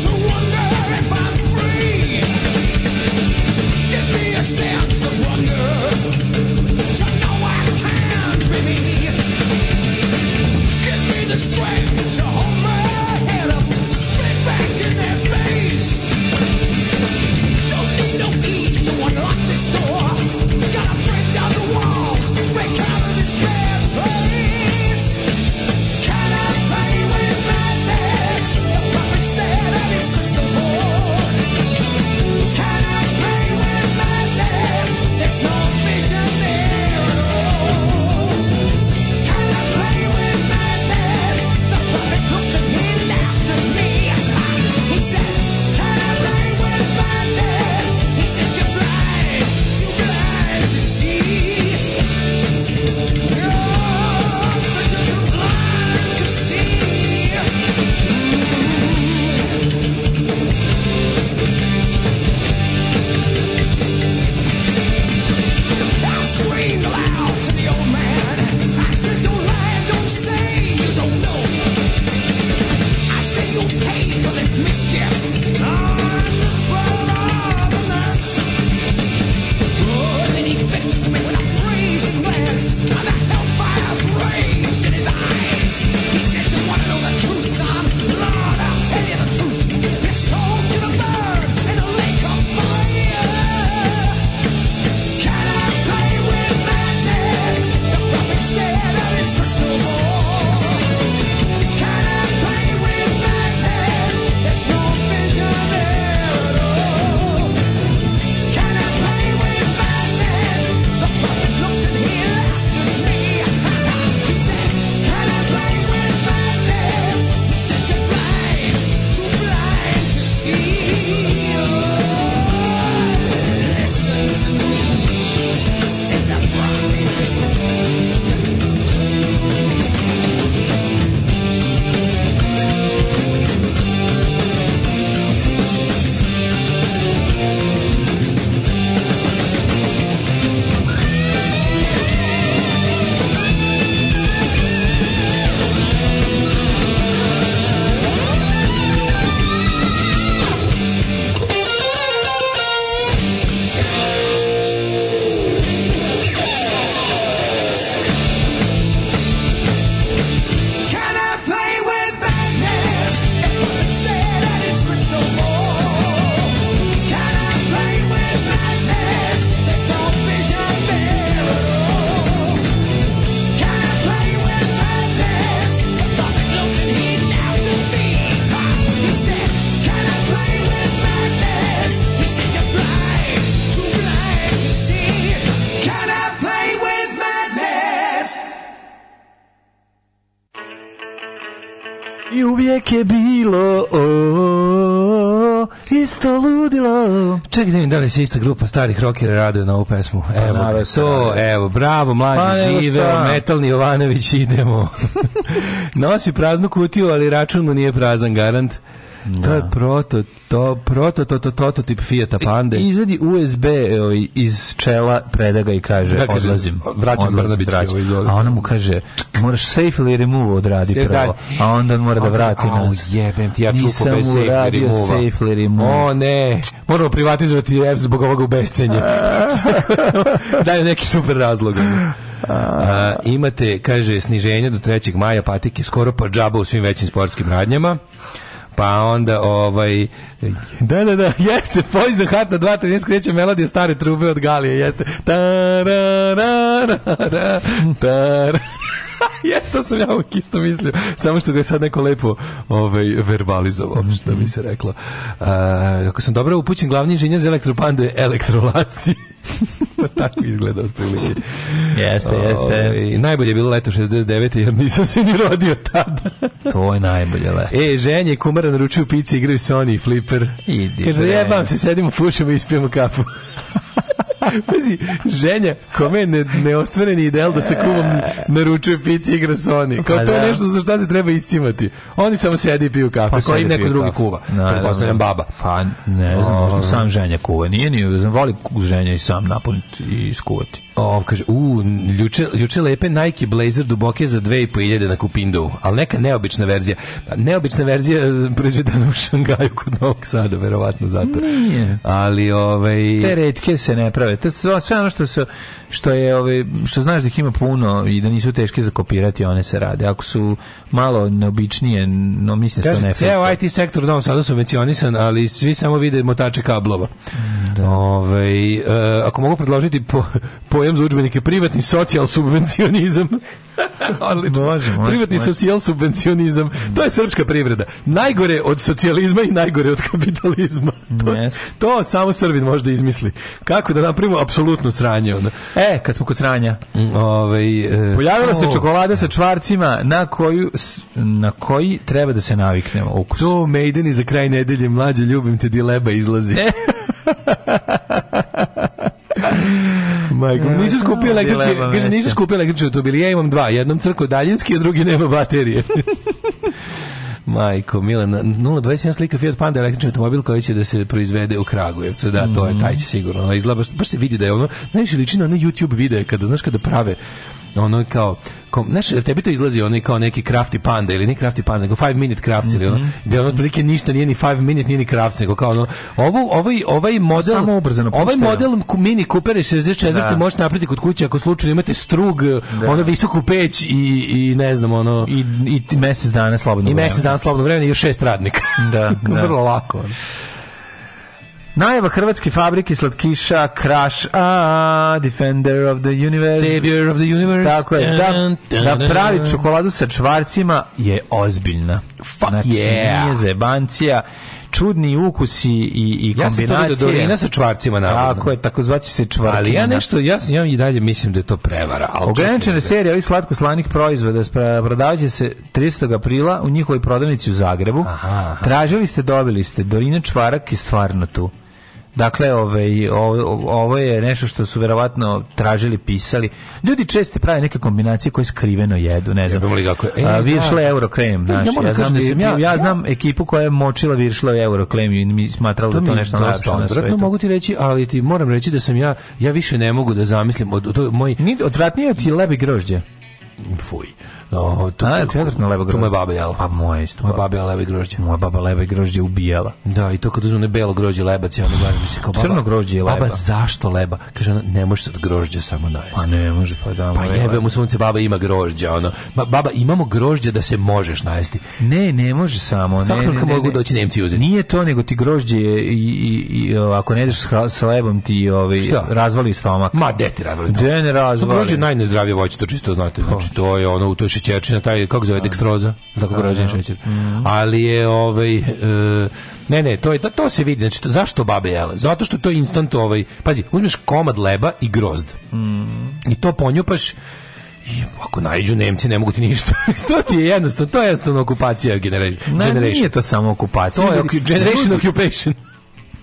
to wonder if I'm free. Give me a sense of wonder, to know I can I uvijek je bilo o, o, isto ludilo. Čekaj, da vidim da li se ista grupa starih rockera raduje na ovu pesmu. Evo, pa, to, evo, bravo, mlađi pa, žive, metalni Jovanović, idemo. Nosi praznu kutiju, ali račun mu nije prazan, garant. Da. To je proto, to, proto, to, to, to, to tip Fijata Pande. I, izvedi USB ovaj, iz čela, preda ga i kaže, da, kaže odlazim. Vraćam Brnabića. A ona mu kaže, moraš safe ili remove odradi safe prvo. A onda on mora da vrati a, nas. jebem ti, ja čupo Nisam bez safe uradio remove. safe remove. O ne, moramo privatizovati F zbog ovoga u bescenje. Daju neki super razlog. A, imate, kaže, sniženje do 3. maja patike skoro pa džaba u svim većim sportskim radnjama pa onda ovaj da da da jeste Poison Heart na 2.13 kreće melodija stare trube od Galije jeste tararara tar ja, to sam ja uvijek isto mislio. Samo što ga je sad neko lepo ovaj, verbalizovao, što bi se reklo. A, ako sam dobro upućen, glavni inženjer za elektropande je elektrolaci. Pa Tako izgleda otprilike. Jeste, Pa jeste. O, najbolje je bilo leto 69. jer nisam se ni rodio tada. to je najbolje leto. E, ženje, kumara naručuju pici, igraju Sony i Flipper. Idi Kaže, jebam se, sedimo, pušimo i ispijemo kafu. Pazi, ženja, kome ne, neostvareni ideal da se kumom naručuje pici igra Sony. Kao to je nešto za šta se treba iscimati. Oni samo sedi i piju kafe. Pa koji neko drugi kafe. kuva. Pretpostavljam baba. Pa ne znam, možda sam ženja kuva. Nije ni, voli ženja i sam napuniti i iskuvati. O, kaže, u, ljuče, ljuče lepe Nike Blazer duboke za 2500 na Kupindovu, ali neka neobična verzija. pa Neobična verzija eh, proizvedena u Šangaju kod Novog Sada, verovatno zato. Nije. Ali, ovaj... Te redke se ne prave. To je sve ono što, se, što je, ovaj, što znaš da ih ima puno i da nisu teške za kopirati, one se rade. Ako su malo neobičnije, no mislim kaže, su ne... Ceo IT sektor u Novom Sadu subvencionisan, ali svi samo vide motače kablova. Da. Ovaj, e, ako mogu predložiti po, po pojam za udžbenike privatni socijal subvencionizam. Odlično. Može, može, privatni može. socijal subvencionizam. To je srpska privreda. Najgore od socijalizma i najgore od kapitalizma. To, Yes. to samo Srbin može da izmisli. Kako da napravimo apsolutno sranje. Ono. E, kad smo kod sranja. Mm, Ovaj, e, Pojavila se o, čokolada sa čvarcima na koju s- na koji treba da se naviknemo ukus. To Maiden i za kraj nedelje mlađe ljubim te dileba izlazi. Majko, nisu skupio električni, dilema kaže, nisu veća. skupio električni automobil, ja imam dva, jednom crko daljinski, a drugi nema baterije. Majko, Milan, 021 slika Fiat Panda električni automobil koji će da se proizvede u Kragujevcu. Da, to je Mhm. taj će sigurno. Ono izgleda, baš, baš se vidi da je ono, najviše liči na one YouTube videe kada, znaš, kada prave ono kao kom, znaš, tebi to izlazi onaj kao neki crafty panda ili ne crafty panda, nego 5 minute crafts ili Mhm. ono, gde ono otprilike ništa nije ni 5 minute, nije ni crafts, nego kao ono, ovo, ovaj, ovaj model, Samo ubrzano ovaj puštaju. model ku- mini Cooper je 64. Da. možete napraviti kod kuće ako slučajno imate strug, ono visoku peć i, i ne znam, ono, I, i mesec dana slobodno i vremena. mjesec dana slobodnog vremena i još šest radnika. Da, da. Vrlo lako. ono. Najava hrvatske fabrike slatkiša Crash A, Defender of the Universe. Savior of the universe. Tako je, da, da pravi čokoladu sa čvarcima je ozbiljna. Fuck yeah. Nije zebancija, čudni ukusi i, i Ja sam to vidio kombinacije. Dorina sa čvarcima, navodno. Tako je, tako zvaće se čvarkina. Ali ja nešto, ja, sam- ja i dalje mislim da je to prevara. ali čekaj. Ograničena serija ovih slatko-slanih proizvoda spra- prodavat će se 30. aprila u njihovoj prodavnici u Zagrebu. Aha, aha. Tražili ste, dobili ste. Dorina Čvarak je stvarno tu. Dakle, ovaj, ovo, ovo je nešto što su verovatno tražili, pisali. Ljudi često prave neke kombinacije koje skriveno jedu, ne znam. Jebemo li kako je. E, A, da. viršle euro krem, Ja znaš. moram Ja, da kažem znam, da da se, sam ja, ja- ja- znam ekipu koja je močila viršle euro krem i mi smatrali da mi to je nešto dosta najlepše na odvratno, svetu. mogu ti reći, ali ti moram reći da sam ja, ja više ne mogu da zamislim, od, to je moj, Ni- Odvratnije ti je lebi grožđe. fuj, no, to, A, je li ti odvratno lebo to grožđe? moja baba jela. Pa moje isto. Moja baba jela lebe grožđe. Moja baba leba i grožđe ubijala. Da, i to kad uzme ono belo grožđe lebac, ja ono gledam se kao baba. Crno grožđe je leba. Baba, zašto leba? Kaže ona, ne možeš od grožđa samo najesti. Pa ne može, pa da. Pa moje jebe leba. mu sunce, baba ima grožđa, ono. Ba- baba, imamo grožđe da se možeš najesti. Ne, ne može samo. Svakog ne, ne, trenutka ne, mogu ne. doći Nemci i uzeti. Nije to, nego ti grožđe je i, i, i, o, ako ne ideš sa, sa lebom ti ovaj, Šta? razvali stomak. Ma, deti razvali stomak. De ne razvali. Grožđe je najnezdravije voće, to čisto znate. Znači, to je ono, to je šećerčina, taj, kako zove, dekstroza, tako grožđen šećer. Ali je, ovaj, e, ne, ne, to, je, to se vidi, znači, to- zašto babe jele? Zato što to je instant, ovaj, pazi, uzmeš komad leba i grozd. I to ponjupaš ako najđu Nemci ne mogu ti ništa. to ti je jednostavno, to je jednostavno okupacija generation. Na, nije to samo okupacija. To je oku, generation occupation.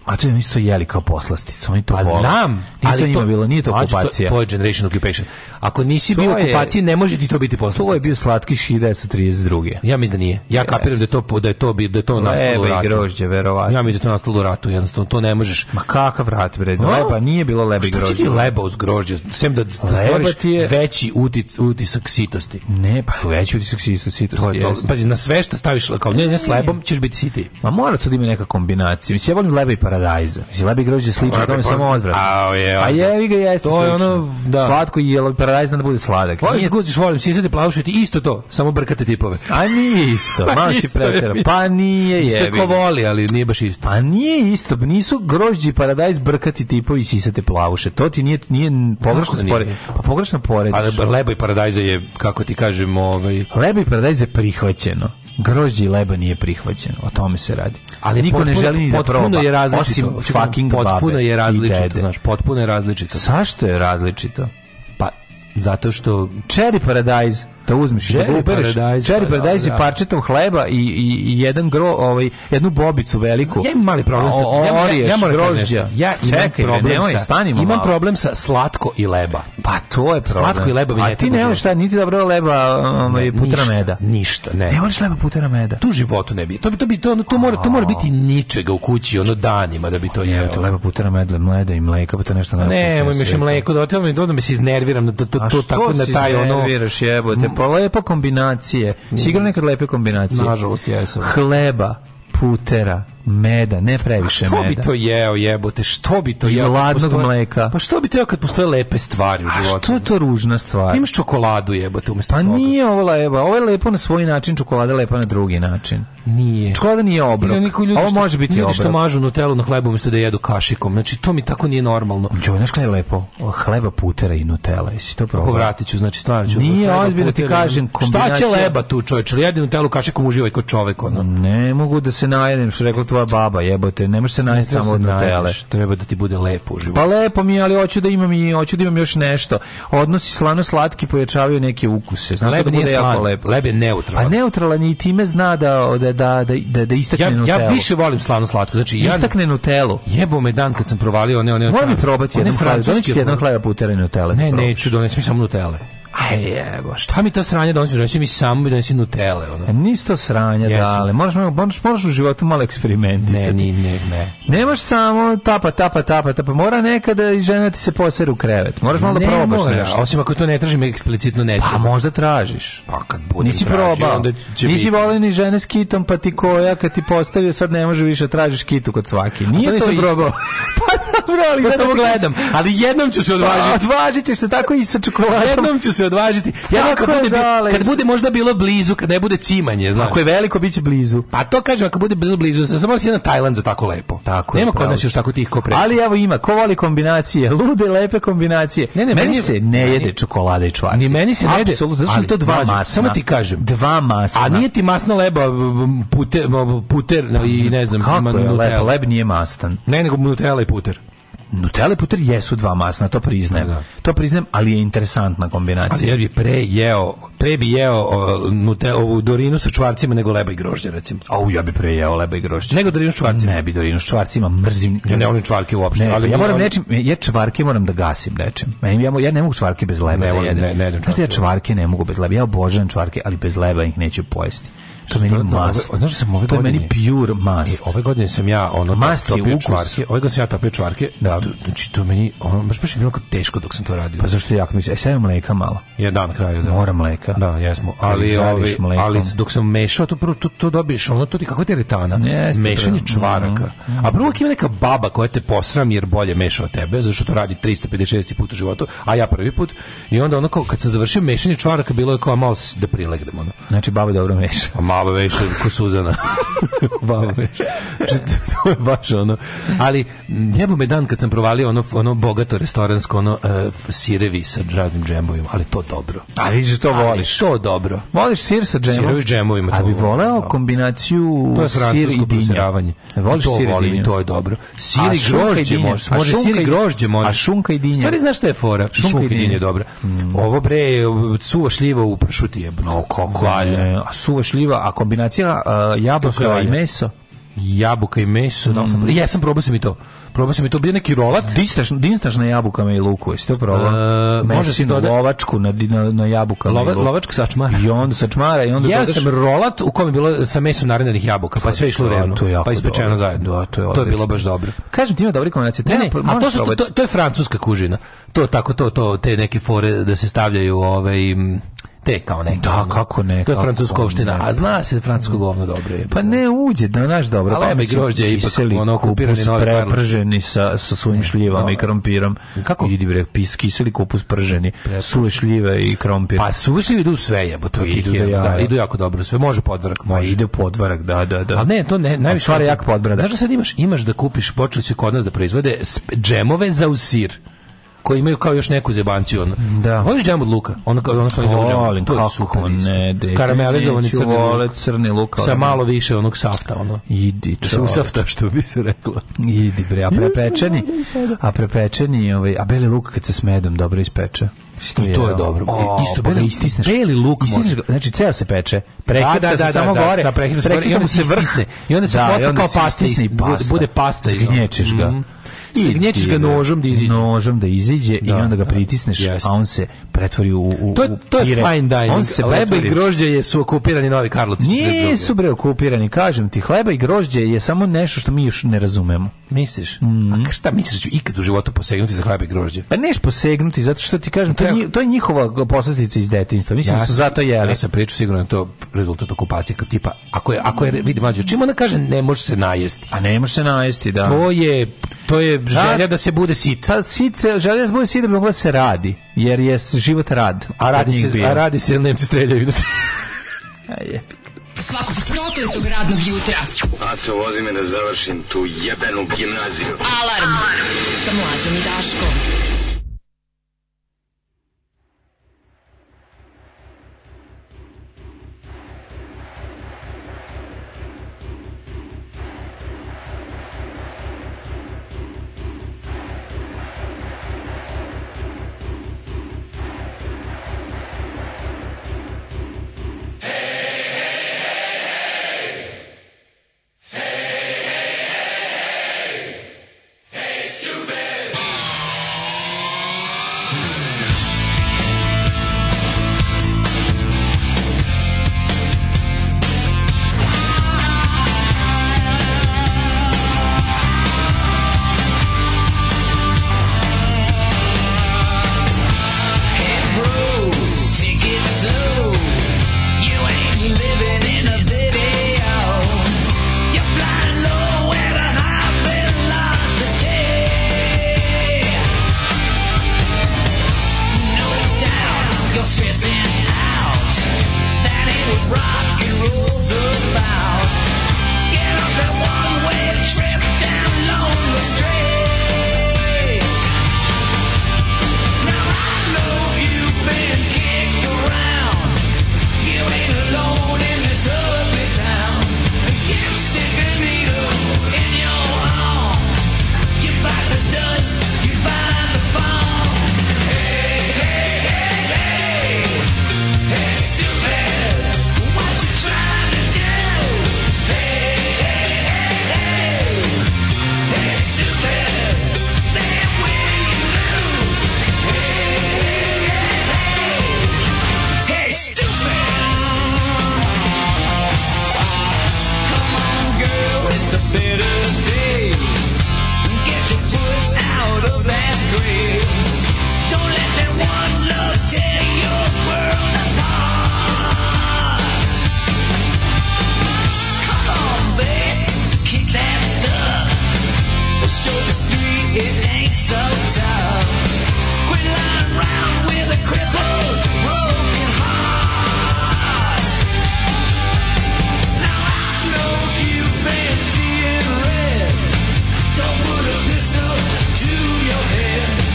A to je isto jeli kao poslasticu, oni to pa vole. znam, nije ali to njima bilo, nije to Mlađe, okupacija. To, to je generation occupation. Ako nisi To bio u je- okupaciji, ne može ti to biti poslastica. To je bio slatkiš 1932. Ja mislim da nije. Ja kapiram da je to po- da je to bi da je to nastalo u Leba ratu. i grožđe, verovatno. Ja mislim da je to nastalo u ratu, jednostavno to ne možeš. Ma kakav rat, bre, A? leba, nije bilo leba i Šta grožđe. će ti leba uz grožđe? Sem da, da Leba stvoriš ti je- veći utic, utisak sitosti. Ne, pa veći utisak sitosti. To je to. jeste. Pazi, na sve što staviš, kao ne, ne s lebom, ćeš biti siti. Ma mora to da ima neka kombinacija. Mislim, ja volim leba i paradajza. Mislim, leba i grožđe je slično, Leba i to mi je par- samo odvratno. Ao, je, A jevi ga jeste To je slično. ono, da. Slatko i jelo paradajz da bude sladak. Voliš Pa Nije- guziš, volim sisati, plavušiti, isto to, samo brkate tipove. A nije isto, Pa malo si isto je, pretjerao. mislim. Pa nije Isto je jebi. ko ga. voli, ali nije baš isto. Pa nije isto, nisu grožđe i paradajz brkati tipovi i sisate plavuše. To ti nije, nije Kako pogrešno da nije? spore. Pa pogrešno porediš. Ali lebo i paradajza je, kako ti kažem, ovaj... Leba i paradajz je prihvaćeno. Grožđe i leba nije prihvaćeno. O tome se radi. Ali niko ne potpuno- želi ni da potpuno proba. je različito. Osim fucking babe potpuno i je različito, dede. znaš, potpuno je različito. Zašto je različito? Pa zato što Cherry paradajz da uzmeš i da ga Cherry upereš. paradajz, cherry pa paradajz dobro, je da. parčetom hleba i, i, i jedan gro, ovaj, jednu bobicu veliku. Ja imam mali problem sa O- ja, ja, oriješ, ja moram da kažem grožđa. nešto. Ja imam Čekaj, bre, problem nemoj, sa, stanimo Imam malo. problem sa slatko i leba. Pa to je problem. Slatko i leba mi A ne ti treba u nemaš šta, niti dobro leba ovaj, Ne, putra ništa, meda. Ništa, ne. Ne voliš leba putera meda. Tu u životu ne bi. To bi to bi to, ono, to mora to mora biti ničega u kući, ono danima da bi to jeo. Ne, to leba putera meda, mleda i mleka, pa to je nešto najopasnije Ne, moj na mi še svijetu. mleko, da otim, da me se iznerviram, na to, to, A to što tako na si taj ono... iznerviraš, jebote, pa lepa kombinacije. Sigurno nekad lepe kombinacije. Nažalost, jesam. Hleba, putera, meda, ne previše Pa Što meda. bi to jeo, jebote, što bi to I jeo? kad ladnog postoje- mleka. Pa što bi to jeo kad postoje lepe stvari u A životu? što je to ružna stvar? Imaš čokoladu, jebote, umjesto Pa toga. nije ovo leba, ovo je lepo na svoj način, čokolada je lepa na drugi način. Nije. Čokolada nije obrok, Ili neko ljudi ovo što- može biti ljudi obrok. što mažu Nutellu na hlebu umjesto da jedu kašikom. Znači, to mi tako nije normalno. Jo, znaš kaj je lepo? O, Hleba putera i Nutella, jesi to probao? Povratit ću, znači stvarno ću. Nije Hleba, ozbiljno ti puter, kažem, kombinacija- Šta će leba tu, čovječe? Ili jedi Nutellu kašikom uživaj kod čovek, ono. Ne mogu da se najedem, što je rekla tvoja baba, jebote, ne možeš se najesti Treba samo se od Nutelle. najedeš, Treba da ti bude lepo u životu. Pa lepo mi, je, ali hoću da imam i hoću da imam još nešto. Odnosi slano-slatki pojačavaju neke ukuse. Znači leb da nije bude jako slan, lepo. leb je neutralan. Pa neutralan je i time zna da da da da da, da istakne ja, Nutellu. ja više volim slano slatko. Znači, ja Ono istakne Nutellu. jebo me dan kad sam provalio one... one Moram one- i probati one jedan hleb. francuske- Doneću ti jedan hleba putera i Nutella. Ne, Probaš. neću, doneći mi samo Nutelle. Aj, evo, šta mi ta sranja donesi? Donesi mi samo i donesi Nutelle, ono. A Nisi to sranja, Jesu. da, ali moraš, malo- moraš, moraš u životu malo eksperimentisati. Ne, ni, ne, ne. Nemaš samo tapa, tapa, tapa, tapa. Mora nekada i žena ti se posere u krevet. Moraš malo da Ne probaš mora, nešto. Osim ako to ne tražim eksplicitno ne. Pa tražim. možda tražiš. Pa kad budem Nisi tražio, probao. onda će Nisi biti. volio ni žene s kitom, pa ti koja kad ti postavio, sad ne može više tražiš kitu kod svaki. A to Nije to, nisam probao. pa dobro, ali To sad samo ti kažeš- gledam, ali jednom ću se Pa, odvažiti. Odvažit ćeš se tako i sa čokoladom. Jednom ću se odvažiti. Jednom kad Tako je, bude, bi- dale, kad isto. bude možda bilo blizu, kad ne bude cimanje, znaš. Ako je veliko, bit će blizu. Pa to kažem, ako bude bilo blizu, samo mora si jedan Tajland za tako lepo. Tako je, Nema kod pravo nas si. još tako tih ko pre. Ali evo ima, ko voli kombinacije, lude, lepe kombinacije. Ne, ne, meni, meni- se ne meni- jede čokolada i čvarci. Ni meni se ne jede, Apsolutno, zato što ali, je to dva mlađe, masna. samo ti kažem. Dva masna. A nije ti masna leba m, puter, m, puter no, i ne znam, Kako ima je lep, Nutella. lep nije mastan. Ne, nego Nutella i puter. Nutella i puter jesu dva masna, to priznajem. Da. To priznajem, ali je interesantna Ali kombinacija. Pa, ja bi pre jeo, pre bi jeo o, Nute- ovu dorinu sa čvarcima nego leba i grožđe, recimo. Au, ja bi prejeo leba i grošće. Nego dorinu s čvarcima. Ne bi Dorinu s čvarcima, mrzim. Ja ne volim čvarke uopšte, Ne, ali ja moram ali- nečim, ja čvarke moram da gasim nečim. Meni- Ja, mo- ja ne mogu čvarke bez leba Ne da volim, jedem. ne- ne jedem Znaš da ja čvarke. čvarke ne mogu bez leba. Ja obožavam čvarke, ali bez leba ih neću pojesti. To meni je Suprotno, mast. ove- znaš da sam ove to je meni godine- E, pure mast. Ove godine sam ja ono Mast je topio ukus. čvarke. Ove godine sam ja topio čvarke. Da. To- Znači to meni ono baš baš je bilo kao teško dok sam to radio. Pa zašto jako mi se... E, sad imam mleka malo. je dan kraju da. Moram mleka. Da, jesmo. Ali Ali, zališ ovi, mlekom. ali dok sam mešao, to prvo to, to dobiješ, ono to ti kako ti retana. Jeste, Mhm. Mešanje pravo. čvaraka. A prvo ima neka baba koja te posram jer bolje meša od tebe, zato što to radi 356 put u životu, a ja prvi put. I onda ono kao kad sam završio mešanje čvaraka, bilo je kao malo s- da prilegnem ono. Znači, baba dobro meša. A malo veša ko Suzana. malo veša. Znači, to- to je baš ono. Ali m, jebo me dan kad sam sam provalio ono, ono bogato restoransko ono uh, sirevi sa raznim džembovima, ali to dobro. A vidiš to Ali voliš. to dobro. Voliš sir sa džemom? Sirovi s džemovima, A to bi volim, voleo da. kombinaciju To je sir i francusko dinja. prosiravanje. Voliš to sir i volim dinja? E, i to je dobro. Sir A i šunka i grožđe dinja? može. A Može sir šunka i i- grožđe može. a šunka i dinja? Stvari znaš šta je fora? Šunka, i dinja je dobra. Ovo bre, suva šljiva u pršuti je. No, kako valja. E, A suva šljiva, a kombinacija a, sve jabuka i valja. meso. Jabuka i meso, da li Mm. sam... Ja sam probao sam i to. Probao sam i to, bio neki rolat. Dinstašna, dinstašna jabukama i luku, jesi to probao? E, može se Mesinu, doda- lovačku na, di- na, na jabukama Lova- i luku. lovačka sačmara. I onda sačmara i onda Ja dodaš- sam rolat u kom je bilo sa mesom narinjenih jabuka, pa je sve išlo u to- revno, to je jako pa ispečeno dobro. zajedno. Da, to je to je odlično. bilo baš dobro. Kažem ti ima dobri kombinacije. Ne, Treba- ne, a možeš to, su, to, probati. to, to je francuska kužina. To tako to to te neke fore da se stavljaju ovaj m, te kao neke. Da, ono. kako ne, To je kako francuska ne. opština, a zna se da francusko govno dobro je. Pa ne uđe, da naš dobro. Ali pa ebe mislim, grožđe je ipak kiseli ono okupirani kupus Novi Karlovac. preprženi sa, sa svojim šljivama i krompirom. Kako? Idi bre, pis, kiseli kupus prženi, suve šljive i krompir. Pa suvišljivi idu u sve, jebote, ih idu, je, da, Pa ja. idu jako dobro, sve može podvrk, Ma može. Pa ide u podvarak, da, da, da. Ali ne, to ne, najviše stvar je jako podbrada. Znaš da sad imaš, imaš da kupiš, počeli su kod nas da proizvode sp- džemove za usir koji imaju kao još neku zebanciju. Ono. Da. Voliš džem od luka? Ono, kao- ono što oni zovu džem. Volim, To je kako super. isto. ne, deki, Karamelizovani neću crni luk. volet, crni luk, Sa ali- malo više onog safta, ono. Idi, Da se čovek. usafta, što bi se reklo. Idi bre, a prepečeni, a prepečeni, ovaj, a beli luk kad se s medom dobro ispeče. Si I to je dobro. O, Isto, pa ga beli- istisneš. beli luk Istisneš može. ga, znači ceo se peče. Prekipta Da, da, da, se samo da, gore. sa prekipta se gore i prekipta onda mu se vrhne. I onda se posta i onda kao se pasta istisne iz- i pasta. bude pasta iz- Zgnječeš ga. Mhm. Zgnječeš Idi, ga bre. nožom da iziđe. Nožom da iziđe i Da, onda ga da, pritisneš, jeste. a on se pretvori u, u To, u to je pire. fine dining. On se Leba i pretvori- grožđe je su okupirani Novi Karlovci. 42.. Nisu bre okupirani, kažem ti, hleba i grožđe je samo nešto što mi još ne razumemo. Misliš? A šta misliš da ću ikad u životu posegnuti za hleb i grožđe? Pa neš posegnuti, zato što ti kažem, to je, nji- to je njihova poslastica iz detinjstva. Mislim da su sam- zato jeli. Ja sam pričao sigurno da je to rezultat okupacije kao tipa ako je ako je vidi mlađe čim ona kaže ne može se najesti. A ne može se najesti, da. To je to je želja da se bude sit. Sad pa sice, želja da se bude sit da bi mogla da se radi, jer je s- život rad. A Kod radi njih se bio. a radi se jer Nemci streljaju. inače. A je. Svakog prokletog radnog jutra. Aco, vozi me da završim tu jebenu gimnaziju. Alarm. Sa mlađom i Daškom. Take it slow. You ain't living in a video. You're flying low at a high velocity. No doubt you're stressing out. That ain't what rock and roll's about. Get off that one-way trip down Lonely Street. Hey, stupid! Come on, girl, it's a bitter day. Get your foot out of that grave. Don't let that one look tear your world apart. Come on, babe, kick that stuff. Show the street it ain't so tough. Quit lying around with a crippled, broken heart. Now I know you've been seeing red. Don't put a pistol to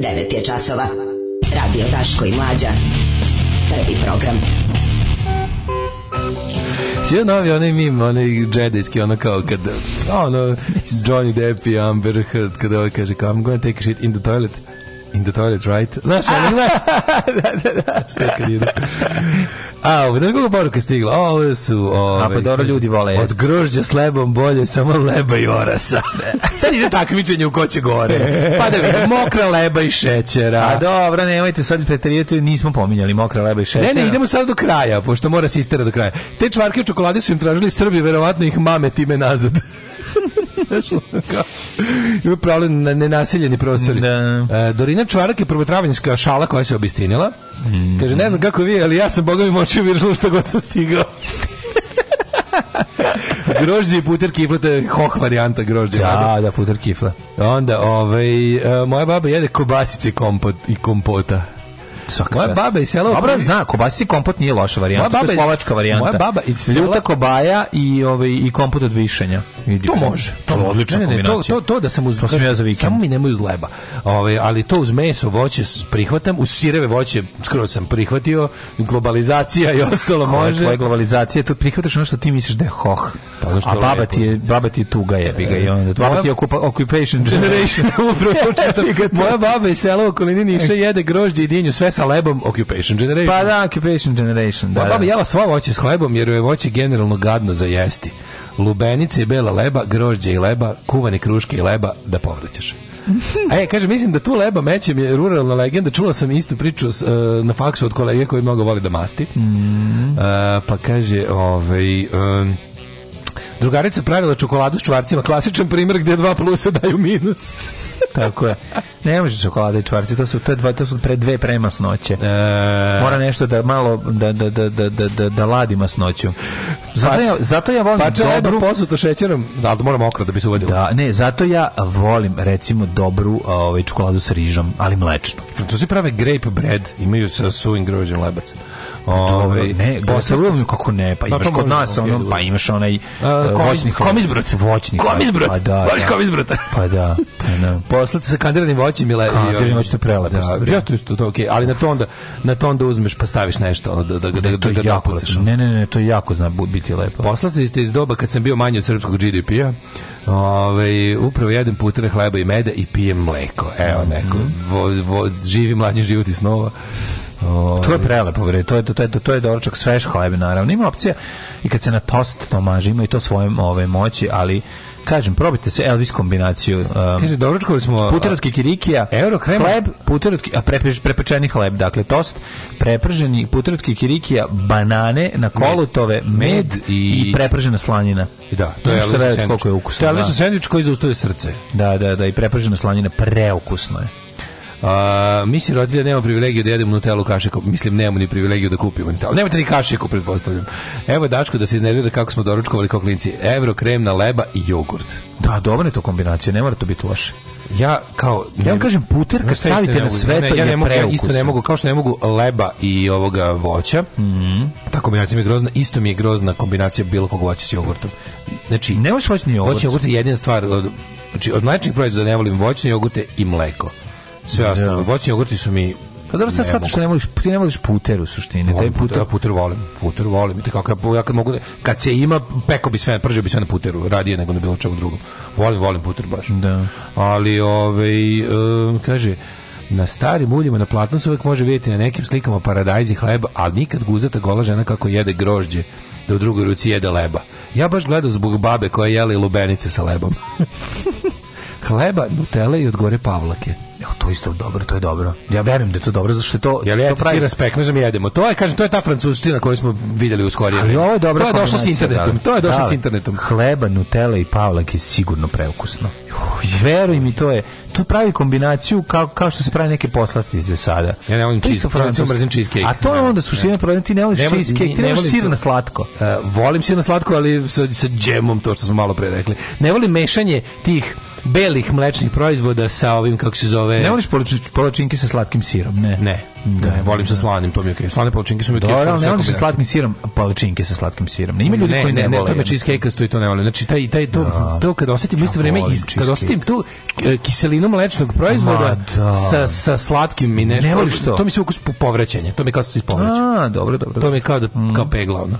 9 je časova. Radio Daško i Mlađa. Prvi program. Svi novi ono onaj mim, onaj džedijski, ono kao kad, ono, Johnny Depp i Amber Heard, kada ovaj kaže kao, I'm gonna take a shit in the toilet. In the toilet, right? Znaš, ali znaš? da, da, da. Šta kad ide? A, ovo, da koga poruka stigla? O, ovo su... Ove, A, pa dobro, ljudi vole Od jesti. grožđa s lebom bolje, samo leba i orasa. Sad ide takmičenje u ko će gore. Pa da vidimo, mokra leba i šećera. A dobro, nemojte sad preterijeti, nismo pominjali mokra leba i šećera. Ne, ne, idemo sad do kraja, pošto mora se istera do kraja. Te čvarke u čokoladi su im tražili Srbi, verovatno ih mame time nazad. Znaš, ono kao, Ima problem na nenaseljeni prostori. E, Dorina Čvarak je prvotravanjska šala koja se obistinila. Kaže, ne znam kako vi, ali ja sam boga mi moćio viršlo što god sam stigao. grožđe i puter kifle, to je hoh varijanta grožđe. Da, da, puter kifle. Onda, ovaj, e, moja baba jede kobasice i kompot, i kompota. Svaka Moja čast. baba iz sela... Dobro, zna, kobasici kompot nije loša varijanta, to Moja je baba iz- slovačka varijanta. moja baba iz sela- Ljuta kobaja i, ovaj, i kompot od višenja. Idi. To može. To je odlična Ne, ne, ne, to, kombinacija. to, to da sam uz... To sam ja za vikend. Samo mi nemoj uz leba. Ovaj, ali to uz meso, voće s- prihvatam, uz sireve voće skoro sam prihvatio, globalizacija i ostalo Koja je može. tvoja globalizacija, to prihvataš ono što ti misliš da je hoh. Pa ono što A je baba lepo. ti je, baba ti je tuga je, bi ga i onda. Baba Baba- ti je okupa- occupation Generation, upravo to čitam. Jebi ga, to- Moja baba iz sela u okolini Niša jede grožđe i dinju, sve sa lebom, occupation generation. Pa da, occupation generation, da. Moja Pa baba da. jela sva voće s hlebom jer joj je voće generalno gadno za jesti. Lubenice i bela leba, grožđe i leba, kuvane kruške i leba, da povraćaš. E, kaže, mislim da tu leba mećem je ruralna legenda. Čula sam istu priču s, e, na faksu od kolege koji mnogo voli da masti. Mm. E, pa kaže, ovaj... em, Drugarica pravila čokoladu s čvarcima, klasičan primjer gdje dva plusa daju minus. Tako je. Ne može čokolada i čvarci, to su, to je dva, to su pre dve premasnoće. E, Mora nešto da malo da da da da da da, da ladi masnoću. Zato Pač- ja, zato ja volim Pače leba dobru Pa posuto šećerom, da, ali moram okra da bi se uvodilo. Da, ne, zato ja volim recimo dobru a, ovaj čokoladu sa rižom, ali mlečnu. Francuzi Pa prave grape bread, imaju sa suvim grožđem lebac. Ovaj, Ovaj ne, bosanski- gosarujem kako ne, pa Pa imaš to kod možemo nas ono, jedno. pa imaš onaj e, komis- voćni hleb. komizbrot. voćni. hleb. Komizbrot. Pa da. Voliš da. komizbrota? Pa da, pa da. Poslati sa kandiranim voćem i le... Kandirani voć, to je prelepo stvar, Da, ja. ja to isto, to je okej, ali na to onda, na to onda uzmeš pa staviš nešto, ono, da, da, da, da, To da je ga jako napucaš. ono. lepo. Ne, ne, ne, to jako zna bu- biti lepo. Poslali ste iz doba kad sam bio manji od srpskog GDP-a. Ovaj, upravo jedem putere hleba i meda i pijem mleko. Evo neko, vo, vo, živi mlađi život i snova. Ovaj, To je prelepo, bre. To je to je to je doručak svež hleb naravno. Ima opcija i kad se na tost to maže, ima i to svoje ove moći, ali kažem probajte se Elvis kombinaciju. Um, Kaže, doručkovali smo... Puter od kikirikija, Euro krema. hleb, puter od, ki- a prepeš- prepečeni hleb, dakle tost, preprženi puter od kikirikija, banane na kolutove, med, Med i, i- prepržena slanina. Da, to je Možete Elvis raditi sandvič. koliko je ukusno, To je Elvis da. sandvič koji zaustavlja srce. Da, da, da, i prepržena slanina, preukusno je. A, mi sirotilja nemamo privilegiju da jedemo Nutellu kašiku. Mislim, nemamo ni privilegiju da kupimo Nutellu. Nemate ni kašiku, pretpostavljam. Evo Dačko da se iznervira kako smo doručkovali kao klinci. Evro, kremna leba i jogurt. Da, dobra je to kombinacija, ne mora to biti loše. Ja kao... Ja vam kažem, puter kad Znaš šta isto stavite ne na mogu? sve, Ne, to ja je ne mogu, ja isto preukusno. ne mogu, kao što ne mogu leba i ovoga voća. Ta kombinacija mi je grozna. Isto mi je grozna kombinacija bilo kog voća s jogurtom. Znači, Ne možeš voćni jogurt. Voćni jogurt je jedina stvar. Od, znači, od mlečnih proizvoda ne volim voćne jogurte i mleko. Sve ostalo. Voćni jogurti su mi... Pa dobro, sad ne shvataš što mogu. ne voliš, ti ne voliš puter u suštini. Taj Volim puter, puter, ja puter volim. Puter volim. I kako, ja kad, mogu, da- kad se ima, peko bi sve, pržio bi sve na puteru, radije nego na bilo čemu drugom. Volim, volim puter baš. Da. Ali, ovaj, em, kaže, na starim uljima na platnu se uvek može vidjeti na nekim slikama paradajzi hleba, ali nikad guzata gola žena kako jede grožđe, da u drugoj ruci jede leba. Ja baš gledam zbog babe koja je jela i lubenice sa lebom. Hleba, nutele i od gore pavlake. Evo, to je isto dobro, to je dobro. Ja verujem da je to dobro, zato što je to... Jel to ja pravi- pravi respekt, mi jedemo. To je, kažem, to je ta francusčina koju smo vidjeli u skorije. Ali vrijeme. ovo je dobra To je došlo s kombinacija, internetom. da. To je došlo Da. s internetom. Hleba, nutella i pavlak je sigurno preukusno. Veruj mi, to je... To pravi kombinaciju kao, kao što se pravi neke poslasti iz sada. Ja ne volim To je isto cheese- recimo francusko. mrzim cheesecake. A to je Ne, onda suština problem, ti ne voliš Ne volim- cheesecake, ti ne ne voliš volim sir to. na slatko. E, volim sir na slatko, ali sa, sa džemom, to što smo malo pre rekli. Ne volim mešanje tih belih mlečnih proizvoda sa ovim, kako se zove... Ne voliš polači- palačinke sa slatkim sirom, ne. Ne, Da, ne, volim sa slanim, to mi je okej. Slane palačinke su mi okej. Dobro, ali ne volim sa slatkim sirom, a palačinke sa slatkim sirom. Ne, ima ljudi ne, koji ne, ne, ne, vole. to me cheesecake stoji to ne volim. Znači taj taj to Da. to kad osetim u isto Ja vrijeme volim i kad osetim cheesecake. tu e, kiselinu mlečnog proizvoda Ma, da. sa sa slatkim mi nešto. Ne voliš to? To mi se ukus po- povraćanje. To mi kao da se povraća. A, Mm. Mm-hmm. dobro, dobro. To mi je kao da kao pegla ono.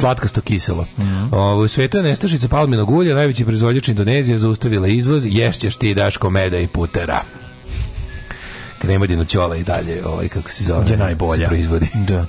Slatkasto kiselo. Mm-hmm. Ovo, u svetu je nestašica palminog ulja, najveći proizvođač Indonezije zaustavila izvoz, ješćeš ti Daško meda i putera. Kremodinu ćola i dalje, ovaj, kako se zove, Je najbolja. se proizvodi. Da.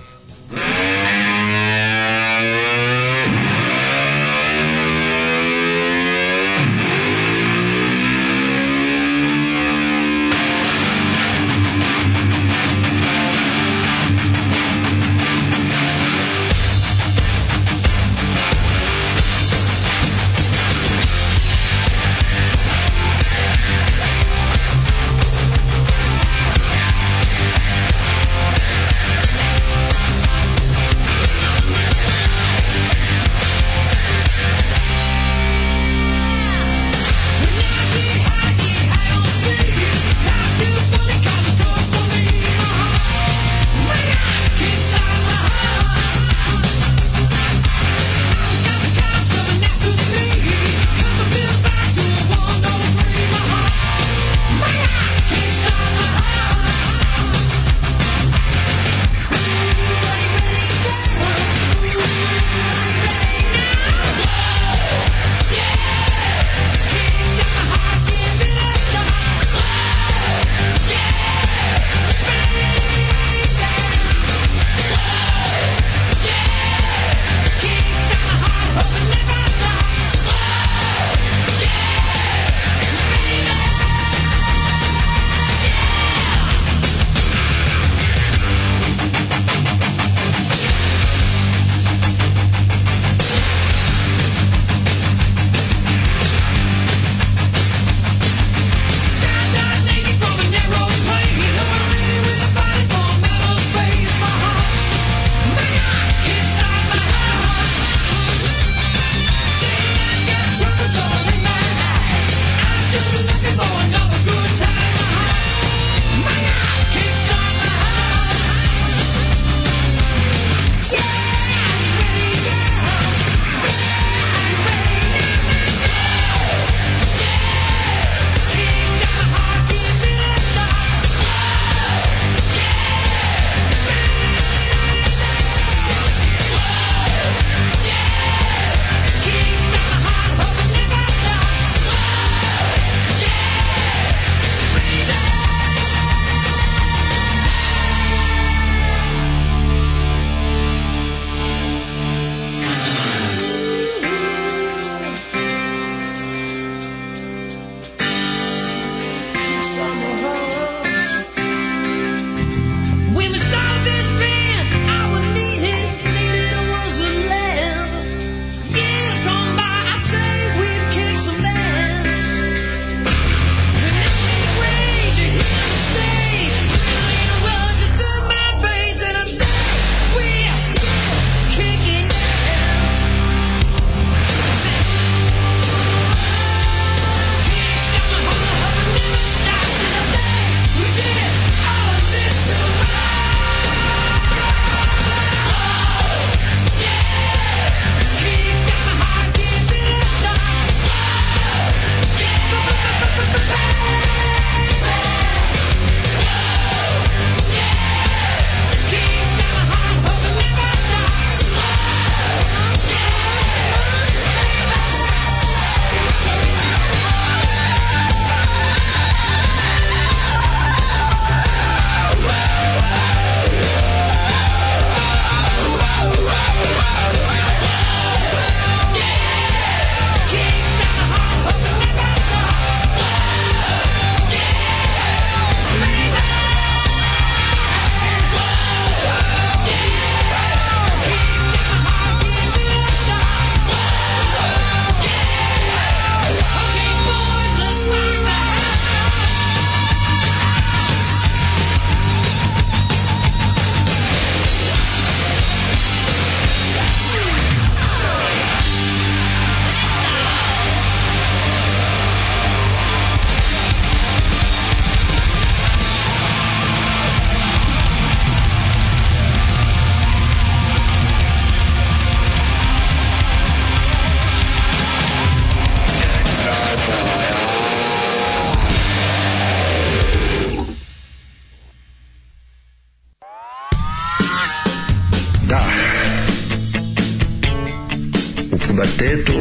pubertetu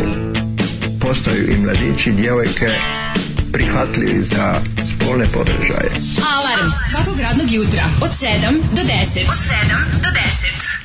postaju i mladići i djevojke prihvatljivi za spolne podržaje. Alarm svakog radnog jutra od 7 do 10. Od 7 do 10.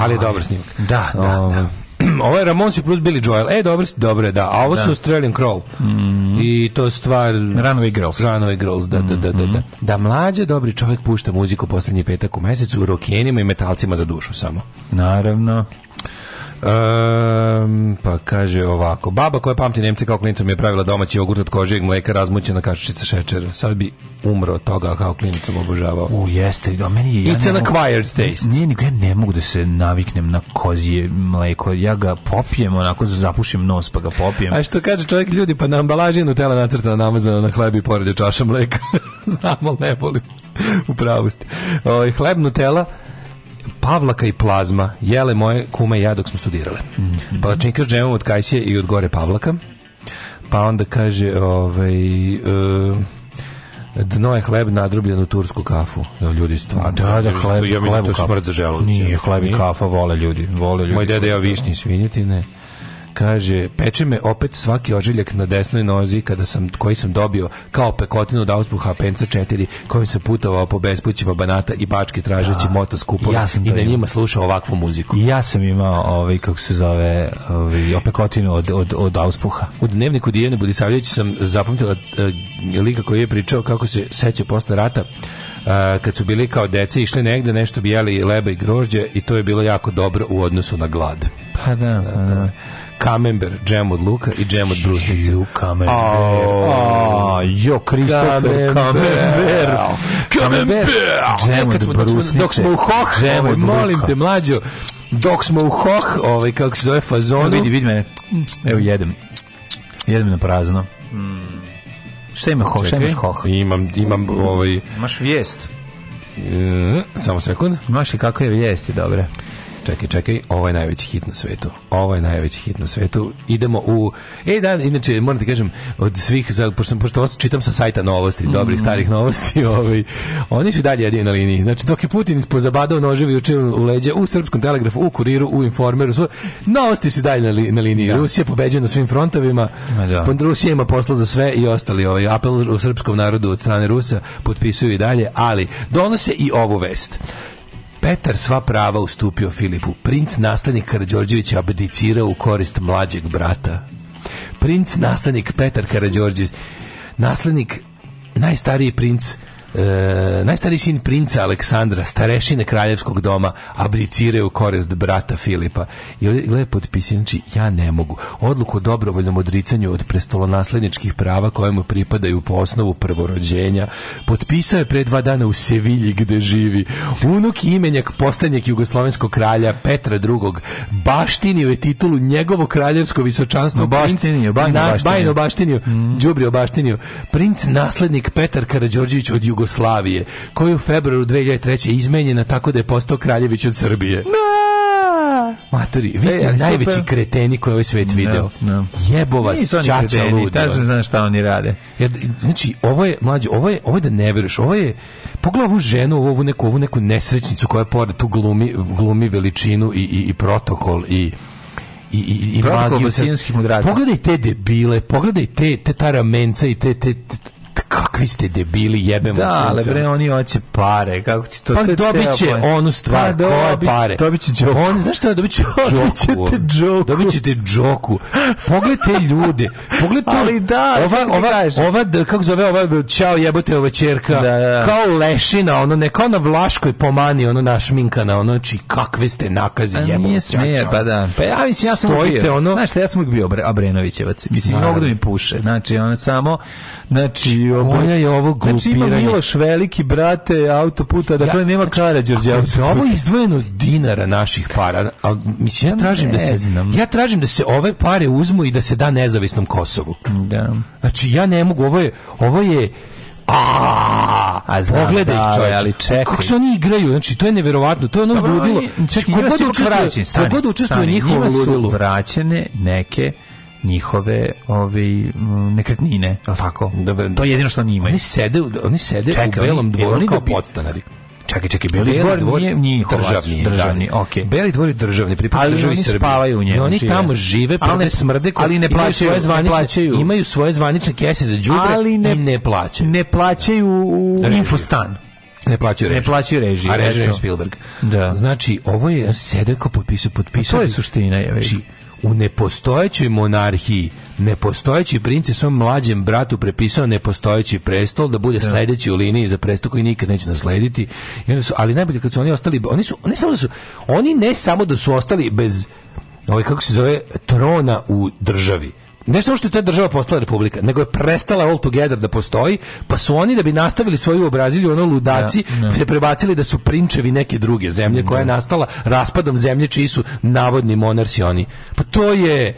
ali je dobar snimak. Da, da, da. Ovo je Ramonsi plus Billy Joel. E, dobro, dobro je, da. A ovo su Australian Crawl. I to je stvar... Mm. Runaway Girls. Mm-hmm. Runaway Girls, da, da, da, da. Da, da mlađe, dobri čovjek pušta muziku posljednji petak u mesecu u rokenima i metalcima za dušu samo. Naravno. Um, pa kaže ovako Baba koja pamti Nemce kao klinicom je pravila domaći jogurt od kožijeg mleka razmućena kašičica šećera Sad bi umro od toga kao klinicom obožavao U, jeste, a meni je... It's ja ne an mogu- acquired taste. Nije nego, ja ne mogu da se naviknem na kozije mleko. Ja ga popijem, onako zapušim nos pa ga popijem. A što kaže čovjek ljudi, pa na ambalaži je Nutella nacrtana namazana na hleb i pored je čaša mleka. Znamo, ali ne boli. U pravu ste. Ovaj, hleb Nutella, Pavlaka i plazma jele moje kuma i ja dok smo studirale. Mm Mhm. -hmm. Palačinka s džemom od Kajsije i od gore Pavlaka. Pa onda kaže, ovaj, uh, Dno je hleb nadrobljen u tursku kafu. Da, ljudi stvarno. Da, da, hleb, ja hleb, to smrt za želudac. Nije, hleb i kafa vole ljudi. Vole ljudi. Moj deda je višnji svinjetine. Kaže, peče me opet svaki ožiljak na desnoj nozi kada sam, koji sam dobio kao pekotinu od auspuha penca 4 kojim sam putovao po bespućima banata i bački tražeći moto skupove ja sam i na imao. njima slušao ovakvu muziku. Ja sam imao, ovaj, kako se zove, ovaj, opekotinu od, od, od auspuha. U dnevniku Dijene Budisavljević sam zapamtila eh, lika koji je pričao kako se seća posle rata a, kad su bili kao deci išli negde nešto bi jeli leba i grožđe i to je bilo jako dobro u odnosu na glad. Pa da, pa da. Kamember, džem od luka i džem od brusnice. Ju, Kamember. Au. A, jo, Kristofer Kamember. Kamember. Kamember. Džem Kad smo- od dok smo- brusnice. Dok smo u hoh, Džem ovaj, od molim luka. te mlađo, dok smo u hoh, ovaj, kako se zove fazonu. Evo, vidi, vidi mene. Evo, jedem. Jedem na prazno. Mm. Šta ima hoh? Šta Čekaj, imaš hoh? Imam, imam ovaj... Imaš vijest. e, samo sekund. Imaš li kakve vijesti, dobre? Čekaj, čekaj, ovo je najveći hit na svetu. Ovo je najveći hit na svetu. Idemo u... E, da, inače, moram ti kažem, od svih, za, pošto, pošto ovo čitam sa sajta novosti, dobrih Mhm. starih novosti, ovaj, oni su i dalje jedini na liniji. Znači, dok je Putin pozabadao noževi juče u leđa, u Srpskom telegrafu, u Kuriru, u Informeru, sve, novosti su i dalje na, li- na liniji. Rusija pobeđuje na svim frontovima, Ma da. Pa Rusija ima posla za sve i ostali. Ovaj apel u srpskom narodu od strane Rusa potpisuju i dalje, ali donose i ovu vest. Petar sva prava ustupio Filipu. Princ nastanik Karađorđević abdicirao u korist mlađeg brata. Princ nastanik Petar Karađorđević. Naslednik, najstariji princ e, najstariji sin princa Aleksandra, starešine kraljevskog doma, abdiciraju u korist brata Filipa. I ovdje, gledaj, potpisujem, znači, ja ne mogu. Odluku o dobrovoljnom odricanju od prestolonasledničkih prava koje mu pripadaju po osnovu prvorođenja potpisao je pre dva dana u Sevilji gde živi. Unuk i imenjak postanjak jugoslovenskog kralja Petra II. Baštinio je titulu njegovo kraljevsko visočanstvo. princ- Baštinio, bajno Nas- baštinio. Mhm. bajno baštinio, đubrio baštinio. Princ naslednik Petar Karađorđević od Jugoslavije, koji je u februaru 2003. izmenjena tako da je postao kraljević od Srbije. Maturi, vi ste E, ali super. najveći kreteni koji je ovaj svet video. no. Jebo vas, Nisu oni čača kreteni, ludi. Tačno znam šta oni rade. Jer, znači, ovo je, mlađe, ovo je, ovo je da ne veruješ, ovo je, pogledaj ovu ženu, ovu, ovu neku, ovu neku nesrećnicu koja pored tu glumi, glumi veličinu i, i, i protokol i i i i Protokol magiju. bosanskih mudraca. Pogledaj te debile, pogledaj te te taramenca i te te, te- te- kakvi ste debili jebemo Da, ali sunce. bre, oni hoće pare. Kako ti to... Pa to je dobit će ceo point. onu stvar, Pa, koje dobit- pare. Dobit će džoku. On, znaš što je, dobit će Dobit ćete džoku. džoku. Dobit ćete džoku. Pogled te ljude. Pogled to. Ali da, ova, kako ti ova, kažem. ova, d- kako zove, ova, čao jebote ova čerka. Da, da. Kao lešina, ono, neka ona vlaškoj pomani, ono, našminkana, ono, či kakve ste nakazi A jebote. Nije smije, pa da. Pa ja mislim, ja sam Stojite, uvijek bio, ono- Znaš šta, ja sam uvijek bio Abre- Abrenovićevac. Mislim, Naravno. mogu da mi puše. Znači, ono samo... Znači, Koja je ovo Znači, ima glupiranje? Miloš Veliki, brate, autoputa, dakle, Ja- znači, nema Karađorđe Za autoputa. ovo je izdvojeno dinara naših para, a mislim ja tražim da se ne znam. ja tražim da se ove pare uzmu i da se da nezavisnom Kosovu. Da. Znači ja ne mogu, ovo je, ovo je a, A znam, pogledaj da, ih čovječe. ali čekaj. Kako se oni igraju, znači to je neverovatno, to je ono Dobro, ludilo. oni- Znači, Čekaj, ko njima god su ipak učestvuje- vraćeni, stani, ko god učestvuje u stani, njihovom njima su ludilu. vraćene neke njihove ovi, m, nekretnine, je li tako? Dobro. To je jedino što oni imaju. Oni sede, u- oni sede Čekaj, u belom oni- dvoru oni kao dobi- podstanari. Čekaj, čekaj, Beli dvor nije njihov, državni, državni, da. okej. Beli dvor je državni, pripada Ali državi oni Srbiji. spavaju u njemu, I oni žive. tamo žive, Ali prode ne- smrde, ko- ali ne imaju plaćaju, svoje ne zvanične, plaćaju. imaju svoje zvanične kese za đubre ali ne, i ne plaćaju. Ne plaćaju u Režiju. infostan. Ne plaćaju režiju. Ne plaćaju režiju. A režiju je eto. Spielberg. Da. Znači, ovo je sede ko potpisao, potpisao. To je bi- suština, je već. Znači, u nepostojećoj monarhiji nepostojeći princ je svom mlađem bratu prepisao nepostojeći prestol da bude sledeći u liniji za prestol koji nikad neće naslediti. I onda su, ali najbolje kad su oni ostali, oni su, ne samo da su, oni ne samo da su ostali bez, ovaj, kako se zove, trona u državi. Ne samo što je ta država postala republika, nego je prestala all together da postoji, pa su oni da bi nastavili svoju obrazilju, ono ludaci, se prebacili da su prinčevi neke druge zemlje koja je nastala raspadom zemlje čiji su navodni monarsi oni. Pa to je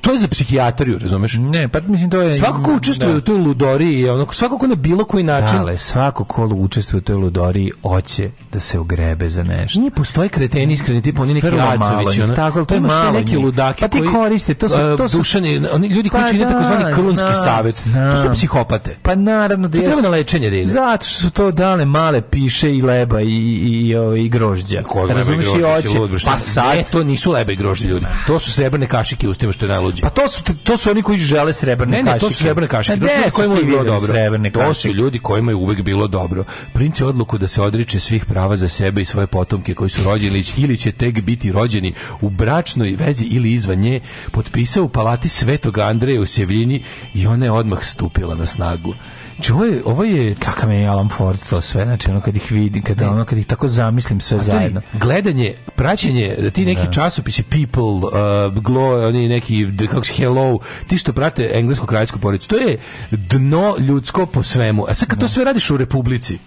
to je za psihijatriju, razumeš? Ne, pa mislim to je Svako ko učestvuje da. u toj ludoriji, je ono svako ko na bilo koji način Ale svako ko učestvuje u toj ludoriji hoće da se ugrebe za nešto. Nije postoji kreteni iskreni tip, oni neki Prvo malo Racović, njih, ono. tako, ali to je Imaš te malo neki njih. ludaki Pa ti koji, koriste, to su- e, to su- dušani, oni ljudi koji Pa čine da, takozvani krunski znam, savjet. To su znam. psihopate. Pa naravno da To treba jesu. na lečenje da ide. Zato što su to dale male piše i leba i, i, i, ovaj, i grožđa. Ko leba i Razumeš i grožđe, si lud, bre, oće. šta- Pa sad, Ne, to nisu leba i grožđe ljudi. To su srebrne kašike u tim što je najluđe. Pa to su, to su oni koji žele srebrne Ne, kašike. ne, to su srebrne kašike. A To su gde ljudi su kojima je ti bilo videli dobro. Srebrne To su kašike? ljudi kojima je uvek bilo dobro. Princ je odluku da se odriče svih prava za sebe i svoje potomke koji su rođeni ili će tek biti rođeni u bračnoj vezi ili izvan nje, potpisao u palati Svetog Andreja u Sevljini i ona je odmah stupila na snagu. Znači, ovo je, ovo je Kakav je Alan Ford to sve, znači ono kad ih vidim, kad, ono, kad ih tako zamislim sve Antonij, zajedno. Gledanje, praćenje, da ti neki časopisi People, uh, Glow, oni neki d- kako se Hello, ti što prate englesku kraljsku porodicu, to je dno ljudsko po svemu. A sad kad to sve radiš u Republici,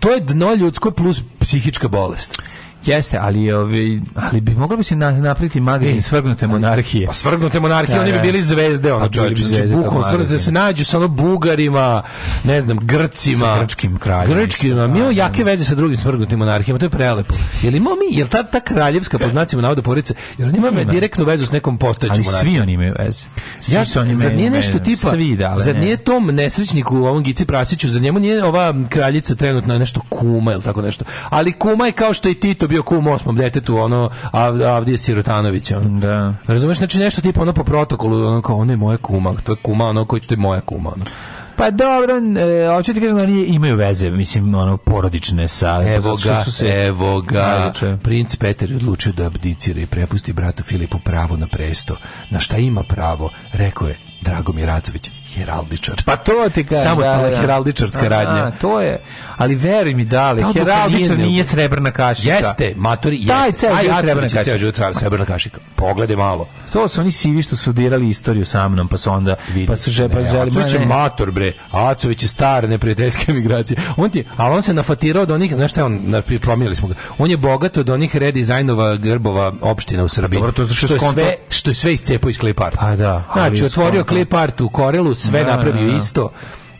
to je dno ljudsko plus psihička bolest. Jeste, ali, ovi, ali bi moglo bi se na, napraviti magazin svrgnute monarhije. Pa svrgnute monarhije, Da, oni bi da. bili zvezde, A ono bili bi čovječe. Znači, zvezde bukvalno tog svrgnute da magazina. se nađu sa ono Bugarima, ne znam, Grcima. Sa grčkim kraljem. Grčkima. Mi imamo jake veze sa drugim svrgnutim monarhijama, to je prelepo. Jel imamo mi, jel ta, ta kraljevska po znacima navoda porodica, jel ona ima Ima. direktnu vezu s nekom Ali postojećim monarhijom? svi oni imaju veze. Svi Ja, su oni zar imaju nije nešto veze. tipa, Svi, da, ali zar ne. nije tom nesrećniku, ovom Gici Prasiću, za njemu nije ova kraljica trenutno nešto kuma ili tako nešto. Ali kuma je kao što je i Tito bio kum osmom detetu, ono, Av- Avdije Sirotanovića. Ono. Da. Razumeš, znači nešto tipa ono po protokolu, ono kao, ono je moja kuma, to je kuma, ono koji to je moja kuma. Ono. Pa dobro, e, hoću ti kažem, oni imaju veze, mislim, ono, porodične sa... zato Evo što ga, e, su se- evo ga. Najveće. Princ Peter je odlučio da abdicira i prepusti bratu Filipu pravo na presto. Na šta ima pravo, rekao je Dragomir Racović, heraldičar. Pa to ti kažem. Samostalna heraldičarska radnja. to je, ali veruj mi, dale, Ta odluka nije heraldičar ne- nije, srebrna kašica. Jeste, matori, jeste. Taj ceo Aj, život Racović je srebrna ceo kašika. život tra- srebrna kašika. Pogledaj malo. To su oni sivi što su dirali istoriju sa mnom, pa su onda, pa su že, pa Ne, želi, Acović ma je ne. mator, bre. Acović je star neprijateljske migracije. On ti, ali on se nafatirao od onih, znaš šta je on, na- pri- promijenili smo ga. On je bogat od onih redizajnova grbova opština u Srbiji. Dobro, to je zato što što, je je skonto- sve, što je sve iscepao iz Clip Arta. Pa da, ali Znači, je otvorio skonto- Clip Art u Korelu, sve Da, napravio da, da. isto.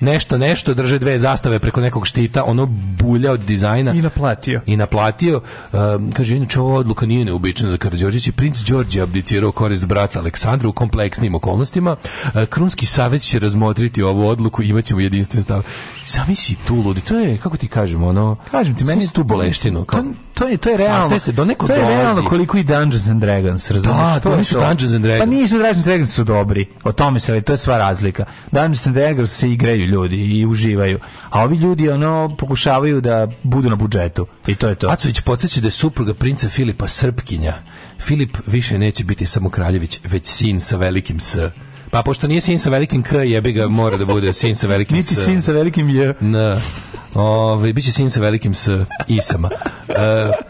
Nešto, nešto, drže dve zastave preko nekog štita, ono bulja od dizajna I naplatio. i naplatio. Um, kaže, inače ova odluka nije neobična za Karadžorđić i princ Đorđe je abdicirao u korist brata Aleksandra u kompleksnim okolnostima. E, Krunski savjet će razmotriti ovu odluku i imaćemo jedinstven stav. Sami si tu ludi, to je, kako ti kažem, ono... Kažem ti, svi meni si tu boleštinu. To, Kao, to je to je realno. Sastaje se, do neko to je dolazi. realno koliko i Dungeons and Dragons, razumeš? Da, je to nisu Dungeons and Dragons. Pa nisu Dungeons and Dragons su dobri. O tome se, to je sva razlika. Dungeons and Dragons se igraju ljudi i uživaju. A ovi ljudi ono pokušavaju da budu na budžetu. I to je to. Acović podsjeća da je supruga princa Filipa Srpkinja. Filip više neće biti samo kraljević, već sin sa velikim S. Pa pošto nije sin sa velikim K, jebi ga, mora da bude sin sa velikim S. Niti sin sa velikim je. Na, ove, biće sin sa velikim s isama. E,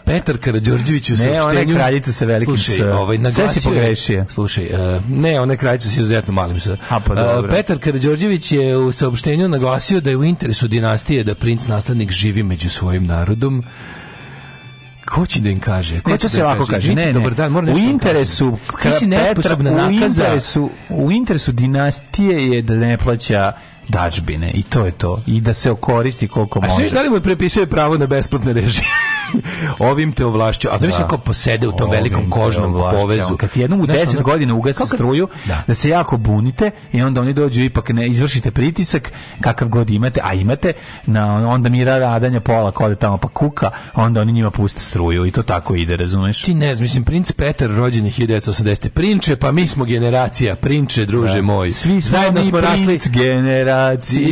Petar Karađorđević u Ne, saopštenju... ona je kraljica sa velikim slušaj, S. Ovaj, Sve naglasio si je- pogrešio. Slušaj, e, ne, ona je kraljica sa izuzetno malim s. A, pa dobro. E, Petar Karađorđević je u saopštenju naglasio da je u interesu dinastije da princ naslednik živi među svojim narodom. Ko će da im kaže? Ko Ne, će to da se im ovako kaže. Izvinite, Ne, ne. Dobar dan, moram u nešto da vam interesu kažem. Ti si Petra- nesposobna u nakaza. interesu, u interesu dinastije je da ne plaća dačbine i to je to. I da se okoristi koliko A što može. da li mu je prepisao pravo na besplatne režije? Ovim te ovlašću. A zamisli Da. kako posede u tom Ovim velikom te kožnom ovlašćava. povezu. Kad jednom u Znaš, 10 ono- godina ugasi kako- struju, Da. da. se jako bunite i onda oni dođu ipak ne izvršite pritisak kakav god imate, a imate na on- onda mira radanja pola kode tamo pa kuka, onda oni njima puste struju i to tako ide, razumeš? Ti Znači, ne znam, mislim, princ Petar rođen je 1980. Prinče, pa mi smo generacija. Prinče, druže Da. moj. Svi smo zajedno mi smo rasli. princ generacija.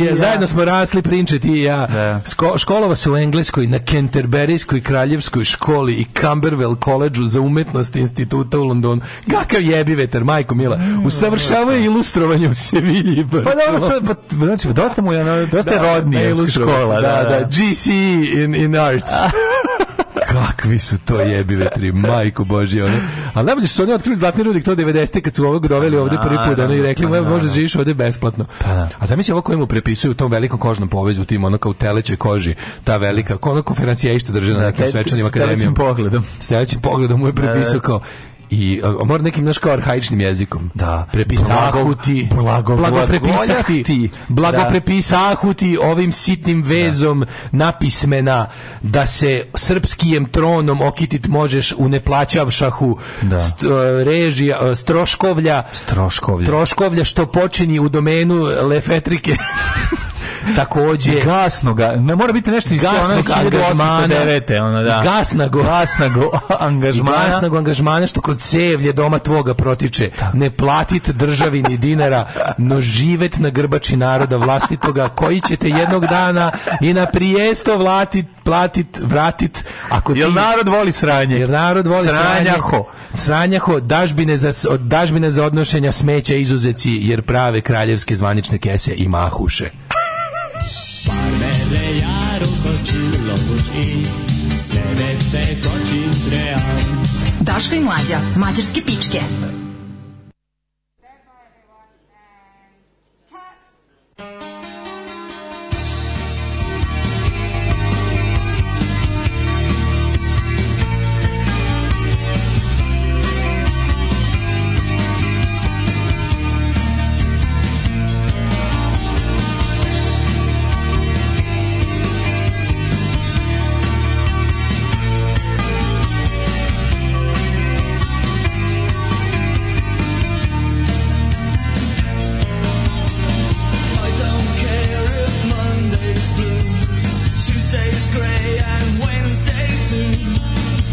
Ja, zajedno smo rasli, prinče ti i ja. Da. Sko, školova se u Engleskoj na Canterburyskoj kraljevskoj školi i Camberwell koleđu za umetnost instituta u Londonu. Kakav jebi vetar, majko mila. Usavršavaju ilustrovanje u Sevilji. i Pa Barceloni. dobro, to- pa, znači, dosta mu je, ono, dosta je rodnije škola. da, da, GC in, in arts. Kakvi su to jebive tri, majko božje, ono. Ali najbolje što su oni otkrili zlatni rudik to 90. kad su ovog doveli ovde prvi put, ono, i rekli pa mu, evo, možda živiš ovde besplatno. A zamisli ovo koje mu prepisuju u tom velikom kožnom povezu, u tim, ono, kao u telećoj koži, ta velika, ko ono konferencija što drže na nekim svečanim akademijom. akademijom. E, pogledom. E. S najvećim pogledom mu je prepisao kao i a, mora nekim naš kao arhaičnim jezikom. Da. Prepisahu ti. Blago, blago prepisah ti. Blago Da. prepisahu ti ovim sitnim vezom napismena da se srpskijem tronom okitit možeš u neplaćavšahu Da. st- e, režija, e, stroškovlja. Stroškovlja. Troškovlja što počini u domenu lefetrike. Takođe. Gasno ga. Ne mora biti nešto iz Gasnog ono 1809. Ono, da. I gasna go. Gasna go angažmana. I glasnog angažmana što kroz cevlje doma tvoga protiče. Ne platit državi ni dinara, no živet na grbači naroda vlastitoga, koji ćete jednog dana i na prijesto vlatit, platit, vratit. Ako Jel narod voli sranje? Jer narod voli sranje. Sranjaho. Sranjaho, dažbine za, s- od dažbine za odnošenja smeća izuzeci, jer prave kraljevske zvanične kese i mahuše. Mele járok a csillagos ég, nevette kacsint reám. Daško i mlađa, mađarske pičke. I don't care if Monday's blue, Tuesday's grey and Wednesday too.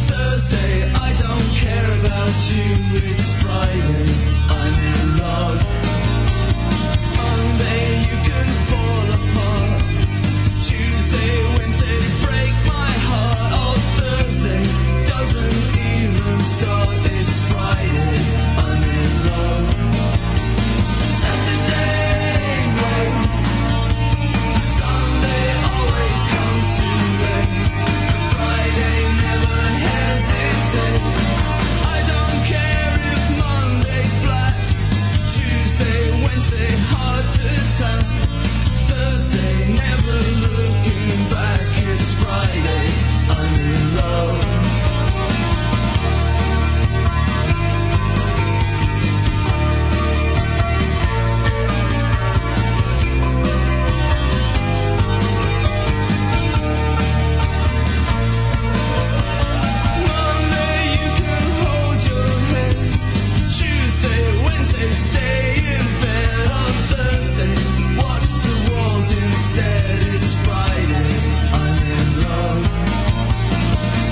Thursday, I don't care about you, it's Friday, I'm in love. Monday, you can fall apart. Tuesday, Wednesday, break my heart. Oh, Thursday, doesn't even start, it's Friday, I'm in love. Saturday night. Sunday always comes too late. Friday never hesitates. I don't care if Monday's black. Tuesday, Wednesday hard to tell. Thursday never looking back. It's Friday. I'm in love. Monday you can hold your head. Tuesday, Wednesday, stay in bed. On Thursday, watch the walls instead. It's Friday, I'm in love.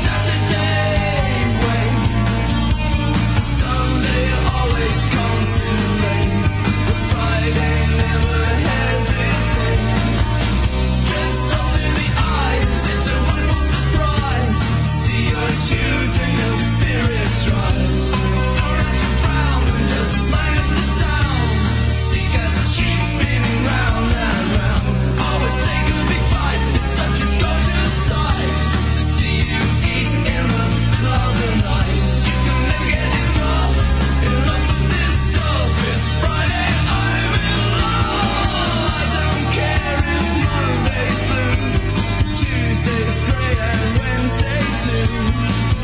Saturday, wait. Sunday always comes too late. But Friday never hesitates. Dressed up to the eyes, it's a wonderful surprise. See your shoes and your spirits rise. Orange and brown, and just smile at the sound. See as a sheep spinning round and round. Always take a big bite, it's such a gorgeous sight. To see you eat in the middle of the night. You can never get enough, enough of this stuff. It's Friday, I'm in love. I don't care if Monday's blue. Tuesday's grey and Wednesday too.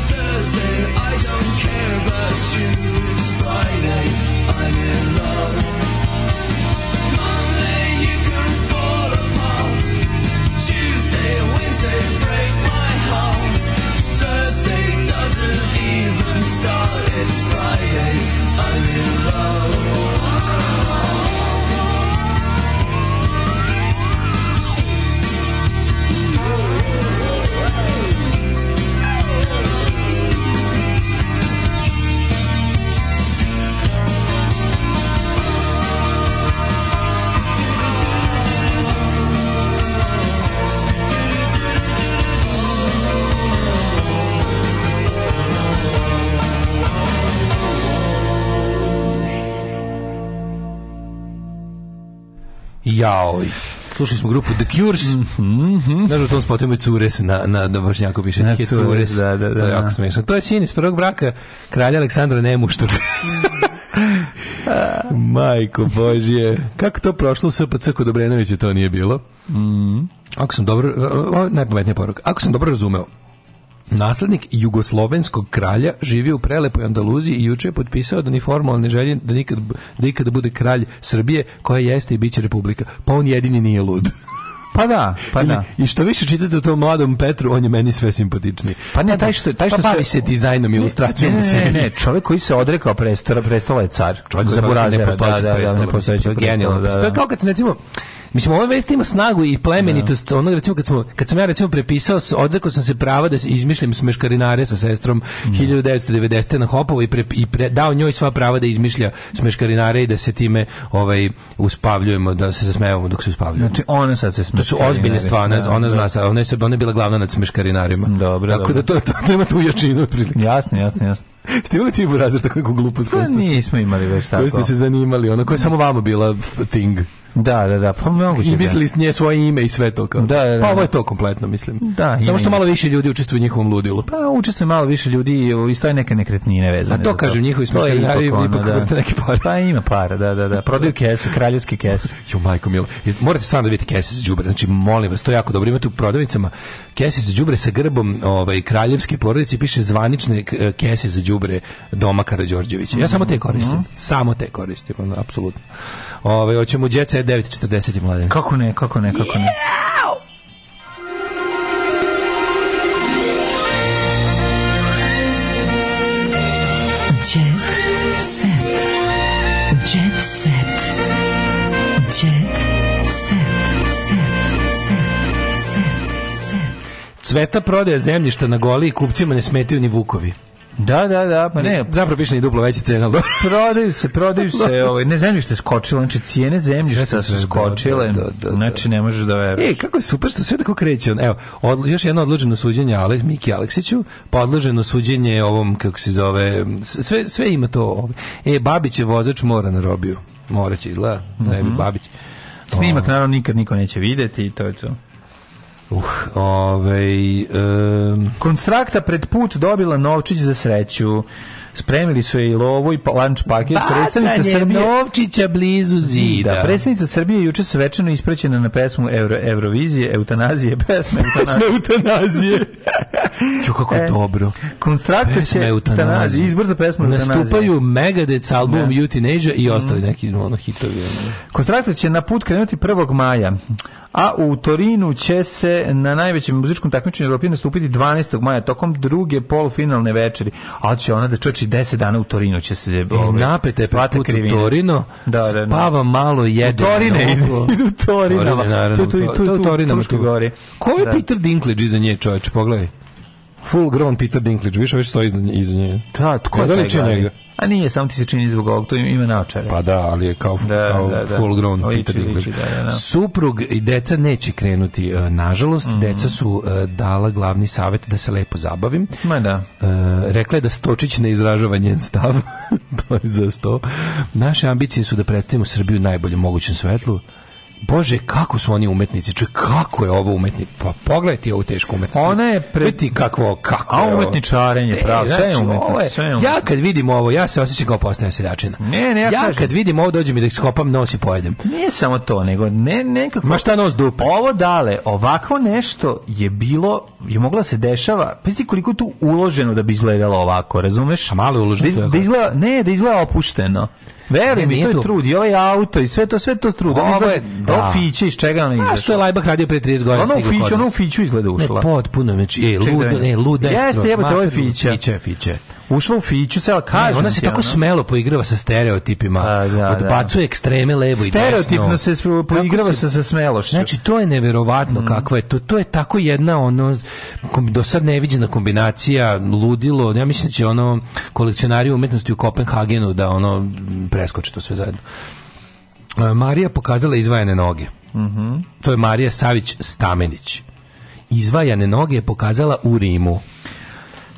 Thursday, I don't care about you. It's Friday, I'm in love. Monday, you can fall apart. Tuesday, Wednesday, break my heart. Thursday doesn't even start. It's Friday, I'm in love. Jaoj. Slušali smo grupu The Cures. Znaš, u tom spotu imaju cures na, na, na vršnjaku piše Mhm. Na "He cures, cures. da, da, To da. je jako smešno. To je sin iz prvog braka kralja Aleksandra Nemuštog. Majko Božje. Kako to prošlo u SPC kod Obrenovića, to nije bilo. Ako sam dobro, o, o, najpametnija poruka. Ako sam dobro razumeo, Naslednik jugoslovenskog kralja živi u prelepoj Andaluziji i juče je potpisao da ni formalne želje da nikad, da ikada bude kralj Srbije koja jeste i biće republika. Pa on jedini nije lud. Pa da, pa da. I što više čitate o tom mladom Petru, on je meni sve simpatični. Pa ne, taj što, taj što pa bavi se dizajnom, ilustracijom. Ne, ne, ne, ne, čovjek koji se odrekao prestola, prestola je car. Čovjek za buražera, da, da, da, ne postojeći genijalno. To je kao kad se, recimo, Mislim, ova vest ima snagu i plemenitost. Ono, recimo, kad, smo, kad sam ja, recimo, prepisao, odrekao sam se prava da izmišljam smeškarinare sa sestrom 1990. na Hopovo i, pre, i pre, dao njoj sva prava da izmišlja smeškarinare i da se time ovaj, uspavljujemo, da se zasmevamo dok se uspavljujemo. Znači, ona sad se To su ozbiljne stvari, ona, ona zna se, ona je, ona je bila glavna nad smeškarinarima. Dobro, Tako da to, to, to ima tu jačinu. otprilike. Jasno, jasno, jasno. Ste imali ti burazir tako neku glupu s Pa nismo imali već tako. Koji ste se zanimali, ona koja je samo vama bila f- thing. Da, da, da, pa moguće. I mislili s nje svoje ime i sve to kao. Da, da, da. Pa ovo je to kompletno, mislim. Da, ima, Samo što ima. malo više ljudi učestvuje u njihovom ludilu. Pa učestvuje malo više ljudi i o- i stoje neke nekretnine A vezane. to za kažem, njihovi To je smeškarinari ono, ipak da. vrte neke pare. Pa ima para, da, da, da. Prodaju kese, kraljevske kese. Jo, majko milo. Jes- Morate stvarno da vidite kese za đubre. Znači, molim vas, to je jako dobro. Imate u prodavnicama kese za đubre sa grbom ovaj, kraljevske porodice i piše zvanične k- kese za đubre doma Karađorđevića. Ja samo Mhm. te koristim. Samo te koristim, ono, apsolutno. Ovaj, hoćemo u Jet Set 9.40 mladen. Kako ne, kako ne, kako ne. Jet set. Jet set. Jet set. Set. Set. Set. Set. Cveta prodaja zemljišta na goli i kupcima ne smetaju ni vukovi. Da, da, da, pa ne, Zapravo piše ni duplo veća cena. ali dobro. prodaju se, prodaju se, ovaj, ne zemljište je skočilo, znači cijene zemljišta Sve su su se- skočile, da, da, da, da. znači ne možeš da veruješ. E, kako je super što sve tako kreće. Evo, odlu- još jedno odloženo suđenje Ale, Miki Aleksiću, pa odloženo suđenje ovom, kako se zove, s- sve, sve ima to. ovaj. E, Babić je vozač mora na robiju. Mora će izgleda, ne bi Babić. Snimak naravno nikad niko neće videti i to je to. Uh, ovej, em, Konstrakta pred put dobila novčić za sreću. Spremili su je i lovu i pa- lunch paket. Predstavnica Bacanje Srbije... novčića blizu zida. Da, predstavnica Srbije juče svečano ispraćena na pesmu Euro, Eurovizije, eutanazije, pesme Pesme eutanazije. eutanazije. Jo, kako E, je dobro. Konstrakta će Pesme eutanazije. eutanazije, izbor za pesmu eutanazije. Nastupaju Megadeth, album Euthanasia i ostali neki ono, hitovi. ono. Konstrakta će na put krenuti 1. maja, a u Torinu će se na najvećem muzičkom takmičenju Evropije nastupiti 12. maja tokom druge polufinalne večeri. Ali će ona da čoči 10 dana u Torinu će se... E, ovaj, napeta je plate put u krivine. Torino, Da, da, da. spava malo, jede. U Torine mnogo. ide, idu u Torinama. Torine, naravno, Tu, tu, u tu, To- tu, to u tu, Torinama, Fruškoj tu. gori. Ko je Da. Peter Dinklage iza nje, čoveče, pogledaj. Full grown Peter Dinklage, više već stoji iza nje. Iza nje. Da, tko Ne, je da li taj će glavni? njega? A nije, samo ti se čini zbog ovog, to ima naočare. Pa da, ali je kao, Da, kao da, da. full grown Liči, Peter Dinklage. liči, da, da, da. Suprug i deca neće krenuti, e, nažalost. Deca su e, dala glavni savjet da se lepo zabavim. Ma da. E, rekla je da Stočić ne izražava njen stav. to je za sto. Naše ambicije su da predstavimo Srbiju u najboljem mogućem svetlu. Bože, kako su oni umetnici? Čuj, kako je ovo umetnik? Pa pogledaj ti ovu tešku umetnicu. Ona je pre- Vidi kakvo, kako A je ovo. umetničarenje, E, pravo, sve je znači, umetnost, ovo je- sve je umetnost. Ja kad vidim ovo, ja se osjećam kao postajem seljačina. Ne, ne, ja kažem. kad vidim ovo, dođem i da ih skopam nos i pojedem. Nije samo to, nego ne, nekako... Ma šta nos dupe? Ovo dale, ovako nešto je bilo, je mogla se dešava, pa ti koliko je tu uloženo da bi izgledalo ovako, razumeš? A malo je uloženo, to Da, je da izgleda, ne, da izgleda opušteno. Ne, Veruj mi, nije to je to. trud, i ovaj auto, i sve to, sve to trud. Ono Ovo je- izgleda- da. Ovo fiće, iz čega ona A što je izašla? Lajbah radio pre 30 godina? Ona Ono u stigla kod fiću, ona u nas? fiću izgleda ušla. Ne, potpuno, znači, e, Čekaj da luda, vidim. ne, luda je Jeste, skroz, jebote, ovo je materinu, fića. Fića je, fića je. Ušla u fiću, se Ne, kaže. ona se tako smelo poigrava sa stereotipima. A, ono. Pa, da, Odbacuje ekstreme levo i desno. Stereotipno se spo- poigrava Kako se sa Mm. smelošću. Znači, to je neverovatno kakva je to. To je tako jedna ono kom- do sad neviđena kombinacija ludilo. Ja mislim da će ono kolekcionari umetnosti u Kopenhagenu da ono m, preskoče to sve zajedno. E, Marija pokazala izvajane noge. Mhm. To je Marija Savić Stamenić. Izvajane noge je pokazala u Rimu.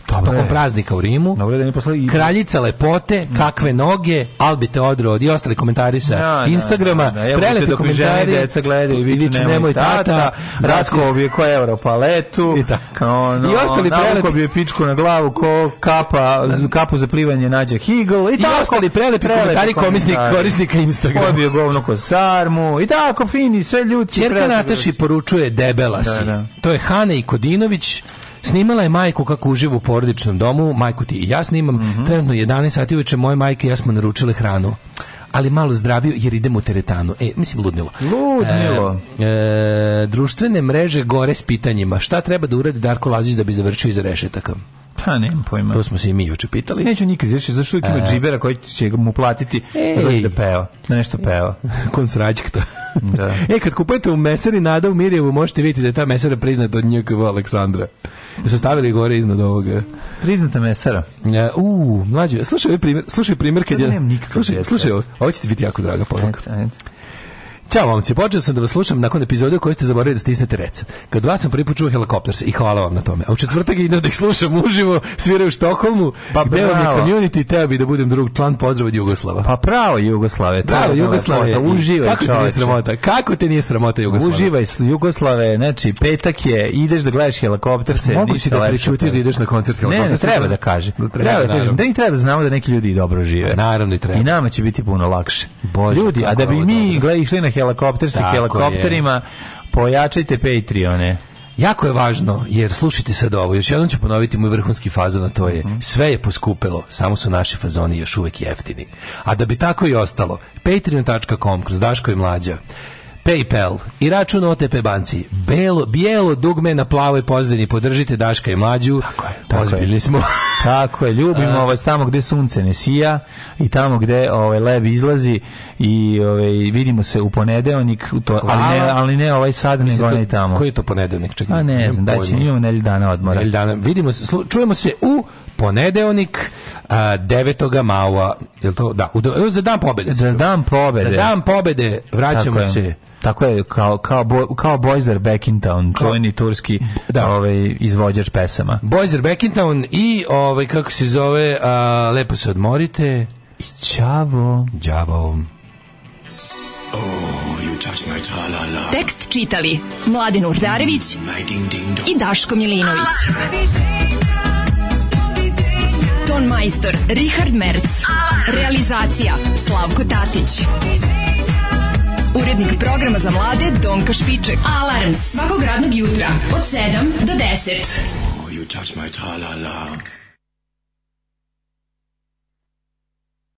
Tokom praznika u Rimu. Dobro da mi poslali... Kraljica lepote, kakve noge, Albi Teodoro i ostali komentari sa Da, da, Instagrama, da, da, evo prelepi vidite dok mi žene i komentari, deca gledaju i viču nemoj tata, raskovo bi je ko europaletu, I tako. ono, I ostali navukao prelepi- bi je pičku na glavu, ko kapa, kapu za plivanje nađe Higl, i, I tako. ostali prelepi komentari komisnik, korisnika Instagrama. Odbio govno ko sarmu, i tako, fini, sve ljudi. Čerka Nataši poručuje debela si. da. To je Hana i Kodinović Snimala je majku kako uživa u porodičnom domu, majku ti i ja snimam. Mhm. Trenutno je 11 sati uveče moje majke i ja smo naručile hranu ali malo zdraviju jer idem u teretanu. E, mislim, ludnilo. Ludmilo. E, e, društvene mreže gore s pitanjima. Šta treba da uradi Darko Lazić da bi završio iz rešetaka? Pa, nemam pojma. To smo se i mi juče pitali. Neću nikad izvršiti, zašto uvijek ima E. džibera koji će mu platiti Ej. da dođe da peva. Nešto peva. Kon srađkta. Da. E, kad kupujete u mesari Nada u Mirjevu, možete vidjeti da je ta mesara priznata od NJKV Aleksandra. Su stavili gore iznad ovoga. E, Priznata mesara. U, mlađe, slušaj ovaj primjer, slušaj primjer kad Ja je... nemam nikakve slušaj, veze. slušaj, ovo- ovo će ti biti jako draga poruka. Ćao momci, počeo sam da vas slušam nakon epizode u kojoj ste zaboravili da stisnete rec. Kad vas sam prvi put čuo helikopter se i hvala vam na tome. A u četvrtak idem da ih slušam uživo, sviraju u Štokholmu, Pa gde vam je bravo. community i teo bi da budem drug član, pozdrav od Jugoslava. Pa pravo Jugoslave. to Bravo, je Jugoslave. lepota. Uživaj, Kako te nije čoveče. sramota? Kako te nije sramota, Jugoslava? Uživaj s Jugoslave, znači petak je, ideš da gledaš helikopter se. Mogu ništa si da lepše prećutiš od da toga. ideš na koncert Ne, ne, Helikoptera? treba da kaže. Da treba, treba da kaže. naravno. Da i treba da znamo da neki ljudi i dobro žive. Naravno i treba. I nama će biti puno lakše. Bože, ljudi, a kako da je bi ovo mi gle išli na helikopter sa Tako je. helikopterima, pojačajte Patreone. Jako je važno, jer slušajte sad ovo, još jednom ću ponoviti moj vrhunski fazon, a to je Mhm. sve je poskupelo, samo su naši fazoni još uvek jeftini. A da bi tako i ostalo, patreon.com kroz Daško i Mlađa, PayPal i račun OTP banci, belo, bijelo dugme na plavoj pozdini, podržite Daška i Mlađu, tako ozbiljni smo. Tako je, ljubimo vas tamo gde sunce ne sija i tamo gde ovaj leb izlazi i ovaj vidimo se u ponedeljak, u to, ali ne, Hvala. ali ne ovaj sad nego Mislim, to- onaj tamo. Koji je to ponedeljnik? Čekaj, A ne nemam znam, da će pojma. imamo nelju dana odmora. Nelju dana. Vidimo se, slu- čujemo se u ponedeonik a, 9. maja, jel to? Da, u, do- za dan pobede. Za dan pobede. Za dan pobede Tako vraćamo je. se. Tako je, kao, kao, bo, kao Boyzer Beckintown, čuveni turski Da. ovaj, izvođač pesama. Boyzer Beckintown i ovaj kako se zove, a, lepo se odmorite. I čavo. Đavo. Tekst čitali Mladin Urdarević i Daško Milinović. Ton majstor Richard Merc. Realizacija Slavko Tatić. Urednik programa za mlade Donka Špiček. Alarms svakog radnog jutra od 7 do 10. You touch my tra-la-la.